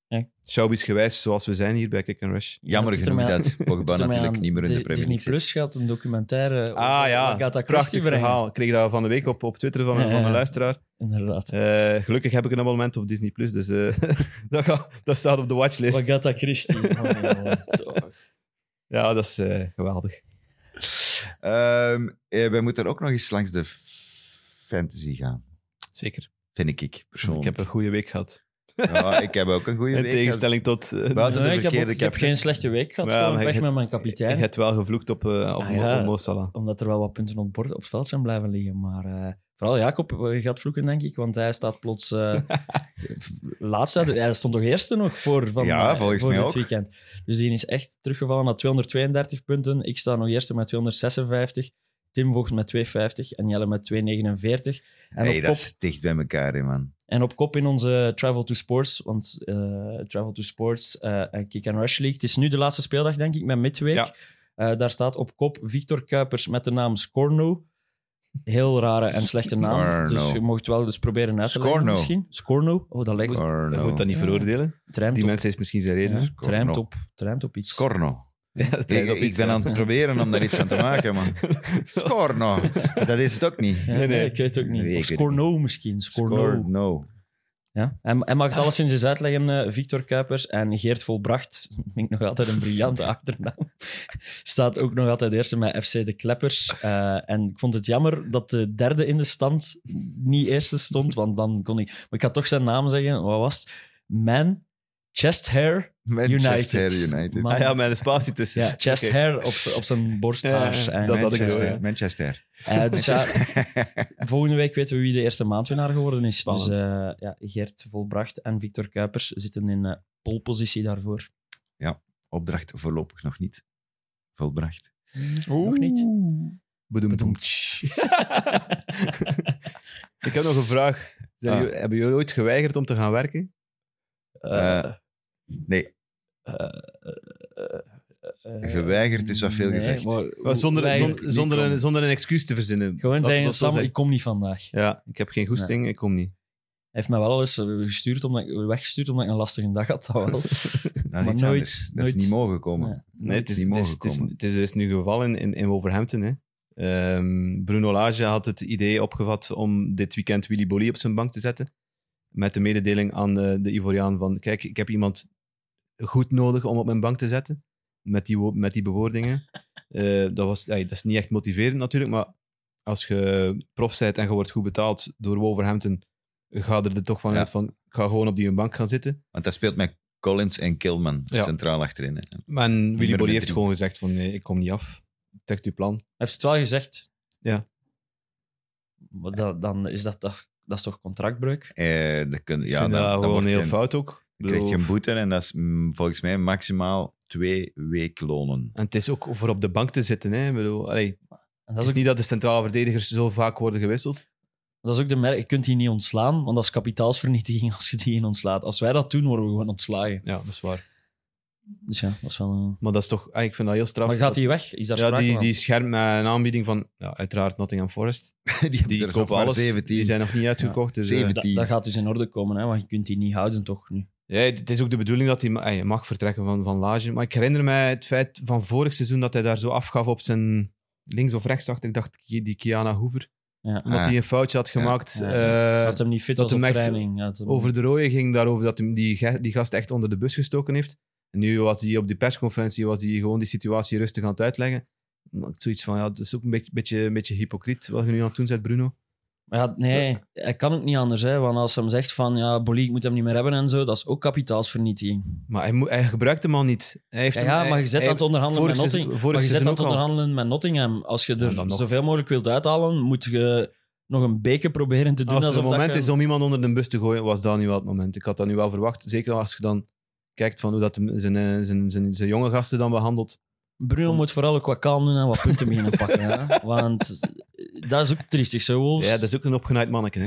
Speaker 4: Ja.
Speaker 3: Showbiz gewijs, zoals we zijn hier bij Kick and Rush.
Speaker 2: Jammer
Speaker 4: Ja, het doet
Speaker 2: genoeg
Speaker 4: er mij
Speaker 2: dat Pogba
Speaker 4: Doet er mij
Speaker 2: natuurlijk
Speaker 4: aan
Speaker 2: niet meer in de
Speaker 4: Dis-
Speaker 2: Premier
Speaker 4: Disney
Speaker 2: League zit.
Speaker 4: Plus gaat een documentaire over
Speaker 3: Ah ja,
Speaker 4: Agatha Christie
Speaker 3: prachtig
Speaker 4: brengen.
Speaker 3: verhaal. Ik kreeg dat van de week op, op Twitter van, een-
Speaker 4: Ja,
Speaker 3: van een
Speaker 4: ja.
Speaker 3: luisteraar.
Speaker 4: Inderdaad.
Speaker 3: Eh, gelukkig heb ik een abonnement op Disney+, Plus, dus eh, dat, ga- dat staat op de watchlist.
Speaker 4: Agatha Christie. Oh, toch.
Speaker 3: Ja, dat is eh, geweldig.
Speaker 2: Ehm, eh, wij moeten ook nog eens langs de f- fantasy gaan.
Speaker 3: Zeker.
Speaker 2: Vind ik, ik
Speaker 3: Ik
Speaker 2: persoonlijk.
Speaker 3: heb een goede week gehad.
Speaker 2: ja, ik heb ook een goede
Speaker 3: In
Speaker 2: week.
Speaker 3: tegenstelling tot... eh,
Speaker 2: Wel, Buiten de
Speaker 4: Nee, ik heb, ook-
Speaker 2: verkeerde,
Speaker 4: ik
Speaker 2: ik
Speaker 4: heb
Speaker 2: heb-
Speaker 4: geen slechte week gehad.
Speaker 3: Ja,
Speaker 4: gewoon
Speaker 3: maar
Speaker 4: weg
Speaker 3: je-
Speaker 4: met mijn
Speaker 3: je
Speaker 4: kapitein.
Speaker 3: hebt wel gevloekt op, eh, op,
Speaker 4: Ah,
Speaker 3: Mo-
Speaker 4: ja.
Speaker 3: op Mo Salah.
Speaker 4: Omdat er wel wat punten op het, bord, op het veld zijn blijven liggen. Maar eh, vooral Jacob eh, gaat vloeken, denk ik. Want hij staat plots eh, v- laatst uit. Hij stond toch eerste nog voor, van,
Speaker 2: Ja,
Speaker 4: eh,
Speaker 2: volgens
Speaker 4: voor
Speaker 2: mij
Speaker 4: dit
Speaker 2: ook.
Speaker 4: weekend. Dus die is echt teruggevallen naar 232 punten. Ik sta nog eerste met 256. Tim volgt met 250 en Jelle met 249. En,
Speaker 2: hey,
Speaker 4: op
Speaker 2: dat
Speaker 4: kop,
Speaker 2: is dicht bij elkaar, hè, man.
Speaker 4: en op kop in onze Travel to Sports. Want eh, Travel to Sports eh, en Kick and Rush League. Het is nu de laatste speeldag, denk ik, met midweek.
Speaker 3: Ja.
Speaker 4: Eh, daar staat op kop Victor Kuipers met de naam Scorno. Heel rare en slechte naam.
Speaker 2: Scorno.
Speaker 4: Dus je mocht wel dus proberen uit te
Speaker 2: Scorno.
Speaker 4: leggen misschien. Scorno. Oh, dat lijkt
Speaker 2: Or
Speaker 3: Je
Speaker 2: no.
Speaker 3: moet dat niet
Speaker 4: Ja.
Speaker 3: veroordelen.
Speaker 4: het rijmt
Speaker 3: Die
Speaker 4: op.
Speaker 3: mensen is misschien zijn
Speaker 4: Ja,
Speaker 3: reden.
Speaker 4: het
Speaker 2: Scorno.
Speaker 4: rijmt op, het rijmt op iets.
Speaker 2: Scorno.
Speaker 3: Ja, dat
Speaker 2: Ik,
Speaker 3: lijkt op
Speaker 2: ik
Speaker 3: iets, eh,
Speaker 2: ben
Speaker 3: ja.
Speaker 2: aan het proberen om daar iets van te maken, man. Scorno. Dat is het ook niet.
Speaker 4: Ja,
Speaker 3: Nee,
Speaker 4: nee,
Speaker 3: nee.
Speaker 4: ik weet het ook niet.
Speaker 2: Nee, ik
Speaker 4: of
Speaker 2: weet het
Speaker 4: Scorno misschien. Scorno.
Speaker 2: Scorno.
Speaker 4: Ja. Hij, hij mag het alleszins eens uitleggen, eh, Victor Kuipers. En Geert Volbracht, vind ik nog altijd een briljante achternaam, staat ook nog altijd eerste met FC De Kleppers. Eh, en ik vond het jammer dat de derde in de stand niet eerste stond, want dan kon ik... Maar ik ga toch zijn naam zeggen. Wat was het? Man Chest Hair
Speaker 2: Manchester
Speaker 4: United.
Speaker 2: United.
Speaker 4: Man-
Speaker 3: Ah ja, met een spatie tussen.
Speaker 4: Ja, chest
Speaker 3: Oké.
Speaker 4: hair op, z'n- op zijn borsthaar.
Speaker 3: Ja, ja,
Speaker 4: En-
Speaker 3: dat had ik
Speaker 2: Manchester.
Speaker 3: door, ja.
Speaker 2: Manchester.
Speaker 4: Eh, dus ja, volgende week weten we wie de eerste maandwinnaar geworden is.
Speaker 3: Spannend.
Speaker 4: Dus eh, ja, Geert Volbracht en Victor Kuipers zitten in eh polpositie daarvoor.
Speaker 2: Opdracht voorlopig nog niet volbracht.
Speaker 4: Nog niet.
Speaker 2: Bedoemd.
Speaker 3: Ik heb nog een vraag. Zijn
Speaker 2: Ah.
Speaker 3: jullie- hebben jullie ooit geweigerd om te gaan werken?
Speaker 4: Eh,
Speaker 2: Eh, nee.
Speaker 4: eh, eh, eh,
Speaker 2: Geweigerd is wat veel
Speaker 4: nee,
Speaker 2: gezegd.
Speaker 4: maar
Speaker 3: Maar
Speaker 4: hoe-
Speaker 3: zonder,
Speaker 4: weiger-
Speaker 3: zon-
Speaker 2: niet
Speaker 3: zonder,
Speaker 2: komen.
Speaker 3: een, zonder een excuus te verzinnen.
Speaker 4: Gewoon
Speaker 3: Laten we
Speaker 4: zeggen,
Speaker 3: dat zo
Speaker 4: Sam,
Speaker 3: zeggen.
Speaker 4: ik kom niet vandaag. Hij
Speaker 3: Ja, ik heb geen goesting, ik kom niet.
Speaker 4: heeft mij wel al eens eh, gestuurd omdat ik, weggestuurd omdat ik een lastige dag had. Dat wel.
Speaker 2: Dat is
Speaker 4: Maar
Speaker 2: iets
Speaker 4: nooit-
Speaker 2: anders. Dat
Speaker 4: nooit-
Speaker 2: is niet mogen komen.
Speaker 4: Nee.
Speaker 3: Nee, het is,
Speaker 2: niet
Speaker 3: het is,
Speaker 2: mogen
Speaker 3: het is,
Speaker 2: komen.
Speaker 3: het is, er is nu geval in, in, in Wolverhampton. Hè. Ehm, Bruno Lage had het idee opgevat om dit weekend Willy Bolly op zijn bank te zetten. Met de mededeling aan eh, de Ivoriaan van, kijk, ik heb iemand goed nodig om op mijn bank te zetten. Met die, wo- met die bewoordingen. Eh, dat, was, ey, dat is niet echt motiverend natuurlijk, maar als je prof bent en je wordt goed betaald door Wolverhampton, ga er toch van
Speaker 2: Ja.
Speaker 3: uit van, ik ga gewoon op die bank gaan zitten.
Speaker 2: Want dat speelt met Collins en Kilman
Speaker 3: Ja.
Speaker 2: centraal achterin. hè.
Speaker 3: Maar Willy
Speaker 2: met
Speaker 3: Bolly heeft
Speaker 2: drie.
Speaker 3: gewoon gezegd van, nee, ik kom niet af. Trekt uw plan.
Speaker 4: Hij heeft het wel gezegd.
Speaker 3: Ja.
Speaker 4: Maar dat- dan is dat, dat, dat is toch contractbreuk?
Speaker 2: Eh, dat kun,
Speaker 3: Ja,
Speaker 2: ja,
Speaker 3: vind
Speaker 2: dan,
Speaker 3: dat
Speaker 2: dan
Speaker 3: gewoon
Speaker 2: wordt
Speaker 3: heel
Speaker 2: je-
Speaker 3: fout ook.
Speaker 2: Dan krijg je
Speaker 3: Bedoel,
Speaker 2: een boete en dat is mm, volgens mij maximaal twee weeklonen.
Speaker 3: En het is ook voor op de bank te zitten. Hè. Ik Bedoel, allee,
Speaker 4: En
Speaker 3: het
Speaker 4: dat
Speaker 3: is
Speaker 4: is ook,
Speaker 3: niet dat de centrale verdedigers zo vaak worden gewisseld.
Speaker 4: dat is ook de merk. Je kunt die niet ontslaan, want dat is kapitaalsvernietiging als je die in ontslaat. Als wij dat doen, worden we gewoon ontslagen.
Speaker 3: Ja, dat is waar.
Speaker 4: Dus ja, dat is wel een...
Speaker 3: Maar dat is toch, ah, ik vind dat heel straf.
Speaker 4: Maar gaat hij weg? Is daar
Speaker 3: ja,
Speaker 4: sprake
Speaker 3: die,
Speaker 4: van?
Speaker 3: die scherm met een aanbieding van, ja, uiteraard Nottingham Forest.
Speaker 2: hebben
Speaker 3: Die
Speaker 2: er nog
Speaker 3: kopen
Speaker 2: maar
Speaker 3: alles.
Speaker 2: 17.
Speaker 3: Die zijn nog niet uitgekocht. Dus, eh,
Speaker 2: 17.
Speaker 4: Da- dat, gaat dus in orde komen, hè, want je kunt die niet houden toch nu.
Speaker 3: ja, het is ook de bedoeling dat hij ma- hij mag vertrekken van, van Lage. Maar ik herinner mij het feit van vorig seizoen dat hij daar zo afgaf op zijn links of rechts. Dacht, ik dacht Ki- die Kiana Hoever.
Speaker 4: Ja.
Speaker 3: Omdat
Speaker 2: Ah.
Speaker 3: hij een foutje had gemaakt.
Speaker 4: Ja.
Speaker 3: eh,
Speaker 4: dat hem niet fit
Speaker 3: dat
Speaker 4: was op
Speaker 3: hem echt
Speaker 4: training. Ja, dat hem-
Speaker 3: over de rode ging daarover dat hem die, ge- die gast echt onder de bus gestoken heeft. En nu was hij op die persconferentie was hij gewoon die situatie rustig aan het uitleggen. Maar ik Zoiets van, ja, dat is ook een beetje, beetje, een beetje hypocriet wat je nu aan het doen bent, Bruno.
Speaker 4: Maar ja, nee, hij kan ook niet anders. Hè, want als hem zegt van, ja, Bolly, ik moet hem niet meer hebben en zo, dat is ook kapitaalsvernietiging.
Speaker 3: Maar hij, moet- hij gebruikt hem al niet. Hij heeft
Speaker 4: Ja,
Speaker 3: hem-
Speaker 4: ja,
Speaker 3: hij-
Speaker 4: maar je zet
Speaker 3: hij-
Speaker 4: aan het onderhandelen met
Speaker 3: vorig
Speaker 4: Nottingham.
Speaker 3: seizoen- vorig
Speaker 4: Maar je zet aan
Speaker 3: seizoen
Speaker 4: het
Speaker 3: ook al.
Speaker 4: onderhandelen met Nottingham. Als je er
Speaker 3: dan nog.
Speaker 4: zoveel mogelijk wilt uithalen, moet je nog een beker proberen te doen.
Speaker 3: Als er
Speaker 4: alsof
Speaker 3: een
Speaker 4: dat
Speaker 3: moment
Speaker 4: je-
Speaker 3: is om iemand onder de bus te gooien, was dat nu wel het moment. Ik had dat nu wel verwacht. Zeker als je dan kijkt van hoe dat hem- zijn, eh, zijn, zijn, zijn, jonge gasten dan behandelt.
Speaker 4: Bruno moet vooral ook wat kalm doen en wat punten beginnen pakken. Hè? Want eh, dat is ook triestig, zo Wolves.
Speaker 3: Ja, dat is ook een opgenaaid manneke. Hè?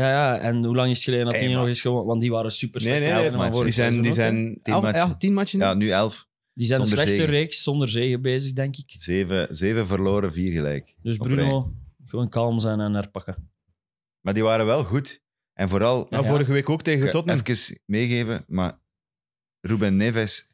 Speaker 4: ja, ja, en hoe lang is het geleden dat
Speaker 2: Hey,
Speaker 4: die
Speaker 2: maar-
Speaker 4: nog is gewonnen? Want die waren super
Speaker 3: Nee,
Speaker 4: slecht.
Speaker 3: nee,
Speaker 4: Ja,
Speaker 3: nee,
Speaker 4: en dan
Speaker 2: maar
Speaker 4: vorig
Speaker 3: Die zijn, die
Speaker 4: seizoen ook, hè.
Speaker 3: zijn
Speaker 2: Tien
Speaker 3: elf-
Speaker 2: matchen.
Speaker 3: elf- tien matchen.
Speaker 2: Ja, nu 11.
Speaker 4: Die zijn de
Speaker 2: zonder
Speaker 4: slechtste
Speaker 2: zegen.
Speaker 4: reeks zonder zegen bezig, denk ik.
Speaker 2: 7, 7 verloren, 4 gelijk.
Speaker 4: Dus
Speaker 2: Op rij.
Speaker 4: Bruno, gewoon kalm zijn en herpakken.
Speaker 2: Maar die waren wel goed. En vooral,
Speaker 3: Ja,
Speaker 4: Ja.
Speaker 3: Vorige week ook tegen
Speaker 2: ik ga
Speaker 3: Tottenham.
Speaker 2: even meegeven, maar Ruben Neves.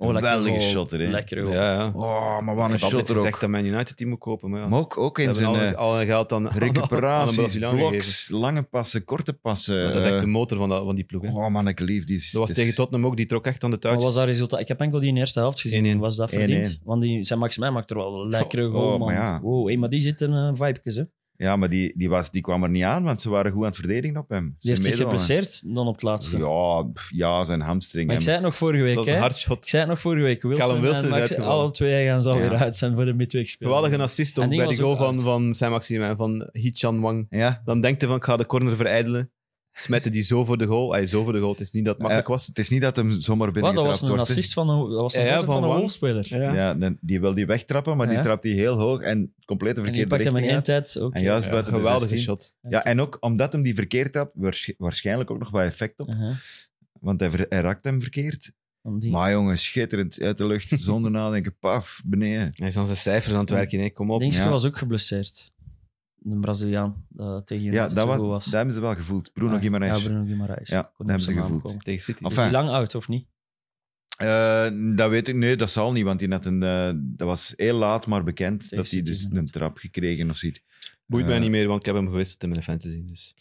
Speaker 4: Oh, lekker
Speaker 2: Geweldige
Speaker 4: goal.
Speaker 2: shotter, hè.
Speaker 4: Lekker goal.
Speaker 3: Ja, ja.
Speaker 2: Oh, maar wat een
Speaker 3: Ik had altijd
Speaker 2: shotter
Speaker 3: gezegd
Speaker 2: ook.
Speaker 3: dat Man United die moet kopen, maar ja.
Speaker 2: Maar ook, ook
Speaker 3: Ze
Speaker 2: in
Speaker 3: hebben
Speaker 2: zijn
Speaker 3: al,
Speaker 2: eh,
Speaker 3: al hun geld aan, aan- aan een
Speaker 2: recuperaties,
Speaker 3: Braziliaan gegeven.
Speaker 2: bloks, lange passen, korte passen.
Speaker 3: Dat is echt de motor van, dat, van die ploeg. Hè.
Speaker 2: eh, Oh man, ik lief die.
Speaker 3: dat was tegen Tottenham ook, die trok echt aan de
Speaker 4: Wat
Speaker 3: touwtjes.
Speaker 4: was dat resultaat? Ik heb enkel die in de eerste helft gezien.
Speaker 3: 1-1.
Speaker 4: Was dat verdiend?
Speaker 2: 1-1.
Speaker 4: Want die, zijn Maximijn maakt er wel een lekkere goal,
Speaker 2: oh, maar
Speaker 4: man.
Speaker 2: ja.
Speaker 4: Wow, hey, maar die zit in een vibekes, hè.
Speaker 2: Ja, maar die, die, was, die kwam er niet aan, want ze waren goed aan het verdedigen op hem.
Speaker 4: Die heeft zich
Speaker 2: Semedo, hè.
Speaker 4: geblesseerd dan op het laatste.
Speaker 2: Ja, pff, ja, zijn hamstring.
Speaker 4: maar ik
Speaker 2: hè.
Speaker 4: zei het nog vorige
Speaker 3: Dat
Speaker 4: week,
Speaker 3: was
Speaker 4: hè.
Speaker 3: een hardshot.
Speaker 4: Ik zei het nog vorige week. Wilson,
Speaker 3: Callum Wilson
Speaker 4: en
Speaker 3: is
Speaker 4: Max-
Speaker 3: uitgevallen.
Speaker 4: Alle twee gaan zo
Speaker 2: Ja.
Speaker 4: weer uit zijn voor de midweekspeler.
Speaker 3: Geweldige assist
Speaker 4: En
Speaker 3: ook
Speaker 4: die
Speaker 3: bij
Speaker 4: was
Speaker 3: die
Speaker 4: ook
Speaker 3: goal van,
Speaker 4: uit.
Speaker 3: van Saint-Maxime, van Hichan Wang.
Speaker 2: Ja,
Speaker 3: Dan denkt hij van, ik ga de corner verijdelen. Smette die zo voor de goal. Ay, zo voor de goal. Het is niet dat het makkelijk was.
Speaker 2: het is niet dat hem zomaar
Speaker 4: Wat, dat
Speaker 2: binnengetrapt
Speaker 4: was
Speaker 2: wordt.
Speaker 4: een
Speaker 2: hè.
Speaker 4: assist van een, dat was een
Speaker 3: Ja, ja,
Speaker 4: voorzet
Speaker 3: van
Speaker 4: van, een
Speaker 3: Wang.
Speaker 4: hoofdspeler.
Speaker 3: Ja.
Speaker 2: Ja, dan- die wil die wegtrappen, maar
Speaker 4: Ja.
Speaker 2: die trapt die heel hoog en compleet de
Speaker 4: En die
Speaker 2: verkeerde
Speaker 4: pakt hem in
Speaker 2: richting
Speaker 4: één
Speaker 2: uit.
Speaker 4: tijd ook.
Speaker 2: En juist
Speaker 3: Ja,
Speaker 2: buiten de
Speaker 3: geweldige
Speaker 2: 16.
Speaker 3: shot.
Speaker 2: Ja, en ook omdat hem die verkeerd trapt, waarsch- waarschijnlijk ook nog wat effect op.
Speaker 4: Uh-huh.
Speaker 2: Want hij, ver- hij raakt hem verkeerd.
Speaker 4: Om die-
Speaker 2: Maar jongen, schitterend uit de lucht, zonder nadenken, paf, beneden.
Speaker 3: Hij is aan zijn cijfers aan het werken. Hè. Kom op.
Speaker 4: Dingske
Speaker 2: Ja.
Speaker 4: was ook geblesseerd. Een Braziliaan eh, tegen wie
Speaker 2: Ja,
Speaker 4: het
Speaker 2: dat,
Speaker 4: zo
Speaker 2: was,
Speaker 4: goed was.
Speaker 2: dat hebben ze wel gevoeld. Bruno
Speaker 4: Ah,
Speaker 2: Guimaraes.
Speaker 4: Ja, Bruno Guimaraes.
Speaker 2: Ja,
Speaker 4: Ik kon
Speaker 2: dat hebben ze
Speaker 4: niet op zijn naam
Speaker 2: gevoeld.
Speaker 4: komen.
Speaker 3: Tegen City.
Speaker 4: Is
Speaker 2: Enfin.
Speaker 4: hij lang oud, of niet?
Speaker 2: Eh, dat weet ik, nee, dat zal niet, want die had een, eh, dat was heel laat maar bekend
Speaker 4: Tegen
Speaker 2: dat hij
Speaker 4: City
Speaker 2: dus
Speaker 4: net.
Speaker 2: een trap gekregen of zoiets.
Speaker 3: Boeit
Speaker 2: Eh,
Speaker 3: mij niet meer, want ik heb hem gewisseld in mijn fantasy. Dus.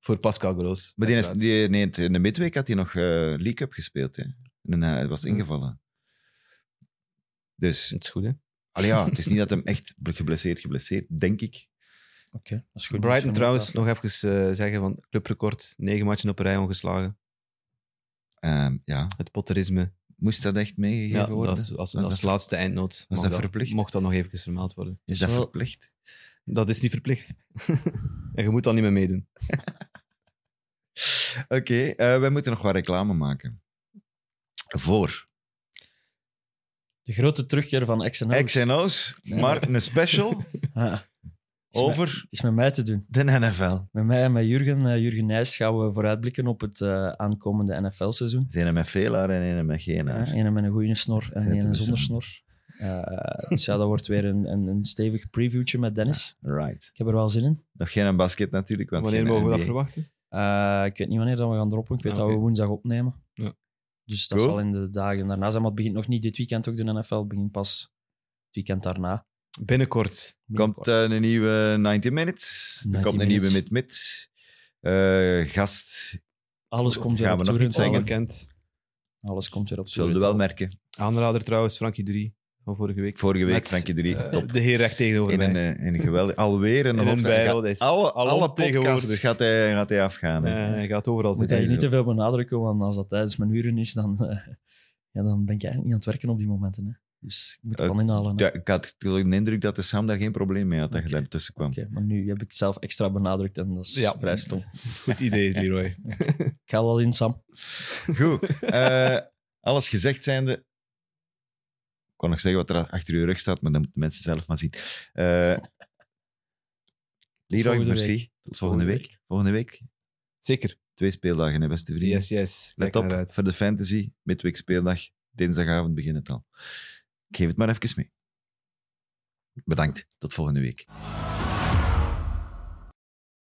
Speaker 3: voor Pascal Groos.
Speaker 2: Maar die is, die, nee, in de midweek had hij nog eh League Cup gespeeld. Hè. En eh, hij was ingevallen. Dus,
Speaker 3: Het is goed, hè?
Speaker 2: allee, ja, het is niet dat hem echt geblesseerd, geblesseerd, denk ik.
Speaker 4: Oké, dat is goed.
Speaker 3: Brighton trouwens, nog even eh, zeggen van clubrecord. Negen matchen op een rij ongeslagen.
Speaker 2: Ehm, ja,
Speaker 3: Het potterisme.
Speaker 2: moest dat echt meegegeven
Speaker 3: Ja,
Speaker 2: worden?
Speaker 3: dat is als,
Speaker 2: Was
Speaker 3: als
Speaker 2: dat-
Speaker 3: laatste eindnoot.
Speaker 2: dat
Speaker 3: mag
Speaker 2: verplicht?
Speaker 3: Mocht dat nog even vermeld worden.
Speaker 2: Is dat
Speaker 4: Zo-
Speaker 2: verplicht?
Speaker 3: Dat is niet verplicht. en je moet dan niet meer meedoen.
Speaker 2: Oké, eh, wij moeten nog wat reclame maken. Voor
Speaker 4: De grote terugkeer van X&O.
Speaker 2: X&O's, maar een special
Speaker 4: Ah, het is met-
Speaker 2: over
Speaker 4: Het is met mij te doen.
Speaker 2: de NFL.
Speaker 4: Met mij en met Jurgen, eh, Jurgen Nijs, gaan we vooruitblikken op het eh, aankomende NFL-seizoen.
Speaker 2: Zijn er met veel haar en een met geen haar.
Speaker 4: Eén met Eh, een goede snor en
Speaker 2: Zet hem
Speaker 4: één
Speaker 2: eens
Speaker 4: zonder
Speaker 2: aan.
Speaker 4: snor. Eh, dus ja, dat wordt weer een, een, een stevig previewtje met Dennis.
Speaker 2: Right.
Speaker 4: Ik heb er wel zin in.
Speaker 2: Nog geen basket natuurlijk. Want
Speaker 3: Wanneer
Speaker 2: geen
Speaker 3: mogen we dat
Speaker 2: NBA.
Speaker 3: verwachten?
Speaker 4: Eh, ik weet niet wanneer dat we gaan droppen. Ik weet
Speaker 3: Ah,
Speaker 4: dat we
Speaker 3: oké.
Speaker 4: woensdag opnemen.
Speaker 3: Ja.
Speaker 4: Dus dat
Speaker 2: Cool.
Speaker 4: zal in de dagen daarna zijn. Maar het begint nog niet dit weekend ook, de NFL. Het begint pas het weekend daarna.
Speaker 3: Binnenkort.
Speaker 2: Komt
Speaker 4: Binnenkort.
Speaker 2: eh, een nieuwe 90 Minutes. er
Speaker 4: 90
Speaker 2: komt een
Speaker 4: Minutes.
Speaker 2: nieuwe Mid-Mid. Eh, gast,
Speaker 4: Alles komt weer
Speaker 2: gaan
Speaker 4: op
Speaker 2: we nog
Speaker 4: toeren.
Speaker 2: niet
Speaker 3: Al
Speaker 2: zeggen.
Speaker 3: bekend.
Speaker 4: Alles komt weer op
Speaker 2: zullen we
Speaker 4: toeren.
Speaker 2: wel merken.
Speaker 3: Aanrader trouwens, Frankie 3 van vorige week.
Speaker 2: Vorige week,
Speaker 3: Met,
Speaker 2: Frankie 3.
Speaker 3: Eh, de heer recht tegenover
Speaker 2: in,
Speaker 3: mij.
Speaker 2: een, eh, in een geweldig... Alweer een
Speaker 3: In een
Speaker 2: hoofd-
Speaker 3: bijrol,
Speaker 2: hij gaat-
Speaker 3: dat is
Speaker 2: Alle,
Speaker 3: alom
Speaker 2: alle podcasts
Speaker 3: tegenwoordig.
Speaker 2: gaat hij, gaat hij afgaan. hè.
Speaker 3: Eh, hij gaat overal
Speaker 4: Moet
Speaker 3: zitten.
Speaker 4: hij niet te veel benadrukken, want als dat tijdens mijn uren is, dan, eh, ja, dan ben ik eigenlijk niet aan het werken op die momenten. Hè. Dus ik moet het
Speaker 2: Eh,
Speaker 4: dan inhalen. hè.
Speaker 2: Ja, ik had een indruk dat de Sam daar geen probleem mee had, dat je daar tussen kwam.
Speaker 4: Oké, maar nu heb ik het zelf extra benadrukt en dat is
Speaker 3: Ja.
Speaker 4: vrij stom.
Speaker 3: Goed idee, Leroy.
Speaker 4: Ik ga wel in, Sam.
Speaker 2: Goed. eh, alles gezegd zijnde... Ik kon nog zeggen wat er achter uw rug staat, maar dat moeten mensen zelf maar zien. Eh Leroy,
Speaker 4: volgende
Speaker 2: merci.
Speaker 4: week.
Speaker 2: Tot volgende
Speaker 4: volgende
Speaker 2: week. Volgende week.
Speaker 3: Zeker.
Speaker 2: Twee speeldagen, hè, beste vrienden.
Speaker 3: Yes, yes. Kijk
Speaker 2: Let op,
Speaker 3: naar uit.
Speaker 2: voor de fantasy, midweek speeldag, dinsdagavond begint het al. Ik geef het maar even mee. Bedankt, tot volgende week.